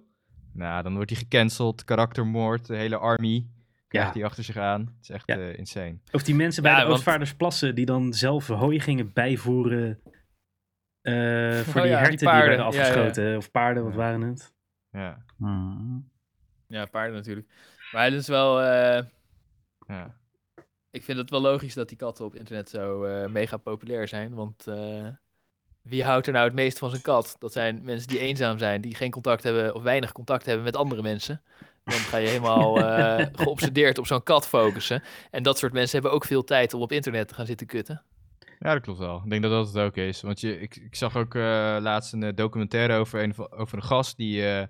Nou, dan wordt hij gecanceld, karaktermoord, de hele army krijgt
Ja.
hij achter zich aan. Het is echt
Ja.
eh, insane.
Of die mensen bij
Ja,
de
want-
Oostvaardersplassen die dan zelf hooi gingen bijvoeren eh, voor
Oh
die
ja, die
herten die,
paarden.
werden
Ja, ja.
afgeschoten. Of paarden, wat
Ja.
waren het?
Ja,
Hmm.
Ja, paarden natuurlijk. Maar dat is wel... eh,
ja.
ik vind het wel logisch dat die katten op internet zo eh, mega populair zijn. Want eh, wie houdt er nou het meest van zijn kat? Dat zijn mensen die eenzaam zijn, die geen contact hebben of weinig contact hebben met andere mensen. Dan ga je helemaal eh, geobsedeerd op zo'n kat focussen. En dat soort mensen hebben ook veel tijd om op internet te gaan zitten kutten.
Ja, dat klopt wel. Ik denk dat dat het ook is. Want je, ik, ik zag ook eh, laatst een eh, documentaire over een, van- over een gast die, eh,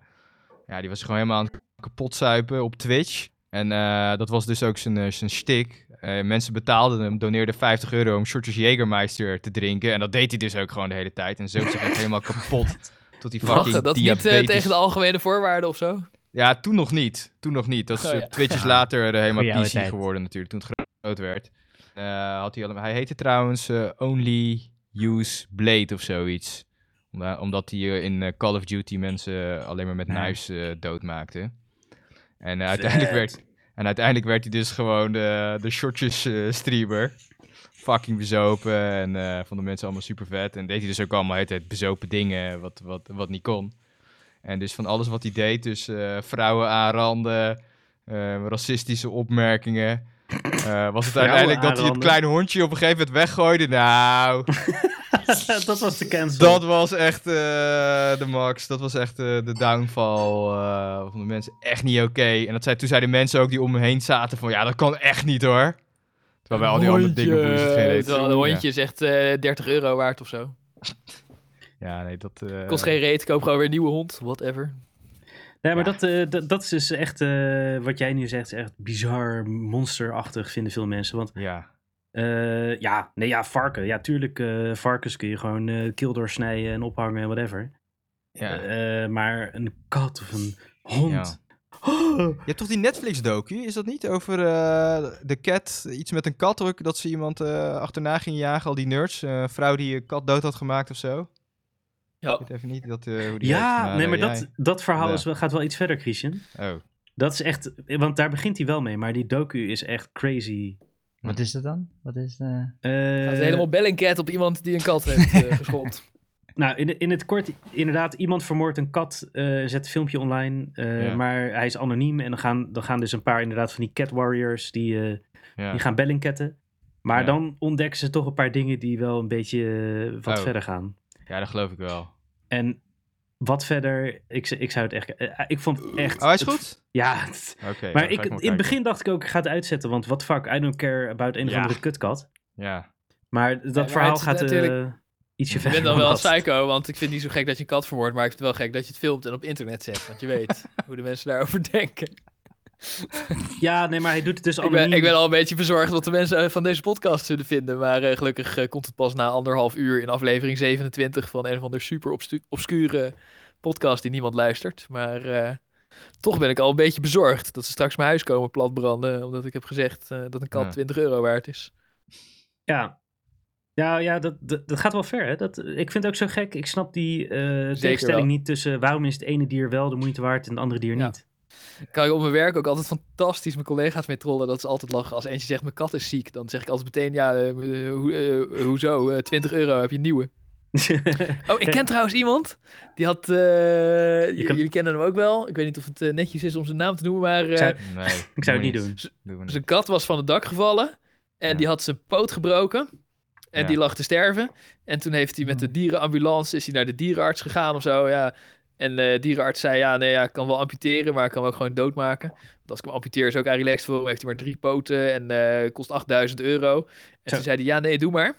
ja, die was gewoon helemaal aan het kapotzuipen op Twitch. En eh, dat was dus ook zijn, eh, zijn shtick. Eh, mensen betaalden hem, doneerden 50 euro om shortjes Jägermeister te drinken. En dat deed hij dus ook gewoon de hele tijd. En zo zich echt helemaal kapot. Tot die fucking
Wacht, dat is niet
diabetes...
eh, tegen de algemene voorwaarden of zo?
Ja, toen nog niet. Toen nog niet. Dat is
Oh,
eh,
ja.
Twitch is later eh,
Goeie
helemaal
oude
PC
tijd.
geworden natuurlijk, toen het groot werd. Eh, had hij, allemaal, hij heette trouwens eh, Only Use Blade of zoiets. Omdat, omdat hij eh, in eh, Call of Duty mensen alleen maar met
Ja.
knives eh, doodmaakte. En, eh, uiteindelijk werd, en uiteindelijk werd hij dus gewoon de, de shortjes eh, streamer. fucking bezopen. En eh, vonden mensen allemaal super vet. En deed hij dus ook allemaal de hele tijd bezopen dingen, wat, wat, wat niet kon. En dus van alles wat hij deed, dus eh, vrouwen aanranden, eh, racistische opmerkingen. eh, was het uiteindelijk dat hij het
aanranden.
kleine hondje op een gegeven moment weggooide? Nou,
dat was de cancel.
dat was echt eh, de max. Dat was echt eh, de downfall eh, van de mensen. Echt niet oké. En dat zei, toen zeiden mensen ook die om me heen zaten van... Ja, dat kan echt niet hoor. Terwijl bij al die andere dingen boeien ze het geen reet.
Terwijl Een hondje is echt eh, 30 euro waard of zo.
Ja, nee, dat... eh,
Kost geen reet, koop gewoon weer een nieuwe hond, whatever.
Nee, maar
Ja.
dat, eh, dat, dat is dus echt, eh, wat jij nu zegt, is echt bizar monsterachtig vinden veel mensen. Want
Ja.
eh, ja, nee, ja, varken. Ja, tuurlijk, eh, varkens kun je gewoon eh keel doorsnijden en ophangen en whatever.
ja.
Eh, maar een kat of een hond.
Je hebt toch die Netflix-docu, is dat niet? Over eh, de cat, iets met een kat ook, dat ze iemand eh, achterna ging jagen, al die nerds. Eh, een vrouw die een kat dood had gemaakt of zo.
Ja.
Ik weet even niet dat, eh, hoe die heet,
ja, nee,
eh,
maar
jij-
dat, dat verhaal
Ja.
is wel, gaat wel iets verder, Christian.
Oh,
Dat is echt, want daar begint hij wel mee, maar die docu is echt crazy.
Wat is dat dan? Wat is... eh,
Eh,
Gaat helemaal bellingcat op iemand die een kat heeft eh, geschopt.
Nou, in, in het kort, inderdaad, iemand vermoordt een kat, eh, zet een filmpje online, eh,
Ja.
maar hij is anoniem en dan gaan, dan gaan dus een paar inderdaad van die cat warriors, die, eh,
ja.
die gaan bellingketten. Maar
Ja.
dan ontdekken ze toch een paar dingen die wel een beetje eh, wat
Oh.
verder gaan.
ja, dat geloof ik wel.
En wat verder, ik, z- ik zou het echt, eh, ik vond het echt...
Oh, hij is
het-
goed?
ja, het-
Oké. dan
maar
ga
ik,
maar
in het
kijken.
begin dacht ik ook, ik ga het uitzetten, want what the fuck, I don't care about een
Ja.
of andere kutkat.
Ja.
Maar dat
maar
verhaal
het is
gaat eh,
natuurlijk-
ietsje
Ik
verder.
ben dan wel een
dat.
psycho, want ik vind het niet zo gek dat je een kat vermoordt, maar ik vind het wel gek dat je het filmt en op internet zet, want je weet hoe de mensen daarover denken.
Ja, nee, maar hij doet het dus
Ik
anoniem.
ben, ik ben al een beetje bezorgd wat de mensen eh, van deze podcast zullen vinden, maar eh, gelukkig eh, komt het pas na anderhalf uur in aflevering 27 van een of andere super obstu- obscure podcast die niemand luistert. Maar eh, toch ben ik al een beetje bezorgd dat ze straks mijn huis komen platbranden, omdat ik heb gezegd eh, dat een kat
Ja.
20 euro waard is.
Ja, ja, ja dat, dat, dat gaat wel ver. Hè? Dat, ik vind het ook zo gek. Ik snap die eh, tegenstelling
wel.
niet tussen waarom is het ene dier wel de moeite waard en het andere dier
Ja.
niet.
kan ik op mijn werk ook altijd fantastisch mijn collega's mee trollen. Dat ze altijd lachen. Als eentje zegt, mijn kat is ziek. Dan zeg ik altijd meteen, ja, eh, eh, hoe- eh, hoezo? Eh, 20 euro, heb je een nieuwe? Oh, ik ken trouwens iemand. Die had, eh, j-
kan-
jullie kennen hem ook wel. Ik weet niet of het eh, netjes is om zijn naam te noemen, maar... eh,
Zou-
Nee.
ik zou het niet doen.
Doen we niet.
zijn Dus kat was van het dak gevallen. En
Ja.
die had zijn poot gebroken. En
Ja. Hmm.
die lag te sterven. En toen heeft hij met de dierenambulance is hij naar de dierenarts gegaan of zo. Ja. En eh, de dierenarts zei: Ja, nee, ja, ik kan wel amputeren, maar ik kan hem ook gewoon doodmaken. Want als ik hem amputeer, is ook aan relaxed voor hem. Heeft hij maar drie poten en eh, kost 8000 euro. En
Zo.
toen zei hij: Ja, nee, doe maar.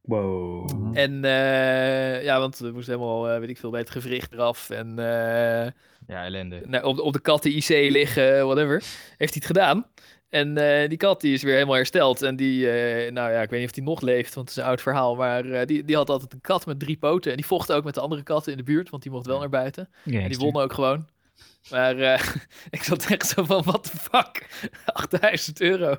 Wow.
En eh, ja, want we moesten helemaal, eh, weet ik veel, bij het gewricht eraf. En eh,
Ja, ellende.
nou, op, de- op de kat die IC liggen, whatever. Heeft hij het gedaan. En eh, die kat die is weer helemaal hersteld. En die, eh, nou ja, ik weet niet of die nog leeft, want het is een oud verhaal. Maar eh, die, die had altijd een kat met drie poten. En die vocht ook met de andere katten in de buurt, want die mocht wel naar buiten. En die
gangster.
wonnen ook gewoon. Maar eh, ik zat echt zo van, what the fuck? 8000 euro.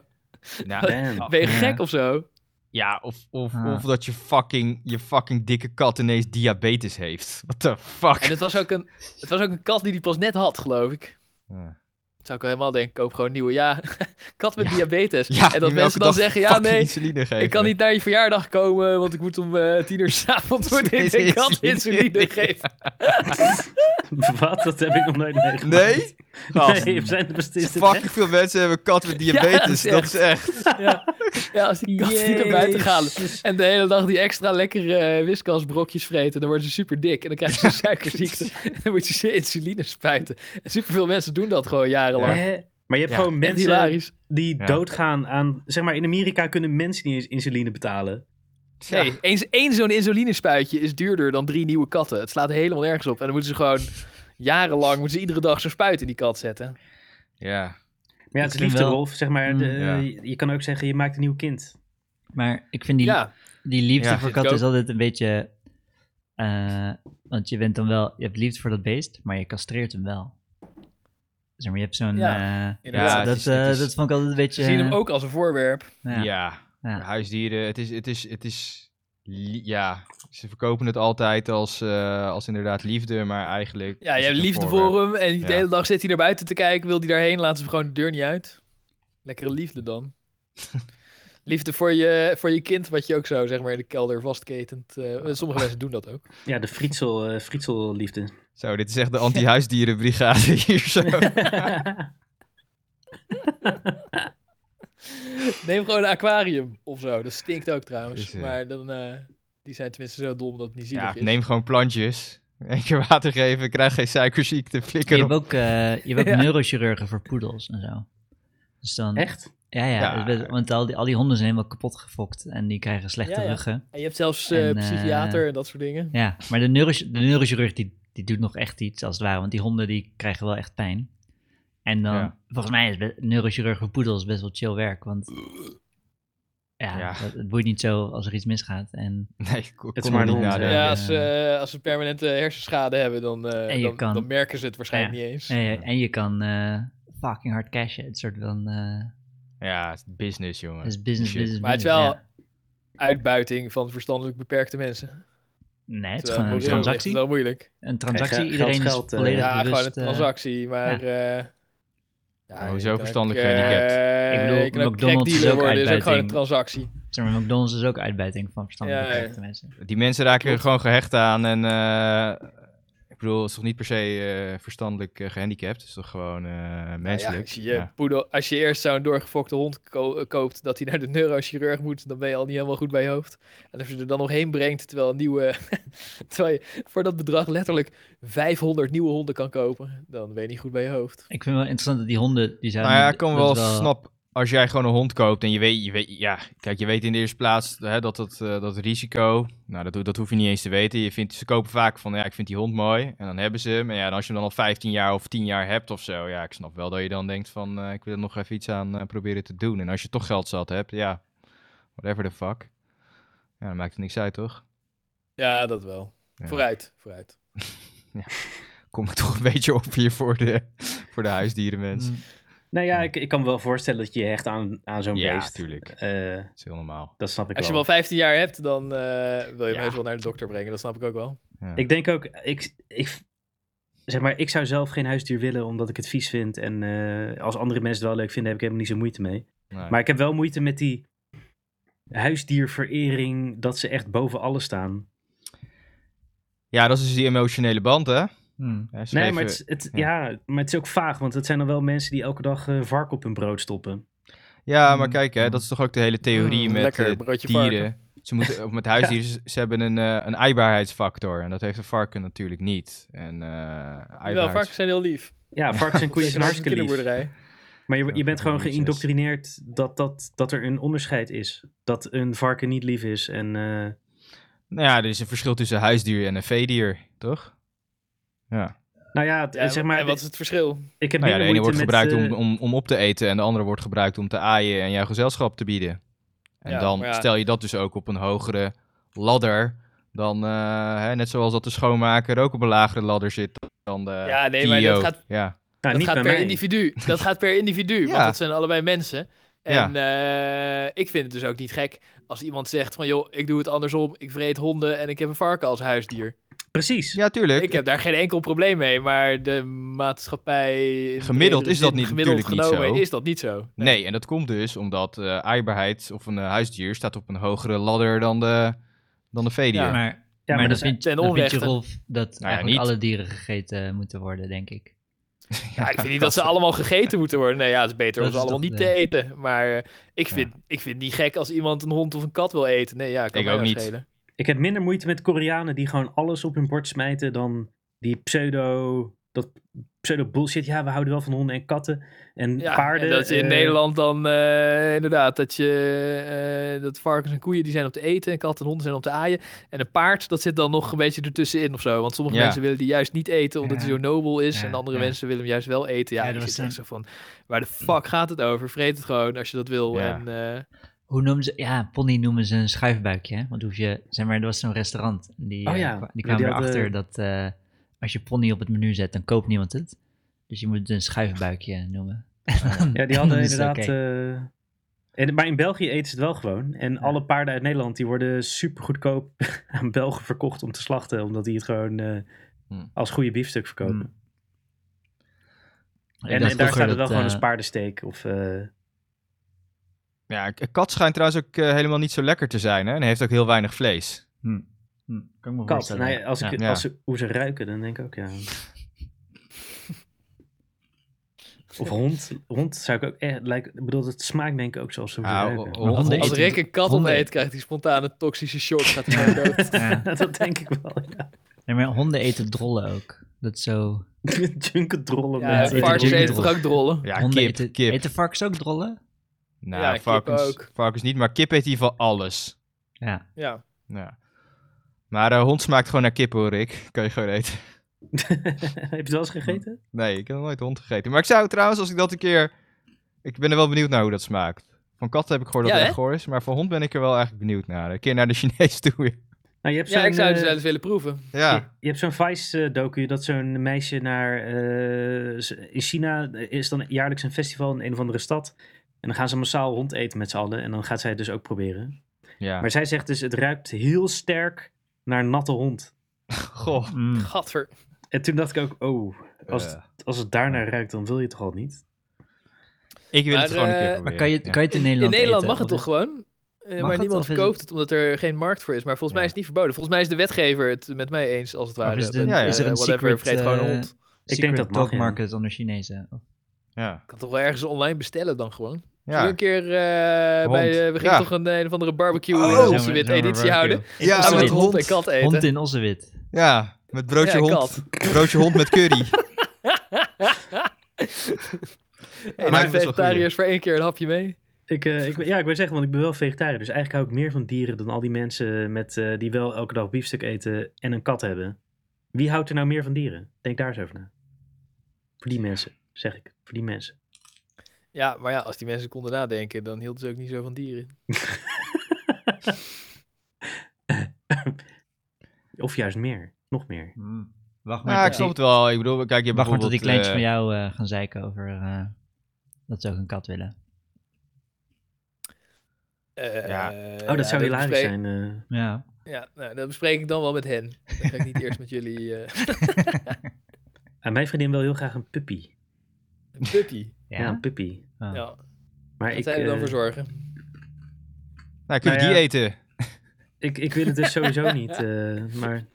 Nou,
Damn.
Ben je
Ja.
gek of zo?
ja, of, of,
Ah.
of dat je fucking, je fucking dikke kat ineens diabetes heeft. What the
En
fuck?
het was ook een, het was ook een kat die die pas net had, geloof ik.
Ja.
Zou ik al helemaal denken, koop gewoon een nieuwe. Ja, kat met
Ja.
diabetes.
Ja,
en
die
dat
me
mensen
elke
dan
dag
zeggen, ja,
fucking
nee,
insuline geven.
Ik kan niet naar je verjaardag komen, want ik moet om eh, tien uur s'avonds worden in de kat insuline geven.
Wat? Dat heb ik nog nooit meegemaakt.
Nee? Gast.
Nee, we zijn er beslist.
Fucking veel mensen hebben kat met diabetes.
Ja,
dat is echt.
Ja. ja, als die kat niet naar buiten gaan en de hele dag die extra lekkere eh, wiskasbrokjes vreten, dan worden ze super dik en dan krijgen ze suikerziekte en dan moeten ze insuline spuiten. En superveel mensen doen dat gewoon jarenlang.
Hè? Maar je hebt
Ja.
gewoon
Echt
mensen
hilarisch.
die
Ja.
doodgaan aan... Zeg maar, in Amerika kunnen mensen niet eens insuline betalen.
Ja.
Nee, eens één zo'n insulinespuitje is duurder dan drie nieuwe katten. Het slaat helemaal nergens op. En dan moeten ze gewoon jarenlang, moeten ze iedere dag zo'n spuit in die kat zetten.
Ja.
Maar ja, het is
Ik vind
liefde,
wel-
Rolf. Zeg maar,
Mm,
de-
ja.
je kan ook zeggen, je maakt een nieuw kind.
Maar ik vind die,
Ja,
die liefde voor
Ja,
vind ik
katten
ook.
is altijd een beetje... eh, want je bent dan wel... Je hebt liefde voor dat beest, maar je castreert hem wel. Zeg maar, je hebt zo'n...
Ja,
eh,
inderdaad.
Ja, het
dat,
is- het
eh,
is-
dat vond ik altijd een beetje... eh,
ze zien hem ook als een voorwerp.
Ja,
Ja.
ja.
Maar Huisdieren, het is, het is, het is, li- ja, ze verkopen het altijd als, eh, als inderdaad liefde, maar eigenlijk...
Ja,
is
je hebt
het een
liefde
voorwerp.
voor hem en de
Ja.
hele dag zit hij naar buiten te kijken, wil hij daarheen, laten ze hem gewoon de deur niet uit. Lekkere liefde dan. Liefde voor je, voor je kind, wat je ook zo zeg maar in de kelder vastketent. eh, sommige mensen doen dat ook.
Ja, de frietsel, eh, frietselliefde.
Zo, dit is echt de anti-huisdierenbrigade hier zo.
Neem gewoon een aquarium of zo. Dat stinkt ook trouwens.
Dus, eh,
Maar dan, eh, die zijn tenminste zo dom dat het niet
Ja,
zielig is.
neem gewoon plantjes. Eén keer water geven, krijg geen suikerziekte,
Je
flikker
hebt
op.
ook, eh, je hebt ook
Ja.
neurochirurgen voor poedels en zo. Dus dan,
Echt?
Ja, ja,
Ja.
het werd- want al die, al die honden zijn helemaal kapot gefokt en die krijgen slechte
Ja, ja.
ruggen.
En je hebt zelfs eh,
En, eh,
psychiater en dat soort dingen.
Ja, maar de, neuroch- de neurochirurg die, die doet nog echt iets als het ware, want die honden die krijgen wel echt pijn. En dan,
Ja.
volgens mij is be- neurochirurg voor poedels best wel chill werk, want ja,
Ja.
Het, het boeit niet zo als er iets misgaat. En,
Nee, ik kon
is
er
maar
niet
een hond,
nadenken.
Ja,
Ja,
eh,
als, ze- als ze permanente hersenschade hebben, dan, eh,
En je
dan,
kan-
dan merken ze het waarschijnlijk niet eens.
en, je- en je kan eh, fucking hard cashen, het soort van, eh,
Ja, het is business, jongen.
het is business,
Shit.
business,
Maar het is wel
business,
uitbuiting van verstandelijk beperkte mensen.
ja. Nee, het is
Terwijl
gewoon een
moreel ligt Het
transactie.
wel moeilijk.
Een
Kijk,
transactie,
geld,
iedereen is
geld, eh,
volledig
Ja, gewoon een
bewust, eh,
transactie, maar... eh,
Hoezo
je kan ook,
verstandelijk
eh,
gehandicapt?
Ik bedoel,
je kan ook
McDonald's is
crackdealer
ook
worden, is ook gewoon een
uitbuiting.
transactie.
Zeg maar, McDonald's is ook uitbuiting van verstandelijk
Ja, ja.
beperkte mensen.
Die mensen raken er
Klopt.
gewoon gehecht aan en... eh, ik bedoel, het is toch niet per se eh, verstandelijk eh, gehandicapt? Het is toch gewoon eh,
Nou Ja,
menselijk?
als, je, je poedel, als je eerst zo'n doorgefokte hond ko- koopt, dat hij naar de neurochirurg moet, dan ben je al niet helemaal goed bij je hoofd. En als je er dan nog heen brengt, terwijl een nieuwe, terwijl je voor dat bedrag letterlijk 500 nieuwe honden kan kopen, dan ben je niet goed bij je hoofd.
Ik vind het wel interessant dat die honden, die zijn...
Nou ja, ik kan
dat
wel,
is
snap. Als jij gewoon een hond koopt en je weet, je weet ja, kijk, je weet in de eerste plaats hè, dat dat, eh, dat risico, nou, dat, ho- dat hoef je niet eens te weten. Je vindt, ze kopen vaak van, ja, ik vind die hond mooi en dan hebben ze hem. En ja, dan als je hem dan al 15 jaar of 10 jaar hebt of zo, ja, ik snap wel dat je dan denkt van, eh, ik wil er nog even iets aan eh, proberen te doen. En als je toch geld zat hebt, ja, whatever the fuck. Ja, dan maakt het niks uit, toch?
Ja, dat wel.
Ja.
Vooruit, vooruit.
Kom ik toch een beetje op hier voor de, voor de huisdierenmens.
Nou ja, ik, ik kan me wel voorstellen dat je je hecht aan, aan zo'n
Ja,
beest.
tuurlijk.
Eh,
Dat is heel normaal.
dat snap ik
Als je hem
wel.
al 15 jaar hebt, dan eh, wil je
Ja.
hem heus wel naar de dokter brengen, dat snap ik ook wel.
Ja.
Ik denk ook, ik, ik, zeg maar, ik zou zelf geen huisdier willen omdat ik het vies vind. En eh, als andere mensen het wel leuk vinden, heb ik helemaal niet zo moeite mee.
Nee.
Maar ik heb wel moeite met die huisdierverering, dat ze echt boven alles staan.
Ja, dat is dus die emotionele band, hè?
wel- Hmm.
Hè,
Nee,
schreven-
maar het, is- het,
ja.
ja. maar het is ook vaag, want het zijn dan wel mensen die elke dag eh vark op hun brood stoppen.
Ja, maar
Mm.
kijk, hè, dat is toch ook de hele theorie
Mm,
met
lekker,
eh,
broodje
dieren. Ze moeten, of met huisdieren, ze- ze hebben een, eh, een eibaarheidsfactor. En dat heeft een varken natuurlijk niet. En, eh
Wel,
eibaarheids-
varkens zijn heel lief.
Ja, varkens en koeien zijn
Dus
Een
hartstikke lief.
kinderboerderij.
Maar je, je bent gewoon
Jezus.
geïndoctrineerd dat, dat, dat er een onderscheid is. Dat een varken niet lief is en... eh,
Nou ja, er is een verschil tussen een huisdier en een veedier, toch? Ja.
nou ja, het-
Ja,
zeg maar,
en wat is het verschil?
ik heb
Nou ja,
minder
de ene
moeite
wordt
met,
gebruikt om,
eh,
om, om op te eten en de andere wordt gebruikt om te aaien en jouw gezelschap te bieden. En
Ja,
dan
maar ja.
stel je dat dus ook op een hogere ladder dan, eh, hè, net zoals dat de schoonmaker ook op een lagere ladder zit dan de
Ja, nee, maar dat
TO.
gaat-
Ja.
nou,
dat
niet
gaat
bij
per
mij.
individu. Dat gaat per individu,
Ja.
want dat zijn allebei mensen. En eh, ik vind het dus ook niet gek als iemand zegt van... joh, ik doe het andersom, ik vreet honden en ik heb een varken als huisdier.
Precies.
Ja, tuurlijk.
Ik heb daar geen enkel probleem mee, maar de maatschappij... in
Gemiddeld
bredere
is dat
zin,
niet-
gemiddeld
natuurlijk niet
genomen
zo.
is dat niet zo.
Nee, en dat komt dus omdat eh aaibaarheid of een eh, huisdier staat op een hogere ladder dan de, dan de veedier.
Ja.
Maar,
maar dat
maar dan
is
vind,
ten
dan vind je,
onrechte.
Rolf, dat
Nou ja,
eigenlijk
niet.
alle dieren gegeten moeten worden, denk ik.
Ja, ik vind niet dat ze allemaal gegeten moeten worden. Nee, ja, het is beter om
Dat
ze
is
allemaal
toch
niet
de-
te eten. Maar eh, ik vind, ik vind het niet gek als iemand een hond of een kat wil eten. Nee, ja, kan
Ik
mij
ook
wel
niet.
schelen.
Ik heb minder moeite met Koreanen die gewoon alles op hun bord smijten dan die pseudo. Dat pseudo bullshit. Ja, we houden wel van honden en katten en
Ja,
paarden.
en dat is in
eh,
Nederland dan eh, inderdaad dat je eh, dat varkens en koeien die zijn om te eten en katten en honden zijn om te aaien en een paard dat zit dan nog een beetje ertussenin of zo, want sommige
Ja.
mensen willen die juist niet eten omdat hij
Ja.
zo nobel is en
Ja,
andere
ja.
mensen willen hem juist wel eten. Ja,
Ja,
ik
dat
zit
was
echt zo
een-
van waar de fuck gaat het over? Vreet het gewoon als je dat wil
Ja.
en eh,
Hoe noemen ze... Ja, pony noemen ze een schuifbuikje, hè? Want hoe je... Zeg maar, er was zo'n restaurant. en Die,
Oh
eh,
ja,
kwa-
die
die kwamen
hadden-
erachter dat eh, als je pony op het menu zet, dan koopt niemand het. Dus je moet het een schuifbuikje noemen.
Ja, die hadden
Dan is het
inderdaad.
oké.
eh, en, maar in België eten ze het wel gewoon. En alle paarden uit Nederland die worden super goedkoop aan Belgen verkocht om te slachten. Omdat die het gewoon eh,
Hmm.
als goede biefstuk verkopen.
Hmm. Hm. Ik
En, en
dacht
daar
vroeger
staat het wel
dat,
gewoon
eh,
als paardensteek. Of, eh,
Ja, k- kat schijnt trouwens ook eh, helemaal niet zo lekker te zijn. Hè? En heeft ook heel weinig vlees.
Hm. Hm. Kan ik me
Kat.
voorstellen.
Nou ja, als ik,
Ja.
Ja.
Als ze, hoe ze ruiken, dan denk ik ook, ja. Of hond. Hond zou ik ook echt... Lijkt, ik bedoel, het smaakt denk ik ook zoals ze hoe ze
Ah,
ruiken.
ho- ho-
Honden
Als
eten-
Rick een kat
honden-
opeet, krijgt hij spontane toxische shock. Gaat hij gewoon dood.
Ja.
dat denk ik wel, ja.
Nee, maar honden eten drollen ook. Dat is zo...
Junkendrollen.
Ja,
met-
eten
varkens
honden
eten toch ook drollen?
Ja,
honden
kip,
eten,
kip.
Eten varkens ook drollen?
nou,
Ja, kip
varkens,
ook.
varkens niet, maar kip eet in ieder geval alles.
Ja.
Ja.
Ja. Maar eh, hond smaakt gewoon naar kip hoor, Rick. Kan je gewoon eten.
Heb je het wel eens gegeten?
Nee, ik heb nog nooit hond gegeten. Maar ik zou trouwens, als ik dat een keer... Ik ben er wel benieuwd naar hoe dat smaakt. Van katten heb ik gehoord dat
Ja,
het
hè?
echt goor is. Maar van hond ben ik er wel eigenlijk benieuwd naar. Een keer naar de Chinees toe. weer.
Nou, je hebt
ja,
zo'n,
ik zou het
eh,
wel eens willen proeven.
Je,
Ja.
je hebt zo'n Vice-docu dat zo'n meisje naar... eh, ze- in China eh, is dan jaarlijks een festival in een of andere stad. En dan gaan ze massaal hond eten met z'n allen. En dan gaat zij het dus ook proberen.
ja.
Maar zij zegt dus, het ruikt heel sterk naar natte hond.
Goh.
Mm.
Gadver.
En toen dacht ik ook, oh, als,
Eh,
het, als het daarnaar ruikt, dan wil je het toch al niet?
ik wil
maar,
het gewoon een
eh,
keer
maar
proberen.
Maar kan je,
Ja.
kan je het in Nederland
In Nederland
eten,
mag het toch
of-
gewoon? Eh,
Mag
maar
het,
niemand
of is
verkoopt
het-
het omdat er geen markt voor is. Maar volgens mij is het niet verboden. Volgens mij is de wetgever het met mij eens, als het ware.
Of is, het een,
Ja, ja,
is er
Eh,
een
whatever,
secret,
vreet gewoon een
eh,
hond.
denk
secret
dat mag,
dog
ja.
market onder Chinezen? Of-
Ja.
Ik kan toch wel ergens online bestellen dan gewoon. Zullen we
Ja.
een keer eh,
Hond.
bij de- we gingen
Ja.
toch een, een of andere barbecue
Oh,
eh,
zo'n-
onze wit
zo'n
editie
barbecue.
houden.
Ja,
Gaan we
met
met hond
hond.
en kat eten.
Hond in Ossewit.
Ja, met broodje
Ja,
hond.
kat.
Broodje hond met curry.
En
lijkt me best wel
de
een
vegetariërs voor één keer een hapje mee.
Ik, eh, ik, ja, ik wil zeggen, want ik ben wel vegetariër. Dus eigenlijk hou ik meer van dieren dan al die mensen met, eh, die wel elke dag biefstuk eten en een kat hebben. Wie houdt er nou meer van dieren? Denk daar eens over na. Voor die mensen, zeg ik. Voor die mensen.
Ja, maar ja, als die mensen konden nadenken, dan hielden ze ook niet zo van dieren.
Of juist meer. Nog meer.
Hm.
Wacht maar
Ja, ik
tot
snap
die,
het wel. Ik bedoel, kijk, je hebt
wacht maar tot
bijvoorbeeld...
die kleintjes
eh,
van jou eh, gaan zeiken over eh, dat ze ook een kat willen.
Eh,
Ja.
oh, dat zou hilarisch
bespreek-
zijn. eh.
Ja.
Ja, nou, dat bespreek ik dan wel met hen. Dan ga ik niet eerst met jullie eh,
En mijn vriendin wil heel graag een puppy.
een puppy.
Ja, een puppy.
Oh.
Ja,
Maar
Wat
ik,
zij er dan
eh,
voor zorgen?
Nou, kunnen
Nou
die
ja.
eten?
ik, ik wil het dus sowieso niet. eh, maar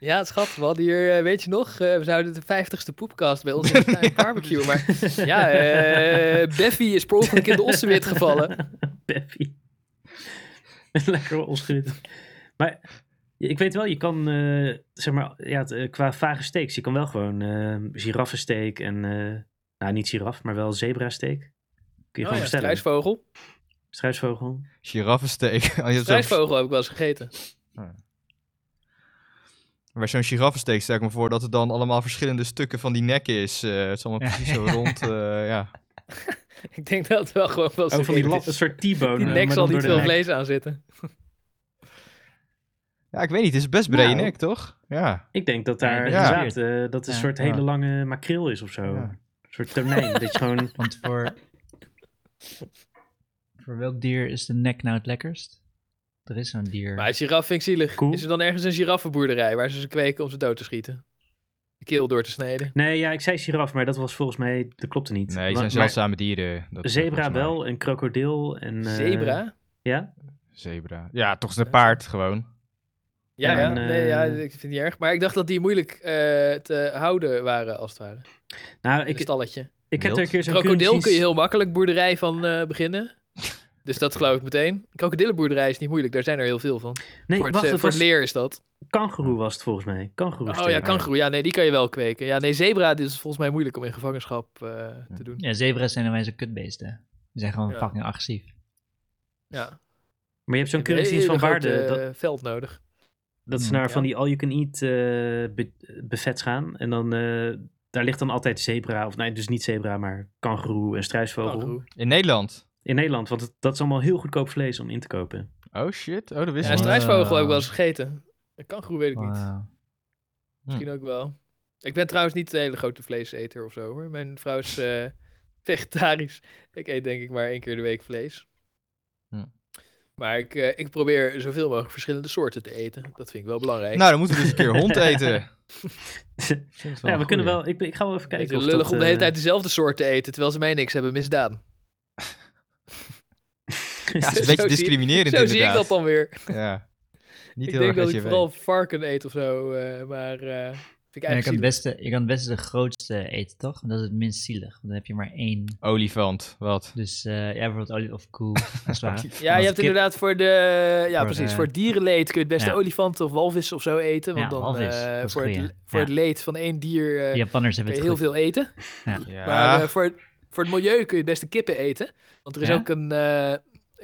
Ja, schat, we hadden hier, eh, weet je nog, eh, we zouden de vijftigste poepcast bij ons in de tuin barbecue. Maar ja, eh Beffy is per ongeluk in de ossewit gevallen.
Peppy. Lekker onschuldig. Maar ik weet wel, je kan, eh, zeg maar, ja, het, eh, qua vage steaks, je kan wel gewoon eh giraffensteak en, eh, nou niet giraf, maar wel zebrasteek. Kun je
Oh
gewoon
ja,
bestellen.
struisvogel.
Struisvogel.
Giraffensteek. Oh, je hebt zo'n-
Struisvogel heb ik wel eens gegeten.
Bij zo'n giraffensteek stel ik me voor dat het dan allemaal verschillende stukken van die nek is. Eh, het is allemaal precies zo rond. eh, ja.
Ik denk dat het wel gewoon wel
Oh, van die
serieus
lap,
is.
een soort T-bone.
Die
eh,
nek
maar
zal
dan door
niet
de
veel
nek.
vlees aan zitten.
ja, ik weet niet. Het is best brede
Nou.
nek, toch? Ja.
Ik denk dat daar
Ja,
ja.
inderdaad, eh, dat een
Ja.
soort hele lange makreel is of zo.
Ja.
Een soort tonijn, dat je gewoon...
Want voor, voor welk dier is de nek nou het lekkerst? Er is zo'n dier.
Maar giraf vind ik zielig.
Koe?
Is er dan ergens een giraffenboerderij waar ze ze kweken om ze dood te schieten? De keel door te snijden.
Nee, ja, ik zei giraf, maar dat was volgens mij, dat klopte niet.
Nee, het
Maar-
zijn zeldzame dieren.
maar
Dat is
Zebra
volgens mij.
wel, en krokodil, en... eh,
Zebra?
Ja?
Zebra. Ja, toch is een paard gewoon.
Ja,
en,
ja. Nee, ja,
eh,
ik vind het niet erg. Maar ik dacht dat die moeilijk eh, te houden waren, als het ware. In
Nou,
een
ik,
stalletje.
ik heb
Wild.
er een keer zo'n
Krokodil kun je
cursus-
heel makkelijk boerderij van eh, beginnen. Dus dat geloof ik meteen. Krokodillenboerderij is niet moeilijk, daar zijn er heel veel van.
Nee,
voor het,
wacht,
eh,
het
voor
was
het leer is dat.
kangeroe was het volgens mij. Kangeroe.
Oh ja, kangoeroe. Ja, nee, die kan je wel kweken. Ja, nee, zebra dit is volgens mij moeilijk om in gevangenschap eh, te doen.
Ja, zebra's zijn dan zo'n kutbeesten. Die zijn gewoon
Ja.
fucking agressief.
Ja.
Maar je hebt zo'n
Je hebt een
keuringsdienst van
hele
waarde.
grote,
dat,
eh, veld nodig.
dat ze
Mm,
naar
ja.
van die all-you-can-eat eh, bu- buffets gaan. En dan, eh, daar ligt dan altijd zebra. Of nee, dus niet zebra, maar kangeroe en struisvogel.
Kangoeroe.
In Nederland.
In Nederland, want het- dat is allemaal heel goedkoop vlees om in te kopen.
Oh shit. Oh, dat wist
Ja,
ik
een
niet.
struisvogel
eh,
heb ik wel eens gegeten. Een kangoeroe weet ik niet.
Wauw.
Misschien
Hm.
ook wel. Ik ben trouwens niet een hele grote vleeseter of zo hoor. Mijn vrouw is eh, vegetarisch. Ik eet denk ik maar één keer de week vlees.
Hm.
Maar ik, eh, ik probeer zoveel mogelijk verschillende soorten te eten. Dat vind ik wel belangrijk.
Nou, dan moeten we dus een keer hond eten.
ja, we kunnen wel. Ik, ik ga wel even
het is
kijken. of
lullig
dat,
om de hele
eh,
tijd dezelfde soort te eten, terwijl ze mij niks hebben misdaan.
Ja, het is een beetje
Zo zie-
discriminerend
Zo zie ik
inderdaad.
dat dan weer.
Ja. Niet
ik
heel
denk dat
erg uit
ik
je
vooral
vooral...
varken eet of zo. eh, maar eh vind ik
Ja, je, kan het
eigenlijk
beste, je kan het beste de grootste eten, toch? Want dat is het minst zielig. Want dan heb je maar één.
Olifant, wat?
Dus eh, ja, bijvoorbeeld olie of koe. Dat is waar.
zielig. ja, je hebt
kip-
inderdaad voor de. Ja,
Voor,
precies.
eh,
voor dierenleed kun je het beste
ja.
olifanten of walvissen of zo eten. Want
Ja,
dan
walvis,
eh,
dat is
voor,
goeie.
het, voor
Ja.
het leed van één dier eh,
De Japanners hebben
kun je
het
heel
goed.
veel eten.
Ja.
Maar eh, voor, voor het milieu kun je het beste kippen eten. Want er is
Ja?
ook een. eh,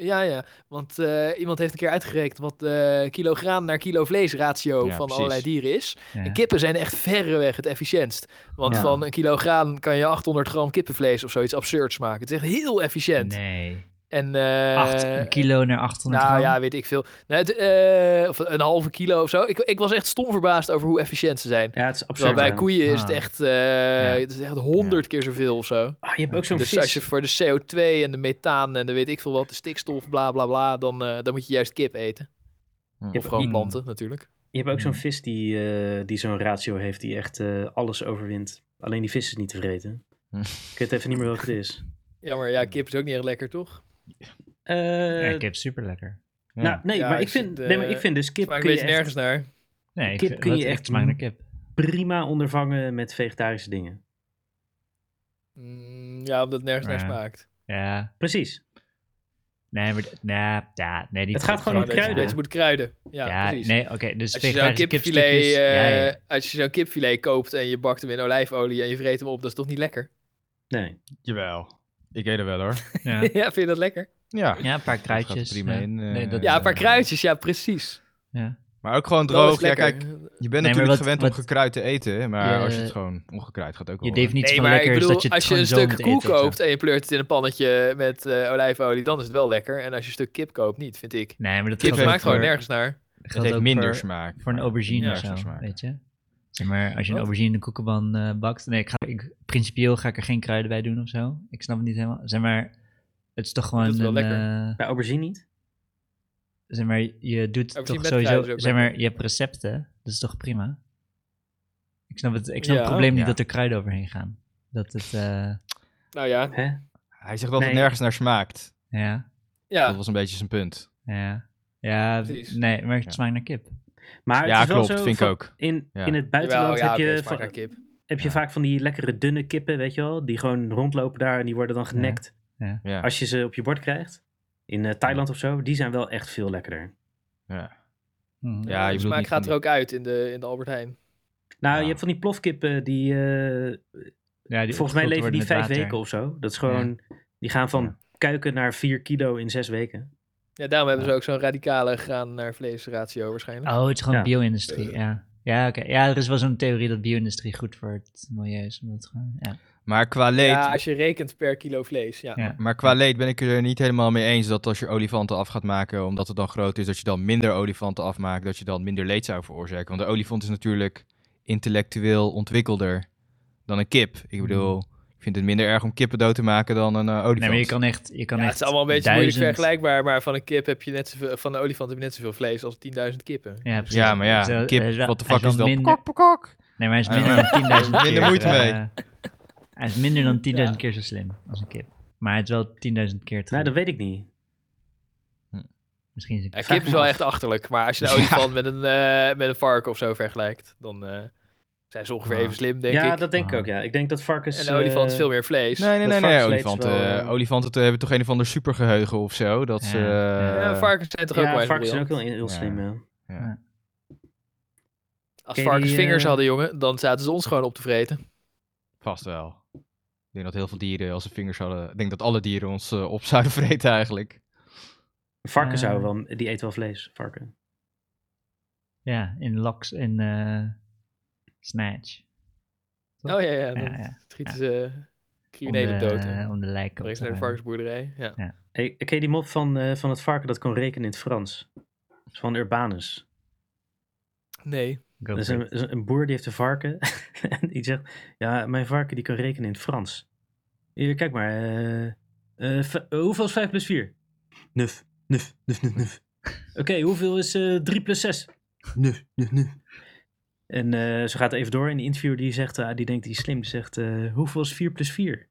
ja, ja. Want eh, iemand heeft een keer uitgerekend wat eh kilo graan naar kilo vlees ratio
Ja,
van
precies.
allerlei dieren is.
Ja.
En kippen zijn echt verreweg het efficiëntst. Want
Ja.
van een kilo graan kan je 800 gram kippenvlees of zoiets absurds maken. Het is echt heel efficiënt.
Nee.
En, eh,
Acht een kilo naar 800
nou
gram.
ja, weet ik veel. Nou, het, eh, of een halve kilo of zo. Ik, ik was echt stom verbaasd over hoe efficiënt ze zijn.
Ja, het is absurd.
Terwijl bij
man.
koeien is het
Ah.
echt, eh, het is echt 100 keer zoveel of zo.
Ah, je hebt ook zo'n
Dus
vis.
als je voor de CO2 en de methaan en de weet ik veel wat, de stikstof, bla bla bla, dan, eh, dan moet je juist kip eten.
Hm.
Of gewoon
Mm.
planten, natuurlijk.
Je hebt ook
Hmm.
zo'n vis die, eh, die zo'n ratio heeft die echt eh, alles overwint. Alleen die vis is niet tevreden.
Hm.
Ik weet even niet meer welke het is.
Ja, maar ja, kip is ook niet echt lekker, toch?
Eh,
Ja, kip super lekker.
Ja.
nou, nee,
Ja,
maar ik
is het,
vind, nee, maar
eh,
ik vind dus kip
Maar ik
kun je
weet
echt
nergens naar.
Nee, ik
Kip
vind-
kun
wat-
je
ik
echt
smaak naar kip.
prima ondervangen met vegetarische dingen.
Mm, ja, omdat het nergens
Ja.
naar smaakt.
Ja.
Precies.
Nee, maar d- nee, ja, nee, die
Het gaat gewoon om
Gewoon dat je een
kruiden.
beetje moet kruiden. Ja,
Ja,
precies.
nee, oké. dus
Als je zo'n
vegetarische
kipfilet,
kipstukjes, ja,
eh,
ja.
als je zo'n kipfilet koopt en je bakt hem in olijfolie en je vreet hem op, dat is toch niet lekker?
Nee.
Jawel. Ik eet er wel hoor.
Ja.
Ja, vind je dat lekker?
Ja.
Ja, een paar
gaat er
kruidjes.
prima
ja.
in, eh.
Nee, dat-
Ja, een paar kruidjes, ja, precies.
Maar ook gewoon
Dat
droog.
is
Ja,
lekker.
kijk, je bent
Nee, maar
natuurlijk
wat-
gewend om
wat-
gekruid te eten. Maar
Je-
als je het gewoon ongekruid gaat ook wel. eh,
Je
hoor.
definitie
nee,
van
maar
lekker
ik
is
bedoel,
dat je het
als je een
gewoon zo
stuk
moet
koe
eten of zo.
koopt en je pleurt het in een pannetje met eh, olijfolie, dan is het wel lekker. En als je een stuk kip koopt, niet, vind ik.
Nee, maar dat
Kip
Kip
geldt ook
smaakt gewoon
voor-
nergens naar.
Het
geldt
heeft
ook
minder
voor-
smaak.
Voor een
maar
aubergine
minder
of zo,
smaak.
weet je. Zeg maar als je
Wat?
een aubergine in de koekenban eh, bakt, nee, ik ga, ik, principieel ga ik er geen kruiden bij doen of zo. Ik snap het niet helemaal. Zeg maar, het is toch gewoon
is wel
een,
lekker.
eh,
Bij aubergine niet.
zeg maar, je doet
Aubergine
toch
met
sowieso,
kruiden is ook
zeg
lekker.
maar, je hebt recepten, dat is toch prima? Ik snap het, ik snap het
Ja.
probleem niet
Ja.
dat er kruiden overheen gaan. Dat het, eh,
Nou ja,
Hè?
Hij zegt wel dat
Nee.
het nergens naar smaakt.
ja,
ja.
Dat was een beetje zijn punt.
ja, ja,
Precies.
nee, maar het
Ja.
smaakt naar kip.
Maar het
ja,
is wel
klopt.
zo
vind ik
van-
ook.
In,
Ja.
in het
Jawel,
buitenland
ja,
heb
oké,
je,
smaakt
va-
naar kip.
heb je
Ja.
vaak van die lekkere dunne kippen, weet je wel. Die gewoon rondlopen daar en die worden dan genekt.
Ja.
Als je ze op je bord krijgt. In eh, Thailand of zo. Die zijn wel echt veel lekkerder.
ja.
Mhm.
Ja, je
de
bedoelt
smaak
niet
gaat
van
er ook uit in de, in de Albert Heijn.
Nou,
Ja.
je hebt van die plofkippen die... eh,
Ja, die
volgens mij
opgevuld
leven
worden
die
met
vijf
water.
weken of zo. Dat is gewoon... Die gaan van kuiken naar vier kilo in zes weken.
Ja, daarom hebben ze ook zo'n radicale graan naar vleesratio waarschijnlijk.
Oh, het is gewoon
Ja.
bio-industrie, ja. Ja, oké. Ja, er is wel zo'n theorie dat bio-industrie goed voor het milieu is. Omdat het gewoon, ja.
Maar qua leed,
Ja, als je rekent per kilo vlees, ja.
Ja.
maar qua leed ben ik er niet helemaal mee eens dat als je olifanten af gaat maken, omdat het dan groot is, dat je dan minder olifanten afmaakt, dat je dan minder leed zou veroorzaken. Want de olifant is natuurlijk intellectueel ontwikkelder dan een kip. Ik bedoel, ik vind het minder erg om kippen dood te maken dan een eh, olifant.
Mhm. Nee, maar je kan echt... Je kan
Ja,
echt
het is allemaal een beetje
duizend...
moeilijk vergelijkbaar, maar van een kip heb je net zoveel, van een olifant heb je net zoveel vlees als 10.000 kippen.
Ja, precies.
Ja, maar ja,
Het is wel-
een kip,
hij is wel-
what the
hij
fuck is
wel
dat?
Minder,
Pekok, pekok.
nee, maar hij is minder
Ja, ja.
dan 10.000 keer...
Minder moeite mee.
eh, hij is minder dan 10.000
Ja.
keer zo slim als een kip. Maar het is wel 10.000 keer te
Nou, dat
goed.
weet ik niet.
Misschien is het...
Ja, kip is wel echt achterlijk, maar als je een olifant met een, eh, met een varken of zo vergelijkt, dan eh, zijn ze ongeveer
Ah.
even slim, denk
ja,
ik.
dat denk ik
Ah.
ook, ja. Ik denk dat varkens...
En een olifant is
eh,
veel meer vlees.
Nee, nee,
Dat
nee, nee.
varkensleed is
Olifanten,
wel, eh,
eh, olifanten eh, hebben toch een of ander supergeheugen of zo? Dat ze,
Ja.
eh,
Ja, varkens zijn toch ook wel
Ja,
echt
varkens zijn ook
briljant.
heel, heel slim,
Ja.
ja.
Als
Ken je
varkens
die,
vingers
eh,
hadden, jongen, dan zaten ze ons gewoon op te vreten.
Vast wel. Ik denk dat heel veel dieren, als ze vingers hadden... Ik denk dat alle dieren ons eh, op zouden vreten eigenlijk.
Varkens
Eh.
houden wel... Die eten wel vlees, varken.
Ja, in laks en eh, snatch.
Oh ja, ja,
Ja,
dan
ja.
schieten
ja.
ze
Om
criminelen
de-
dood. en
Om de lijken op
Brengen
te
ze naar de
ruimen.
varkensboerderij, ja.
Hey, ken je die mop van, eh, van het varken dat kon rekenen in het Frans? Dat is van Urbanus.
Nee.
Go
Dat is
for
Dus een,
it.
is een boer die heeft een varken. en die zegt, ja, mijn varken die kan rekenen in het Frans. Hier, kijk maar. eh, eh, v- eh, hoeveel is 5 plus 4? Nuf, nuf, nuf, nuf, nuf. Oké, hoeveel is eh 3 plus 6? Nuf, nuf, nuf. En eh, ze gaat even door en die interviewer die zegt, ah, die denkt die is slim, die zegt, eh, hoeveel is 4 plus 4?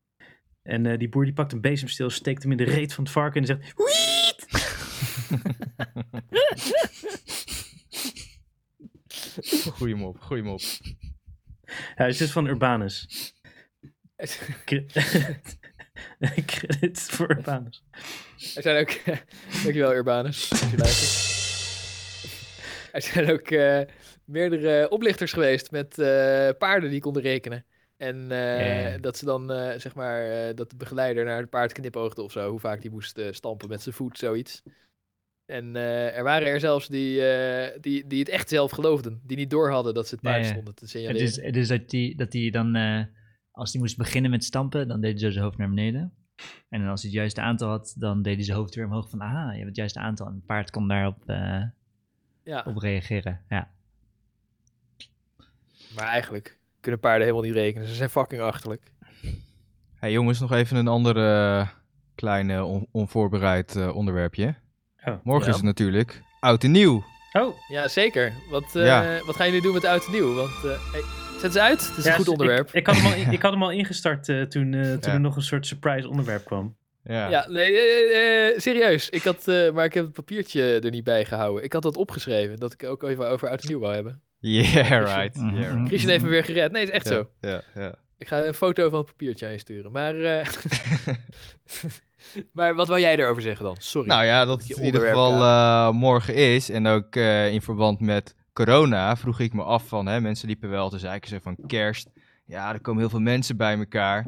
En eh, die boer die pakt een bezemsteel, steekt hem in de reet van het varken en zegt, wiet!
Goeie mop, goeie mop.
Hij is dus van Urbanus. Cre- Credits voor Urbanus.
Er zijn ook. dankjewel, Urbanus. als je luistert. Er zijn ook eh, meerdere oplichters geweest met eh, paarden die konden rekenen. En eh,
Ja.
dat ze dan, eh, zeg maar, eh, dat de begeleider naar het paard knipoogde of zo. Hoe vaak die moest eh, stampen met zijn voet, zoiets. En eh, er waren er zelfs die, eh, die, die het echt zelf geloofden. Die niet doorhadden dat ze het
Ja,
paard
ja.
stonden te
Het
signaleren.
is, het is dat die, dat die dan, eh, als hij moest beginnen met stampen, dan deed hij zo zijn hoofd naar beneden. En dan als hij het juiste aantal had, dan deed hij zijn hoofd weer omhoog van, aha, je hebt het juiste aantal. En het paard kon daarop eh,
Ja,
op reageren, ja.
maar eigenlijk kunnen paarden helemaal niet rekenen. Ze zijn fucking achterlijk.
Hey jongens, nog even een ander eh, klein on- onvoorbereid eh, onderwerpje.
Oh.
Morgen
Ja.
is het natuurlijk oud en nieuw.
Oh,
Ja, zeker. Wat, eh,
Ja.
wat gaan jullie doen met oud en nieuw? Want, eh, hey, zet ze uit. Het is
ja,
een goed
ik-
onderwerp.
Ik, had hem al, in- ik had hem al ingestart eh, toen, eh, toen
Ja.
er nog een soort surprise onderwerp kwam.
Ja.
Ja, nee, eh, eh, serieus. Ik had, eh, maar ik heb het papiertje er niet bij gehouden. Ik had dat opgeschreven, dat ik ook even over oud en nieuw wou hebben.
Yeah, right.
Mhm.
Yeah, right.
Christian heeft me weer gered. Nee, het is echt zo.
Ja, ja, ja.
Ik ga een foto van het papiertje aan je sturen. Maar, eh, maar wat wou jij erover zeggen dan? Sorry.
Nou ja,
je
dat het in ieder
onderwerp,
geval eh, morgen is. En ook eh, in verband met corona vroeg ik me af van... Hè, mensen liepen wel te zeiken zo van kerst. Ja, er komen heel veel mensen bij elkaar.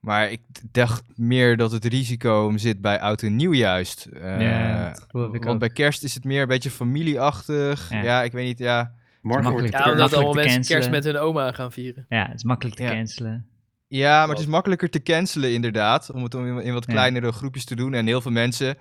Maar ik d- dacht meer dat het risico hem zit bij oud en nieuw juist. Eh,
Ja, dat geloof ik
want
ook.
bij kerst is het meer een beetje familieachtig. Ja,
Ja.
ik weet niet, ja...
Morgen wordt
Makkelijk.
ja, omdat
makkelijk
allemaal
te
mensen kerst
cancelen.
met hun oma gaan vieren.
Ja, het is makkelijk te
Ja.
cancelen.
Ja, maar het is
Klopt.
makkelijker te cancelen inderdaad, om het om in- in wat
Ja.
kleinere groepjes te doen. En heel veel mensen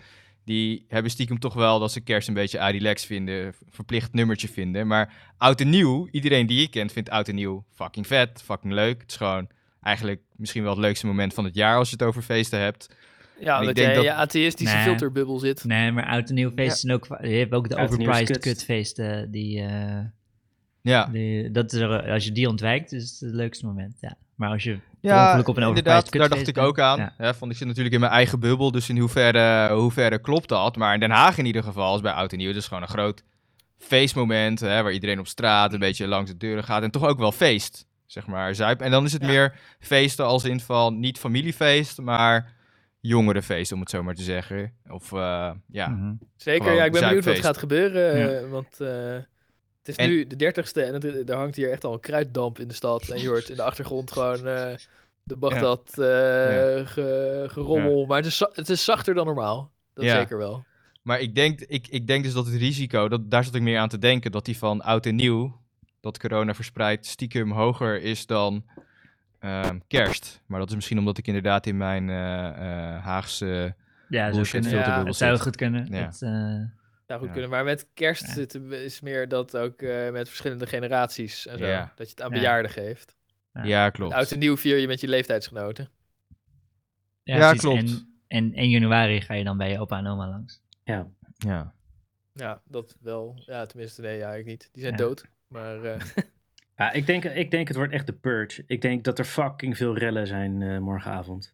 die hebben stiekem toch wel dat ze kerst een beetje ah, relax vinden, v- verplicht nummertje vinden. Maar oud en nieuw, iedereen die je kent vindt oud en nieuw fucking vet, fucking leuk. Het is gewoon eigenlijk misschien wel het leukste moment van het jaar als je het over feesten hebt.
Ja,
Ik
omdat
denk
jij in
dat-
je atheïstische
Nee.
filterbubbel zit.
Nee, maar oud en nieuw feesten zijn ook... va- Je hebt ook de
Oud en nieuw is
overpriced
kut.
kutfeesten. Die, eh,
Ja,
die, dat is er, als je die ontwijkt, is het het leukste moment, ja. Maar als je per
ja
ongeluk op een overpriced
inderdaad, daar
kutfeest
dacht ik
bent,
ook aan.
ja.
Hè, van, ik zit natuurlijk in mijn eigen bubbel, dus in hoeverre, hoeverre klopt dat? Maar in Den Haag in ieder geval is bij oud en nieuw dus gewoon een groot feestmoment, hè, waar iedereen op straat een beetje langs de deuren gaat en toch ook wel feest, zeg maar, zuip. En dan is het
Ja.
meer feesten als in van niet familiefeest, maar jongerenfeest, om het zo maar te zeggen. Of eh, ja,
Mhm.
Zeker,
Gewoon
ja, ik ben benieuwd wat
zuipfeest.
gaat gebeuren. eh, Want eh, het is
En-
nu de dertigste en het, er hangt hier echt al een kruiddamp in de stad. En je hoort in de achtergrond gewoon eh, de Bagdad eh, ge- gerommel. Maar het is, za- het is zachter dan normaal. Dat
Ja.
zeker wel.
Maar ik denk, ik, ik denk dus dat het risico, dat, daar zat ik meer aan te denken, dat die van oud en nieuw, dat corona verspreidt, stiekem hoger is dan ehm, kerst. Maar dat is misschien omdat ik inderdaad in mijn eh, eh, Haagse
Ja, zo
bullshit
kunnen.
filter.
filterbubbel
Ja,
Het
zit.
zou goed kunnen.
Ja.
Het, eh,
Zou goed
Ja.
kunnen. Maar met kerst
Ja.
zit- is meer dat ook eh, met verschillende generaties en zo.
Ja.
Dat je het aan
Ja.
bejaarden geeft.
Ja, klopt.
Oud en nieuw vier je met je leeftijdsgenoten.
Ja,
Ja,
precies.
klopt.
En, en 1 januari ga je dan bij je opa en oma langs.
Ja.
Ja, dat wel. Ja, tenminste, nee, ja, ik niet. Die zijn
Ja.
dood. Maar eh,
Ja, ik denk, ik denk het wordt echt de purge. Ik denk dat er fucking veel rellen zijn eh, morgenavond.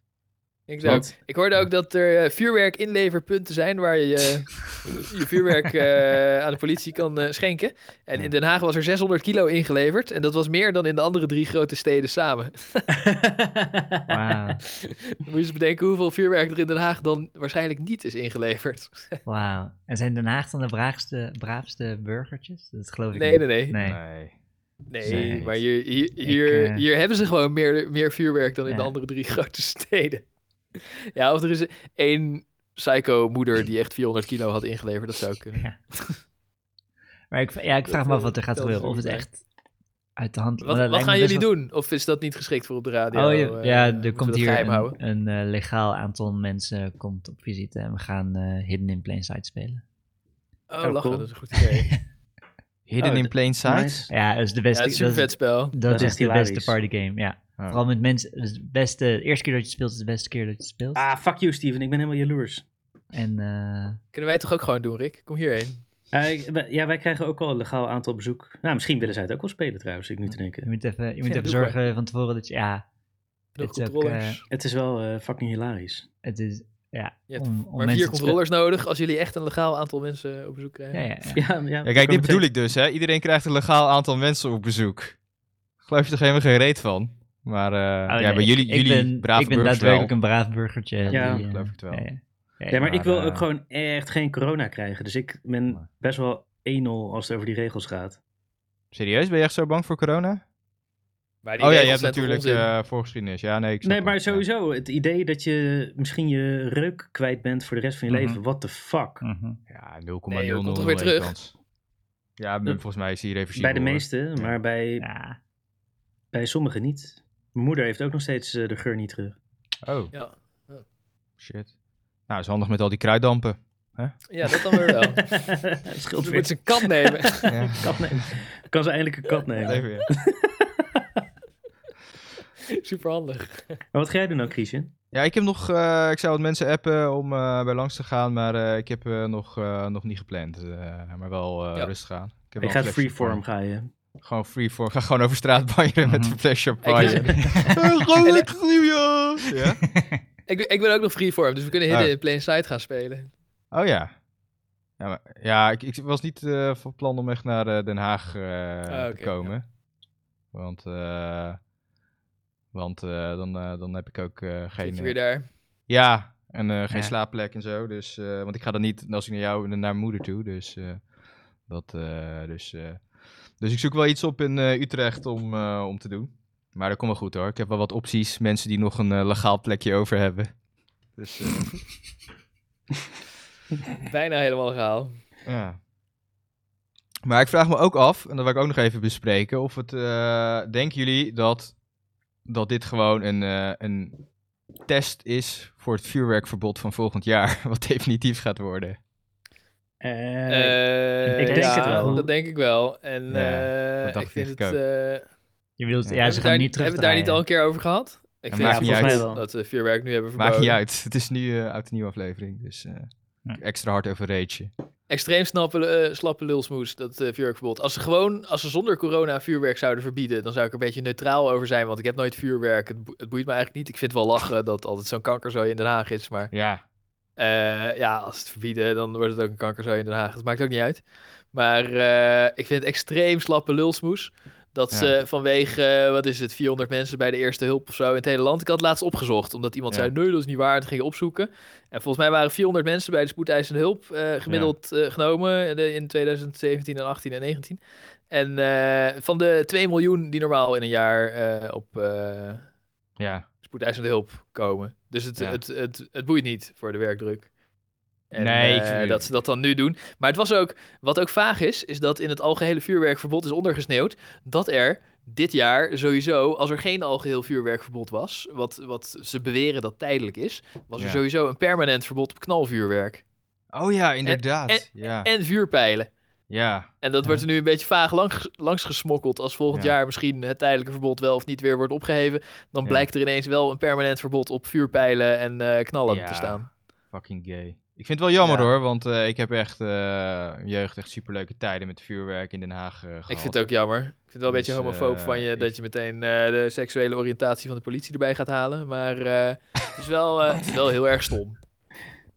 Ik, zou-
Want-
ik hoorde ook dat er eh, vuurwerk inleverpunten zijn waar je je, je vuurwerk eh, aan de politie kan eh, schenken. En in Den Haag was er 600 kilo ingeleverd. En dat was meer dan in de andere drie grote steden samen.
Wauw,
Dan moet je eens bedenken hoeveel vuurwerk er in Den Haag dan waarschijnlijk niet is ingeleverd.
wauw. En zijn Den Haag dan de braafste, braafste burgertjes? Dat geloof ik
Nee,
niet.
nee, nee.
Nee.
Nee,
Nee.
maar hier, hier, hier,
eh,
hier hebben ze gewoon meer, meer vuurwerk dan in de
Ja.
andere drie grote steden. Ja, of er is één psycho-moeder die echt 400 kilo had ingeleverd. Dat zou kunnen.
Maar ik, ja, ik vraag
Dat,
me af
eh,
wat er gaat
dat
gebeuren.
is
Of het
niet
echt uit de hand... want
Wat,
dat
wat
lijkt me
gaan
best
jullie
wel-
doen? Of is dat niet geschikt voor op de radio?
Oh,
Eh,
ja, ja,
moeten
er
we
komt
dat
hier
geheim
een,
houden?
een eh, legaal aantal mensen komt op visite en we gaan eh, Hidden in Plain Sight spelen.
Oh,
Oh,
lachen,
cool.
dat is een goed idee.
Hidden
Oh,
in plain sight?
Nice.
Ja, dat is de
ja,
beste...
het is een
dat
vet
is,
spel.
Dat
dat
is
is
echt
de beste
hilarisch.
partygame, ja.
Oh.
Vooral met mensen... dat is het beste, de eerste keer dat je speelt is de beste keer dat je speelt.
Ah, fuck you, Steven. Ik ben helemaal jaloers.
En... eh,
Kunnen wij het toch ook gewoon doen, Rick? Kom hierheen.
Eh, ik- wij- ja, wij krijgen ook al een legaal aantal bezoek. Nou, misschien willen zij het ook wel spelen trouwens, zit ik nu te
Je
denken.
moet even, je moet
Ja,
even
doe maar.
zorgen van tevoren dat je. Ja,
De
Het is ook, eh,
controllers.
Het is wel eh, fucking hilarisch.
het is. Ja,
Je hebt
om-
Maar
om
vier
mensen te spe-
controllers nodig als jullie echt een legaal aantal mensen op bezoek krijgen.
Ja, Oh, ja, ja.
Ja, ja,
Ja, kijk, dit bedoel ik dus, hè. Iedereen krijgt een legaal aantal mensen op bezoek. Geloof je toch helemaal geen reet van? Maar eh,
Oh,
ja,
nee,
bij jullie, jullie
ik ben,
brave
Ik ben
burgers
daadwerkelijk
wel.
een braaf burgertje.
Ja,
eh,
geloof ik het wel.
Ja, ja. Ja,
Ja, maar ik wil
Maar,
ook
eh,
gewoon echt geen corona krijgen. Dus ik ben best wel 1-0 als het over die regels gaat.
Serieus? Ben je echt zo bang voor corona?
Maar die
Oh ja, je
regels
hebt
zijn toch
natuurlijk
onzin?
eh, voorgeschiedenis. Ja, nee, ik snap
Nee, maar
het. Ja.
sowieso. Het idee dat je misschien je reuk kwijt bent voor de rest van je
Mhm.
leven. What the fuck?
mhm.
Ja, 0,00
Nee, joh, komt toch weer
weer
terug? Hm.
Kans. Ja, m-
Dat-
volgens mij is hier even
Bij de meeste, maar bij,
ja.
bij sommigen niet. Mijn moeder heeft ook nog steeds eh, de geur niet terug.
Oh,
Ja.
shit. Nou, is handig met al die kruiddampen.
ja, dat dan weer wel.
Scheelt
Je
weer.
moet zijn kat nemen.
Ja.
Kat nemen. Kan ze eindelijk een kat nemen.
Even, ja.
Super handig.
Maar wat ga jij doen nou, dan, Christian?
Ja, ik heb nog. eh, ik zou wat mensen appen om eh, bij langs te gaan, maar eh, ik heb eh, nog, eh, nog niet gepland. eh, maar wel eh,
Ja.
rustig aan. Ik heb
Je
wel
gaat
een flesje
freeform, ga je.
champagne. Gewoon freeform. Ga gewoon over straat banjeren met
Mhm.
een fles champagne.
Ik-
Gewoon lekker Eh, nieuwjaar! Ja?
Ik, ik ben ook nog freeform, dus we kunnen Hidden
Oh.
in Plain Sight gaan spelen.
Oh ja. Ja, maar, ja ik, ik was niet eh, van plan om echt naar eh, Den Haag eh,
Ah, oké,
te komen. Want, eh, want eh, dan, eh, dan heb ik ook eh, geen...
Zit je
eh,
weer daar.
Ja, en eh, geen
Ja.
slaapplek en zo. Dus, eh, want ik ga dan niet als ik naar jou en naar mijn moeder toe. Dus, eh, dat, eh, dus, eh, dus ik zoek wel iets op in eh, Utrecht om, eh, om te doen. Maar dat komt wel goed hoor. Ik heb wel wat opties. Mensen die nog een eh, legaal plekje over hebben. Dus eh,
Bijna helemaal gehaald.
ja. Maar ik vraag me ook af, en dat wil ik ook nog even bespreken, of het, eh, denken jullie dat, dat dit gewoon een, eh, een test is voor het vuurwerkverbod van volgend jaar, wat definitief gaat worden?
Eh,
Eh
ik
ja,
denk het wel.
Dat denk ik wel. En
Ja,
eh,
dat dacht
ik vind
ik
het.
ook.
eh,
Je bedoelt,
Ja.
ja,
hebben
ze
we
gaan
daar,
niet terug.
Hebben we daar niet al een keer over gehad? Ik
Ja,
vind
maakt
het
niet
wel
uit.
goed
Mij wel.
dat we vuurwerk nu hebben verboden.
Maakt niet uit. Het is nu eh uit de nieuwe aflevering, dus eh,
Ja.
extra hard over reetje.
Extreem snappe, eh slappe lulsmoes, dat eh, vuurwerkverbod. Als ze gewoon, als ze zonder corona vuurwerk zouden verbieden, dan zou ik er een beetje neutraal over zijn, want ik heb nooit vuurwerk. Het, bo- het boeit me eigenlijk niet. Ik vind het wel lachen dat altijd zo'n kankerzooi in Den Haag is, maar
Ja.
Eh, ja, als het verbieden, dan wordt het ook een kankerzooi in Den Haag. Dat maakt ook niet uit. Maar eh, ik vind het extreem slappe lulsmoes. Dat
Ja.
ze vanwege, eh, wat is het, 400 mensen bij de eerste hulp of zo in het hele land. Ik had het laatst opgezocht, omdat iemand
Ja.
zei, nee, dat is niet waar. En toen ging ik opzoeken. En volgens mij waren 400 mensen bij de spoedeisende hulp eh, gemiddeld eh, genomen eh, in 2017 en 18 en 19. En eh, van de 2 miljoen die normaal in een jaar eh, op eh
Ja.
spoedeisende hulp komen. Dus het,
Ja.
het, het, het boeit niet voor de werkdruk. En,
Nee, ik
eh,
vind het
dat ze dat dan nu doen. Maar het was ook, wat ook vaag is, is dat in het algehele vuurwerkverbod is ondergesneeuwd dat er dit jaar sowieso, als er geen algeheel vuurwerkverbod was, wat, wat ze beweren dat tijdelijk is, was er
Ja.
sowieso een permanent verbod op knalvuurwerk
Oh ja, inderdaad.
en-
ja.
en vuurpijlen.
ja.
En dat wordt er nu een beetje vaag langs, langs gesmokkeld. Als volgend
Ja.
jaar misschien het tijdelijke verbod wel of niet weer wordt opgeheven. Dan
Ja.
blijkt er ineens wel een permanent verbod op vuurpijlen en eh, knallen
Ja.
te staan.
Fucking gay. Ik vind het wel jammer
Ja.
hoor, want eh, ik heb echt eh, in jeugd echt superleuke tijden met vuurwerk in Den Haag eh, gehad.
Ik vind het ook jammer. Ik vind het wel een
Dus,
beetje homofoob
eh,
van je
ik-
dat je meteen eh, de seksuele oriëntatie van de politie erbij gaat halen. Maar eh, het, is wel, eh, het is wel heel erg stom.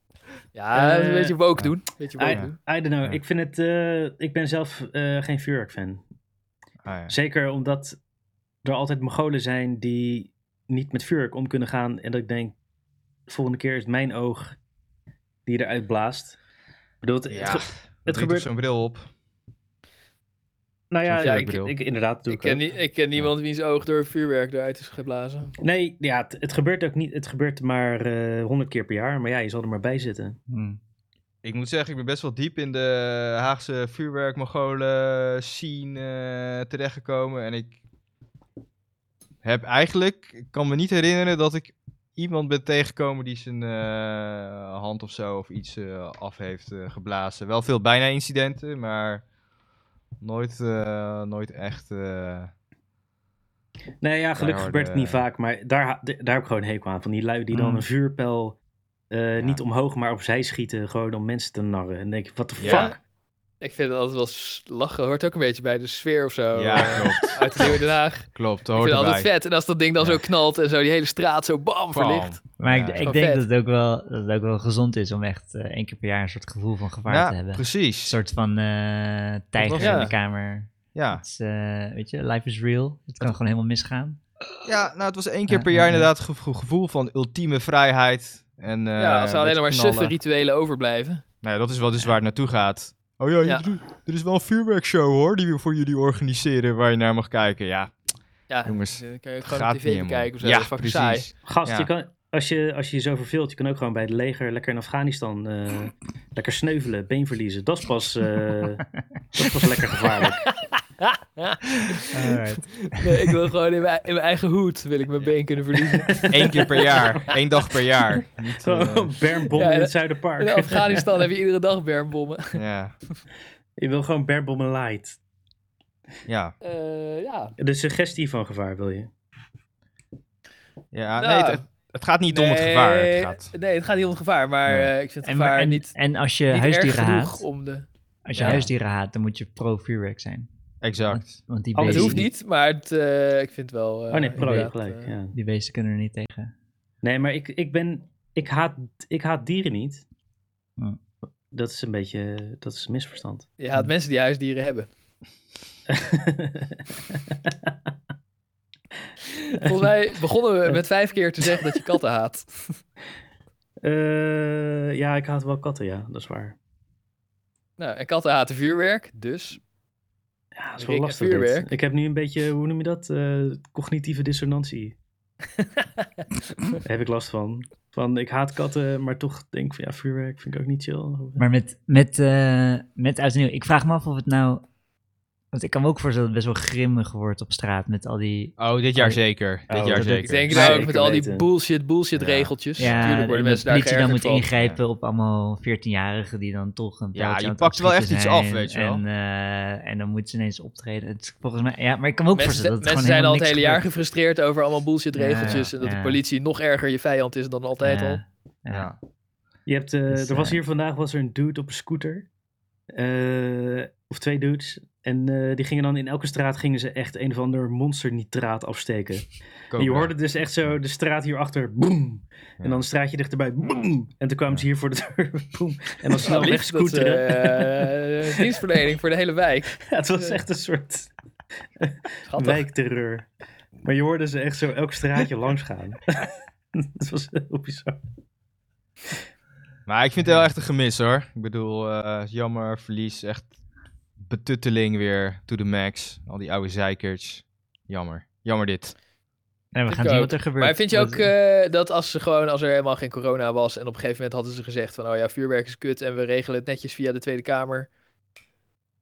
Ja,
Eh,
een beetje woke
ja.
doen. Een beetje woke
I,
doen.
I don't know.
Ja.
Ik vind het. eh, ik ben zelf eh, geen vuurwerkfan.
Ah, ja.
Zeker omdat er altijd Mongolen zijn die niet met vuurwerk om kunnen gaan. En dat ik denk, de volgende keer is het mijn oog die eruit blaast. Ik bedoel, het,
Ja,
het ge-
het
gebeurt-
gebeurt zo'n bril op.
nou ja,
Ja,
ik,
bril.
ik, inderdaad doe
Ik
ik,
ken,
ook.
nie- ik ken niemand wiens oog door vuurwerk eruit is geblazen.
Nee, ja, het, het gebeurt ook niet. Het gebeurt maar eh, honderd keer per jaar. Maar ja, je zal er maar bij zitten.
Hmm.
Ik moet zeggen, ik ben best wel diep in de Haagse vuurwerkmogolen scene eh, terechtgekomen. En ik heb eigenlijk, ik kan me niet herinneren dat ik iemand ben tegengekomen die zijn eh, hand of zo of iets eh, af heeft eh, geblazen. Wel veel bijna incidenten, maar nooit, eh, nooit echt. eh,
Nee, Nou ja, gelukkig
hoor,
gebeurt het
Nou, de-
niet vaak. Maar daar, ha- d- daar heb ik gewoon een hekel aan. Van die lui die dan
Mm.
een vuurpijl eh, niet omhoog, maar opzij schieten. Gewoon om mensen te narren. En dan denk ik, wat de
Ja.
fuck?
Ik Ik vind het altijd wel s- lachen. Hoort ook een beetje bij de sfeer of zo.
Ja,
eh,
klopt.
Uit de Nieuwe Den Haag. Ik
Klopt, dat
vind
hoort
het altijd
erbij.
vet. En als dat ding dan
Ja.
zo knalt en zo die hele straat zo bam
Bam.
verlicht.
Maar
Ja.
ik, ik
Wel
denk
vet.
dat het, ook wel, dat het ook wel gezond is om echt eh, één keer per jaar een soort gevoel van gevaar te
Ja,
hebben. Een
precies.
soort van eh, tijger
was
in de
het.
kamer.
Ja.
Het is, eh, weet je, life is real. Het kan gewoon helemaal misgaan.
ja, nou het was één keer
Ja,
per
ja,
jaar
ja.
inderdaad het gevo- gevoel van ultieme vrijheid. En, eh,
ja, als er
een
alleen
beetje
nog maar
knallen.
suffe rituelen overblijven.
Nou ja, dat is wel dus waar het naartoe gaat. Oh ja,
Ja.
Er, er is wel een vuurwerkshow hoor, die we voor jullie organiseren, waar je naar mag kijken. Ja,
Ja,
Jongens,
dan kan je ook
gaat
gewoon op
niet
tv
helemaal.
bekijken of zo.
Ja,
dat is fucking saai.
precies.
Gast,
Ja.
je kan, als, je, als je je zo verveelt, je kan ook gewoon bij het leger lekker in Afghanistan eh, lekker sneuvelen, been verliezen. Dat is pas, eh, dat is pas lekker gevaarlijk.
Alright.
Nee, ik wil gewoon in mijn, in mijn eigen hoed wil ik mijn been kunnen verliezen.
Eén keer per jaar, één dag per jaar. Niet, eh,
Gewoon bermbommen
Ja,
in
ja.
het Zuiderpark.
In Afghanistan heb je iedere dag bermbommen.
ja,
Je wil gewoon bermbommen light.
ja,
Eh, ja.
De suggestie van gevaar wil je.
ja.
Nou.
Nee, het, het- het gaat niet om het gevaar. Het
Nee,
gaat.
Nee, het gaat niet om het gevaar, maar
Nee.
eh, ik vind het
En,
gevaar
en,
niet,
en als je
niet erg
huisdieren
genoeg
haat,
om de...
als je
Ja.
huisdieren haat, dan moet je pro-vuurwerk zijn.
Exact.
Want die
Oh,
Het
Precies.
hoeft
beesten,
niet, maar het, eh, ik vind het wel... eh,
Oh nee, pro, je hebt
inderdaad,
gelijk.
eh,
Ja.
die beesten kunnen er niet tegen.
Nee, maar ik, ik ben. Ik haat, ik haat dieren niet.
Hm.
Dat is een beetje. Dat is een misverstand.
Je haat mensen die huisdieren hebben. Volgens mij begonnen we met vijf keer te zeggen dat je katten haat.
Eh, ja, ik haat wel katten, ja, dat is waar.
Nou, en katten haten vuurwerk, dus...
Ja, dat is
Ik
wel
denk
lastig. dit.
vuurwerk.
Ik heb nu een beetje, hoe noem je dat? Eh, cognitieve dissonantie. Daar heb ik last van. Van ik haat katten, maar toch denk ik van ja, vuurwerk vind ik ook niet chill.
Maar met, met, eh, met oud en nieuw, ik vraag me af of het nou... Want ik kan me ook voorstellen dat het best wel grimmig wordt op straat met al die...
Oh, dit jaar zeker.
Oh,
dit jaar
dat-
Ik
zeker.
denk
Zeker
nou ook met al die
weten.
bullshit, bullshit
Ja.
regeltjes.
Ja,
Natuurlijk worden
de
mensen daar
politie dan
geërgerd
moet
van.
ingrijpen op allemaal 14-jarigen die dan toch een
Ja,
pijltje
je
aan het
pakt wel echt
afschieten
iets af,
zijn
weet je wel.
En, eh, en dan moeten ze ineens optreden. Het, is volgens mij, ja, maar ik kan me ook
Mensen,
voorstellen dat het
mensen
gewoon
zijn al het
helemaal
hele
niks
jaar
gebeurt.
gefrustreerd over allemaal bullshit regeltjes.
Ja,
en dat
ja.
de politie nog erger je vijand is dan altijd al.
Ja, ja.
Ja.
Je hebt, eh,
Dus,
er was
eh,
hier vandaag was er een dude op een scooter. Eh, of twee dudes. En eh, die gingen dan in elke straat gingen ze echt een of ander monsternitraat afsteken. En je
Cobra.
hoorde dus echt zo de straat hierachter, boem.
Ja.
En dan een straatje dichterbij, boem. En toen kwamen ze hier voor de deur, boem. En dan snel
Nou, liefst dat,
wegscooteren.
eh, eh, dienstverlening voor de hele wijk.
Ja, het was echt een soort
Schattig.
wijkterreur. Maar je hoorde ze echt zo elk straatje langs gaan. Het was heel bizar.
Maar ik
Mhm.
vind het wel echt een gemis hoor. Ik bedoel, eh, jammer, verlies, echt betutteling weer to the max. Al die oude zeikerts. Jammer. Jammer dit.
En we
Ik
gaan zien
ook.
wat er gebeurt.
Maar vind je
Wat-
ook eh, dat als, ze gewoon, als er helemaal geen corona was en op een gegeven moment hadden ze gezegd van oh ja, vuurwerk is kut en we regelen het netjes via de Tweede Kamer.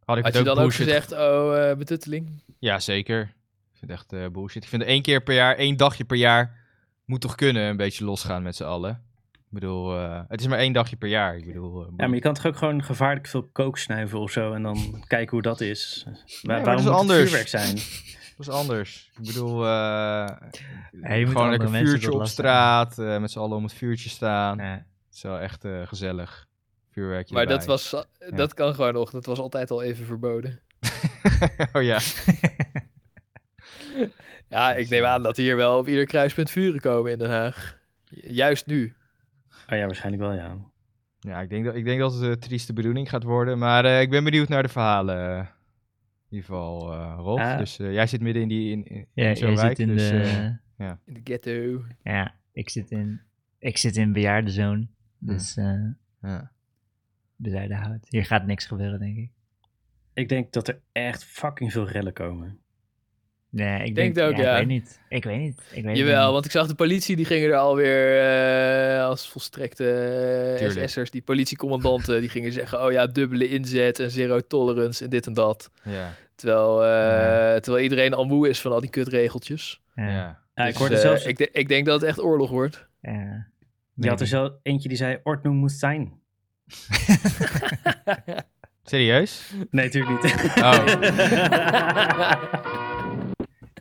Had ik
Had
het
je
ook
dan ook
bullshit
gezegd, oh eh, betutteling?
Ja, zeker. Ik vind het echt eh, bullshit. Ik vind één keer per jaar, één dagje per jaar, moet toch kunnen een beetje losgaan met z'n allen. Ik bedoel, eh, het is maar één dagje per jaar. Ik bedoel, eh,
Ja, maar je kan toch ook gewoon gevaarlijk veel kook snuiven of zo. En dan kijken hoe dat is. Wa- waarom
maar dat is
moet het
anders.
vuurwerk zijn?
dat is anders. Ik bedoel, eh,
moet
gewoon
andere
lekker
mensen
vuurtje
tot
op
last
straat, eh, met z'n allen om het vuurtje staan.
Ja.
Het is wel echt eh, gezellig. Vuurwerkje
Maar dat,
erbij.
was, eh, dat kan gewoon nog, dat was altijd al even verboden.
oh ja.
Ja, ik neem aan dat hier wel op ieder kruispunt vuren komen in Den Haag. Juist nu.
Oh ja, waarschijnlijk wel, ja.
Ja, ik denk dat, ik denk dat het een trieste bedoeling gaat worden. Maar eh, ik ben benieuwd naar de verhalen. eh, in ieder geval, eh Rolf.
Ah.
Dus eh, jij zit midden in die in, in,
Ja,
in zo'n
jij
wijk.
zit in
dus,
de...
eh,
In de ghetto.
ja, ik zit in, ik zit in bejaardenzoon. Dus eh
ja.
benijden hout. Hier gaat niks gebeuren, denk ik.
Ik denk dat er echt fucking veel rellen komen.
Nee, ik
denk het ook, ja.
Ik weet niet. Ik weet niet. Ik weet
Jawel,
niet.
want ik zag de politie, die gingen er alweer eh, als volstrekte eh,
Tuurlijk.
SS'ers, die politiecommandanten, die gingen zeggen, oh ja, dubbele inzet en zero tolerance en dit en dat.
Ja,
Terwijl, eh,
Ja.
terwijl iedereen al moe is van al die kutregeltjes.
Ja,
ja.
Ja, ik
Dus,
hoorde
eh,
zelfs,
ik, de- ik denk dat het echt oorlog wordt.
ja.
je had er zelf eentje die zei, ordnung moet zijn.
Serieus?
Nee, natuurlijk niet.
Oh,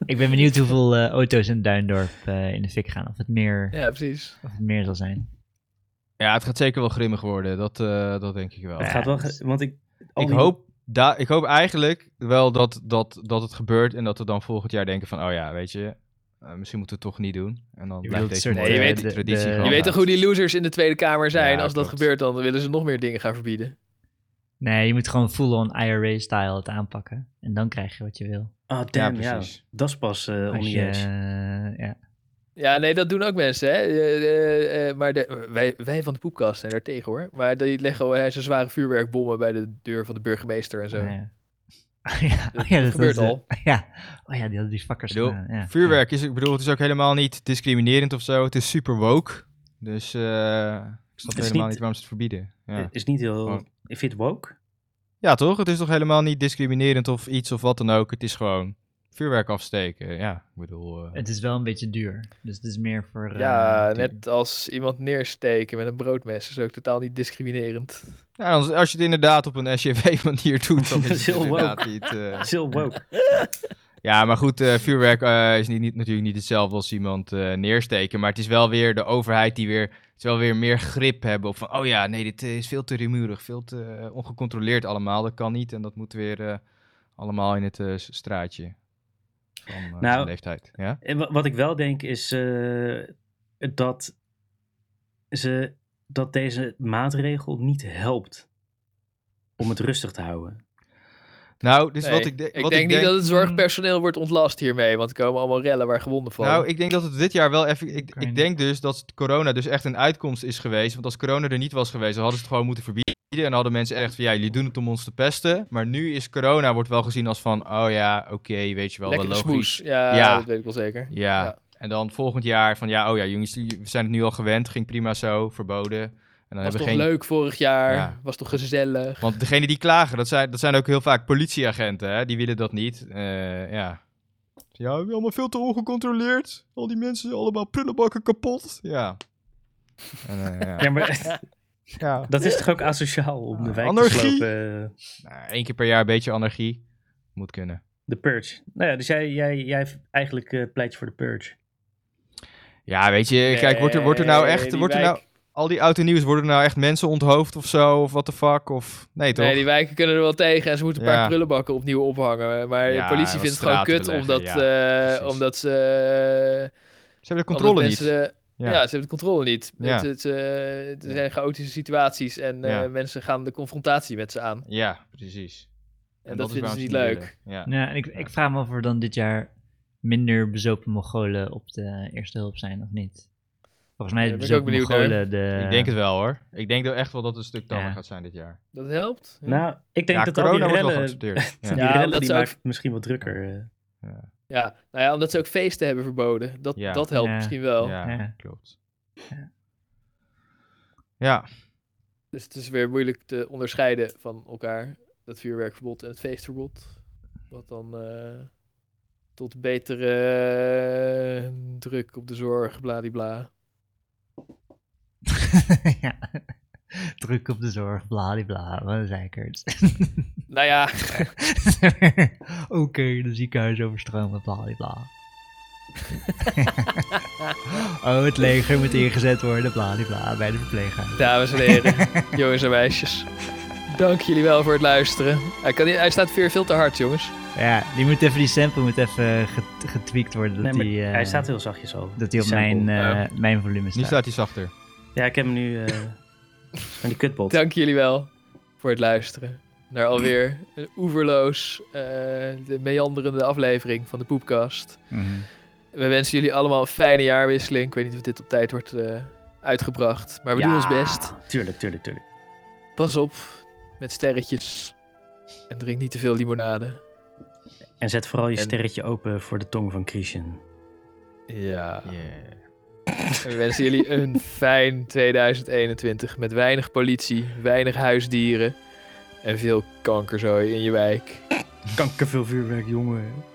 Ik ben benieuwd hoeveel eh, auto's in Duindorp eh, in de fik gaan. Of het, meer,
ja, precies.
of het meer zal zijn.
ja, het gaat zeker wel grimmig worden. Dat, eh, dat denk ik wel.
Het gaat wel,
dus-
ge- want ik... al
ik
die-
hoop daar, ik hoop eigenlijk wel dat, dat, dat het gebeurt en dat we dan volgend jaar denken van, oh ja, weet je, eh, misschien moeten we het toch niet doen. En dan
Je bedoelt
blijft deze
een soort,
mooie
eh, Nee, je
weet-
traditie
de-
gewoon
Je weet toch hoe die losers in de Tweede Kamer zijn?
Ja,
Als dat
klopt.
gebeurt, dan willen ze nog meer dingen gaan verbieden.
Nee, je moet gewoon full-on IRA-style het aanpakken. En dan krijg je wat je wil.
Ah, damn, ja.
precies.
Dat is pas eh on
Als
the
je,
edge.
eh, ja.
Ja, nee, dat doen ook mensen. Hè? Eh, eh, eh, maar de, wij, wij van de poepkast zijn daar tegen hoor. Maar die leggen wel, eh, zo'n zware vuurwerkbommen bij de deur van de burgemeester en zo.
Ah, ja. Ah, ja.
Dat
Oh, ja, dat
gebeurt
was, eh,
al.
Ja. Oh ja, die hadden die fuckers
Ik bedoel,
gedaan, ja.
Vuurwerk is, ik bedoel, het is ook helemaal niet discriminerend of zo. Het is super woke. Dus eh, ik snap
Het is
helemaal
niet-
niet waarom ze het verbieden. eh, Ja.
Is niet heel...
Oh.
Ik vind het woke.
ja, toch? Het is toch helemaal niet discriminerend of iets of wat dan ook. Het is gewoon vuurwerk afsteken. Ja, ik bedoel. eh,
Het is wel een beetje duur. Dus het is meer voor... eh,
Ja,
tuurlijk.
net als iemand neersteken met een broodmes is ook totaal niet discriminerend.
ja, als, als je het inderdaad op een SJV-manier doet, dan
Dat
is
is
het
heel
inderdaad
woke.
niet... eh,
Het is heel woke.
Ja, maar goed, eh, vuurwerk eh, is niet, niet, natuurlijk niet hetzelfde als iemand eh, neersteken. Maar het is wel weer de overheid die weer, het is wel weer meer grip hebben op van... Oh ja, nee, dit eh, is veel te rumoerig, veel te eh, ongecontroleerd allemaal. Dat kan niet en dat moet weer eh, allemaal in het eh, s- straatje van eh,
Nou,
zijn leeftijd. Ja?
En wa- wat ik wel denk is eh, dat, ze, dat deze maatregel niet helpt om het rustig te houden.
Nou, dus
Nee,
wat ik, de-
ik
wat
denk niet dat het zorgpersoneel wordt ontlast hiermee, want er komen allemaal rellen waar gewonden vallen.
Nou, ik denk dat het dit jaar wel even. Ik,
Oekraïne.
ik denk dus dat corona dus echt een uitkomst is geweest. Want als corona er niet was geweest, dan hadden ze het gewoon moeten verbieden. En dan hadden mensen echt van ja, jullie doen het om ons te pesten. Maar nu is corona wordt wel gezien als van oh ja, oké, weet je wel, wel
Lekker
logisch.
smoes. Ja,
Ja.
dat weet ik wel zeker.
Ja.
Ja.
En dan volgend jaar van ja, oh ja, jongens, jullie- we zijn het nu al gewend, ging prima zo, verboden. En dan
was
hebben we
toch
geen.
leuk vorig jaar?
Ja.
Was toch gezellig?
Want degene die klagen, dat zijn, dat zijn ook heel vaak politieagenten, hè? die willen dat niet. Eh, ja. Ja, allemaal veel te ongecontroleerd. Al die mensen, allemaal prullenbakken kapot. Ja. En, eh, ja.
Ja, maar
ja.
dat is toch ook asociaal om de wijk te
Anarchie.
slopen? eh,
Nou, één keer per jaar een beetje anarchie. Moet kunnen.
De purge. Nou ja, dus jij, jij, jij eigenlijk eh, pleit je voor de purge.
Ja, weet je, kijk, wordt er, wordt er nou
Nee,
echt,
die
wordt er
wijk-
nou, al die oud en nieuws, worden er nou echt mensen onthoofd of zo? Of what the fuck? Of, nee toch?
Nee, die wijken kunnen er wel tegen en ze moeten een paar
Ja.
prullenbakken opnieuw ophangen. Maar
Ja,
de politie
wat
vindt het gewoon
straten
kut
beleggen,
omdat,
ja,
eh,
precies.
omdat ze... eh,
Ze hebben de
omdat
controle niet.
mensen de- ja.
Ja.
ze hebben de controle niet.
Ja.
Het, het, eh, er zijn chaotische situaties en eh,
Ja.
mensen gaan de confrontatie met ze aan. En,
Ja, precies.
dat,
is
vinden
waarom
ze niet
het
leuk.
willen. Ja.
Ja, en ik, ik vraag me af of er dan dit jaar minder bezopen Mongolen op de eerste hulp zijn of niet. Volgens mij
Ja,
is
ben ik ook
bezopen
benieuwd naar.
Mongolen de...
Ik denk het wel hoor. Ik denk dat echt wel dat het een stuk tammer
Ja.
gaat zijn dit jaar.
Dat helpt. Ja.
Nou, ik denk
ja,
dat al die
corona wordt wel
rellen, die
geaccepteerd. Ja.
Ja,
rellen
dat
die
zou
maakt het misschien wat drukker. eh.
Ja, nou ja, omdat ze ook feesten hebben verboden. Dat,
Ja.
dat helpt
Ja.
misschien wel.
Ja,
Ja.
klopt.
Ja.
Ja,
Dus het is weer moeilijk te onderscheiden van elkaar. Dat vuurwerkverbod en het feestverbod. Wat dan eh, tot betere eh, druk op de zorg, bladibla.
ja. Druk op de zorg, bladibla, wat een zeikert.
Nou ja,
Oké, de ziekenhuis overstromen, bladibla. oh, het leger moet ingezet worden, bladibla, bij de verpleeghuis.
dames en heren, jongens en meisjes. Dank jullie wel voor het luisteren. Hij, kan niet, hij staat weer veel te hard, jongens.
Ja, die moet even, die sample moet even get- getweakt worden. Dat
Nee, maar
die, eh,
hij staat heel zachtjes al.
Dat hij op
Sample.
mijn, eh, mijn volume
nu
staat.
staat hij zachter.
Ja, ik heb hem nu eh, aan die kutbot.
Dank jullie wel voor het luisteren. Naar alweer een oeverloos, eh, de meanderende aflevering van de Poepkast.
Mhm.
We wensen jullie allemaal een fijne jaarwisseling. Ik weet niet of dit op tijd wordt eh, uitgebracht, maar we doen ons best.
Tuurlijk, tuurlijk, tuurlijk.
Pas op met sterretjes. En drink niet te veel limonade.
En zet vooral je
En-
sterretje open voor de tong van Christian.
Ja.
Yeah.
We wensen jullie een fijn 2021 met weinig politie, weinig huisdieren en veel kankerzooi in je wijk.
Kankerveel vuurwerk, jongen.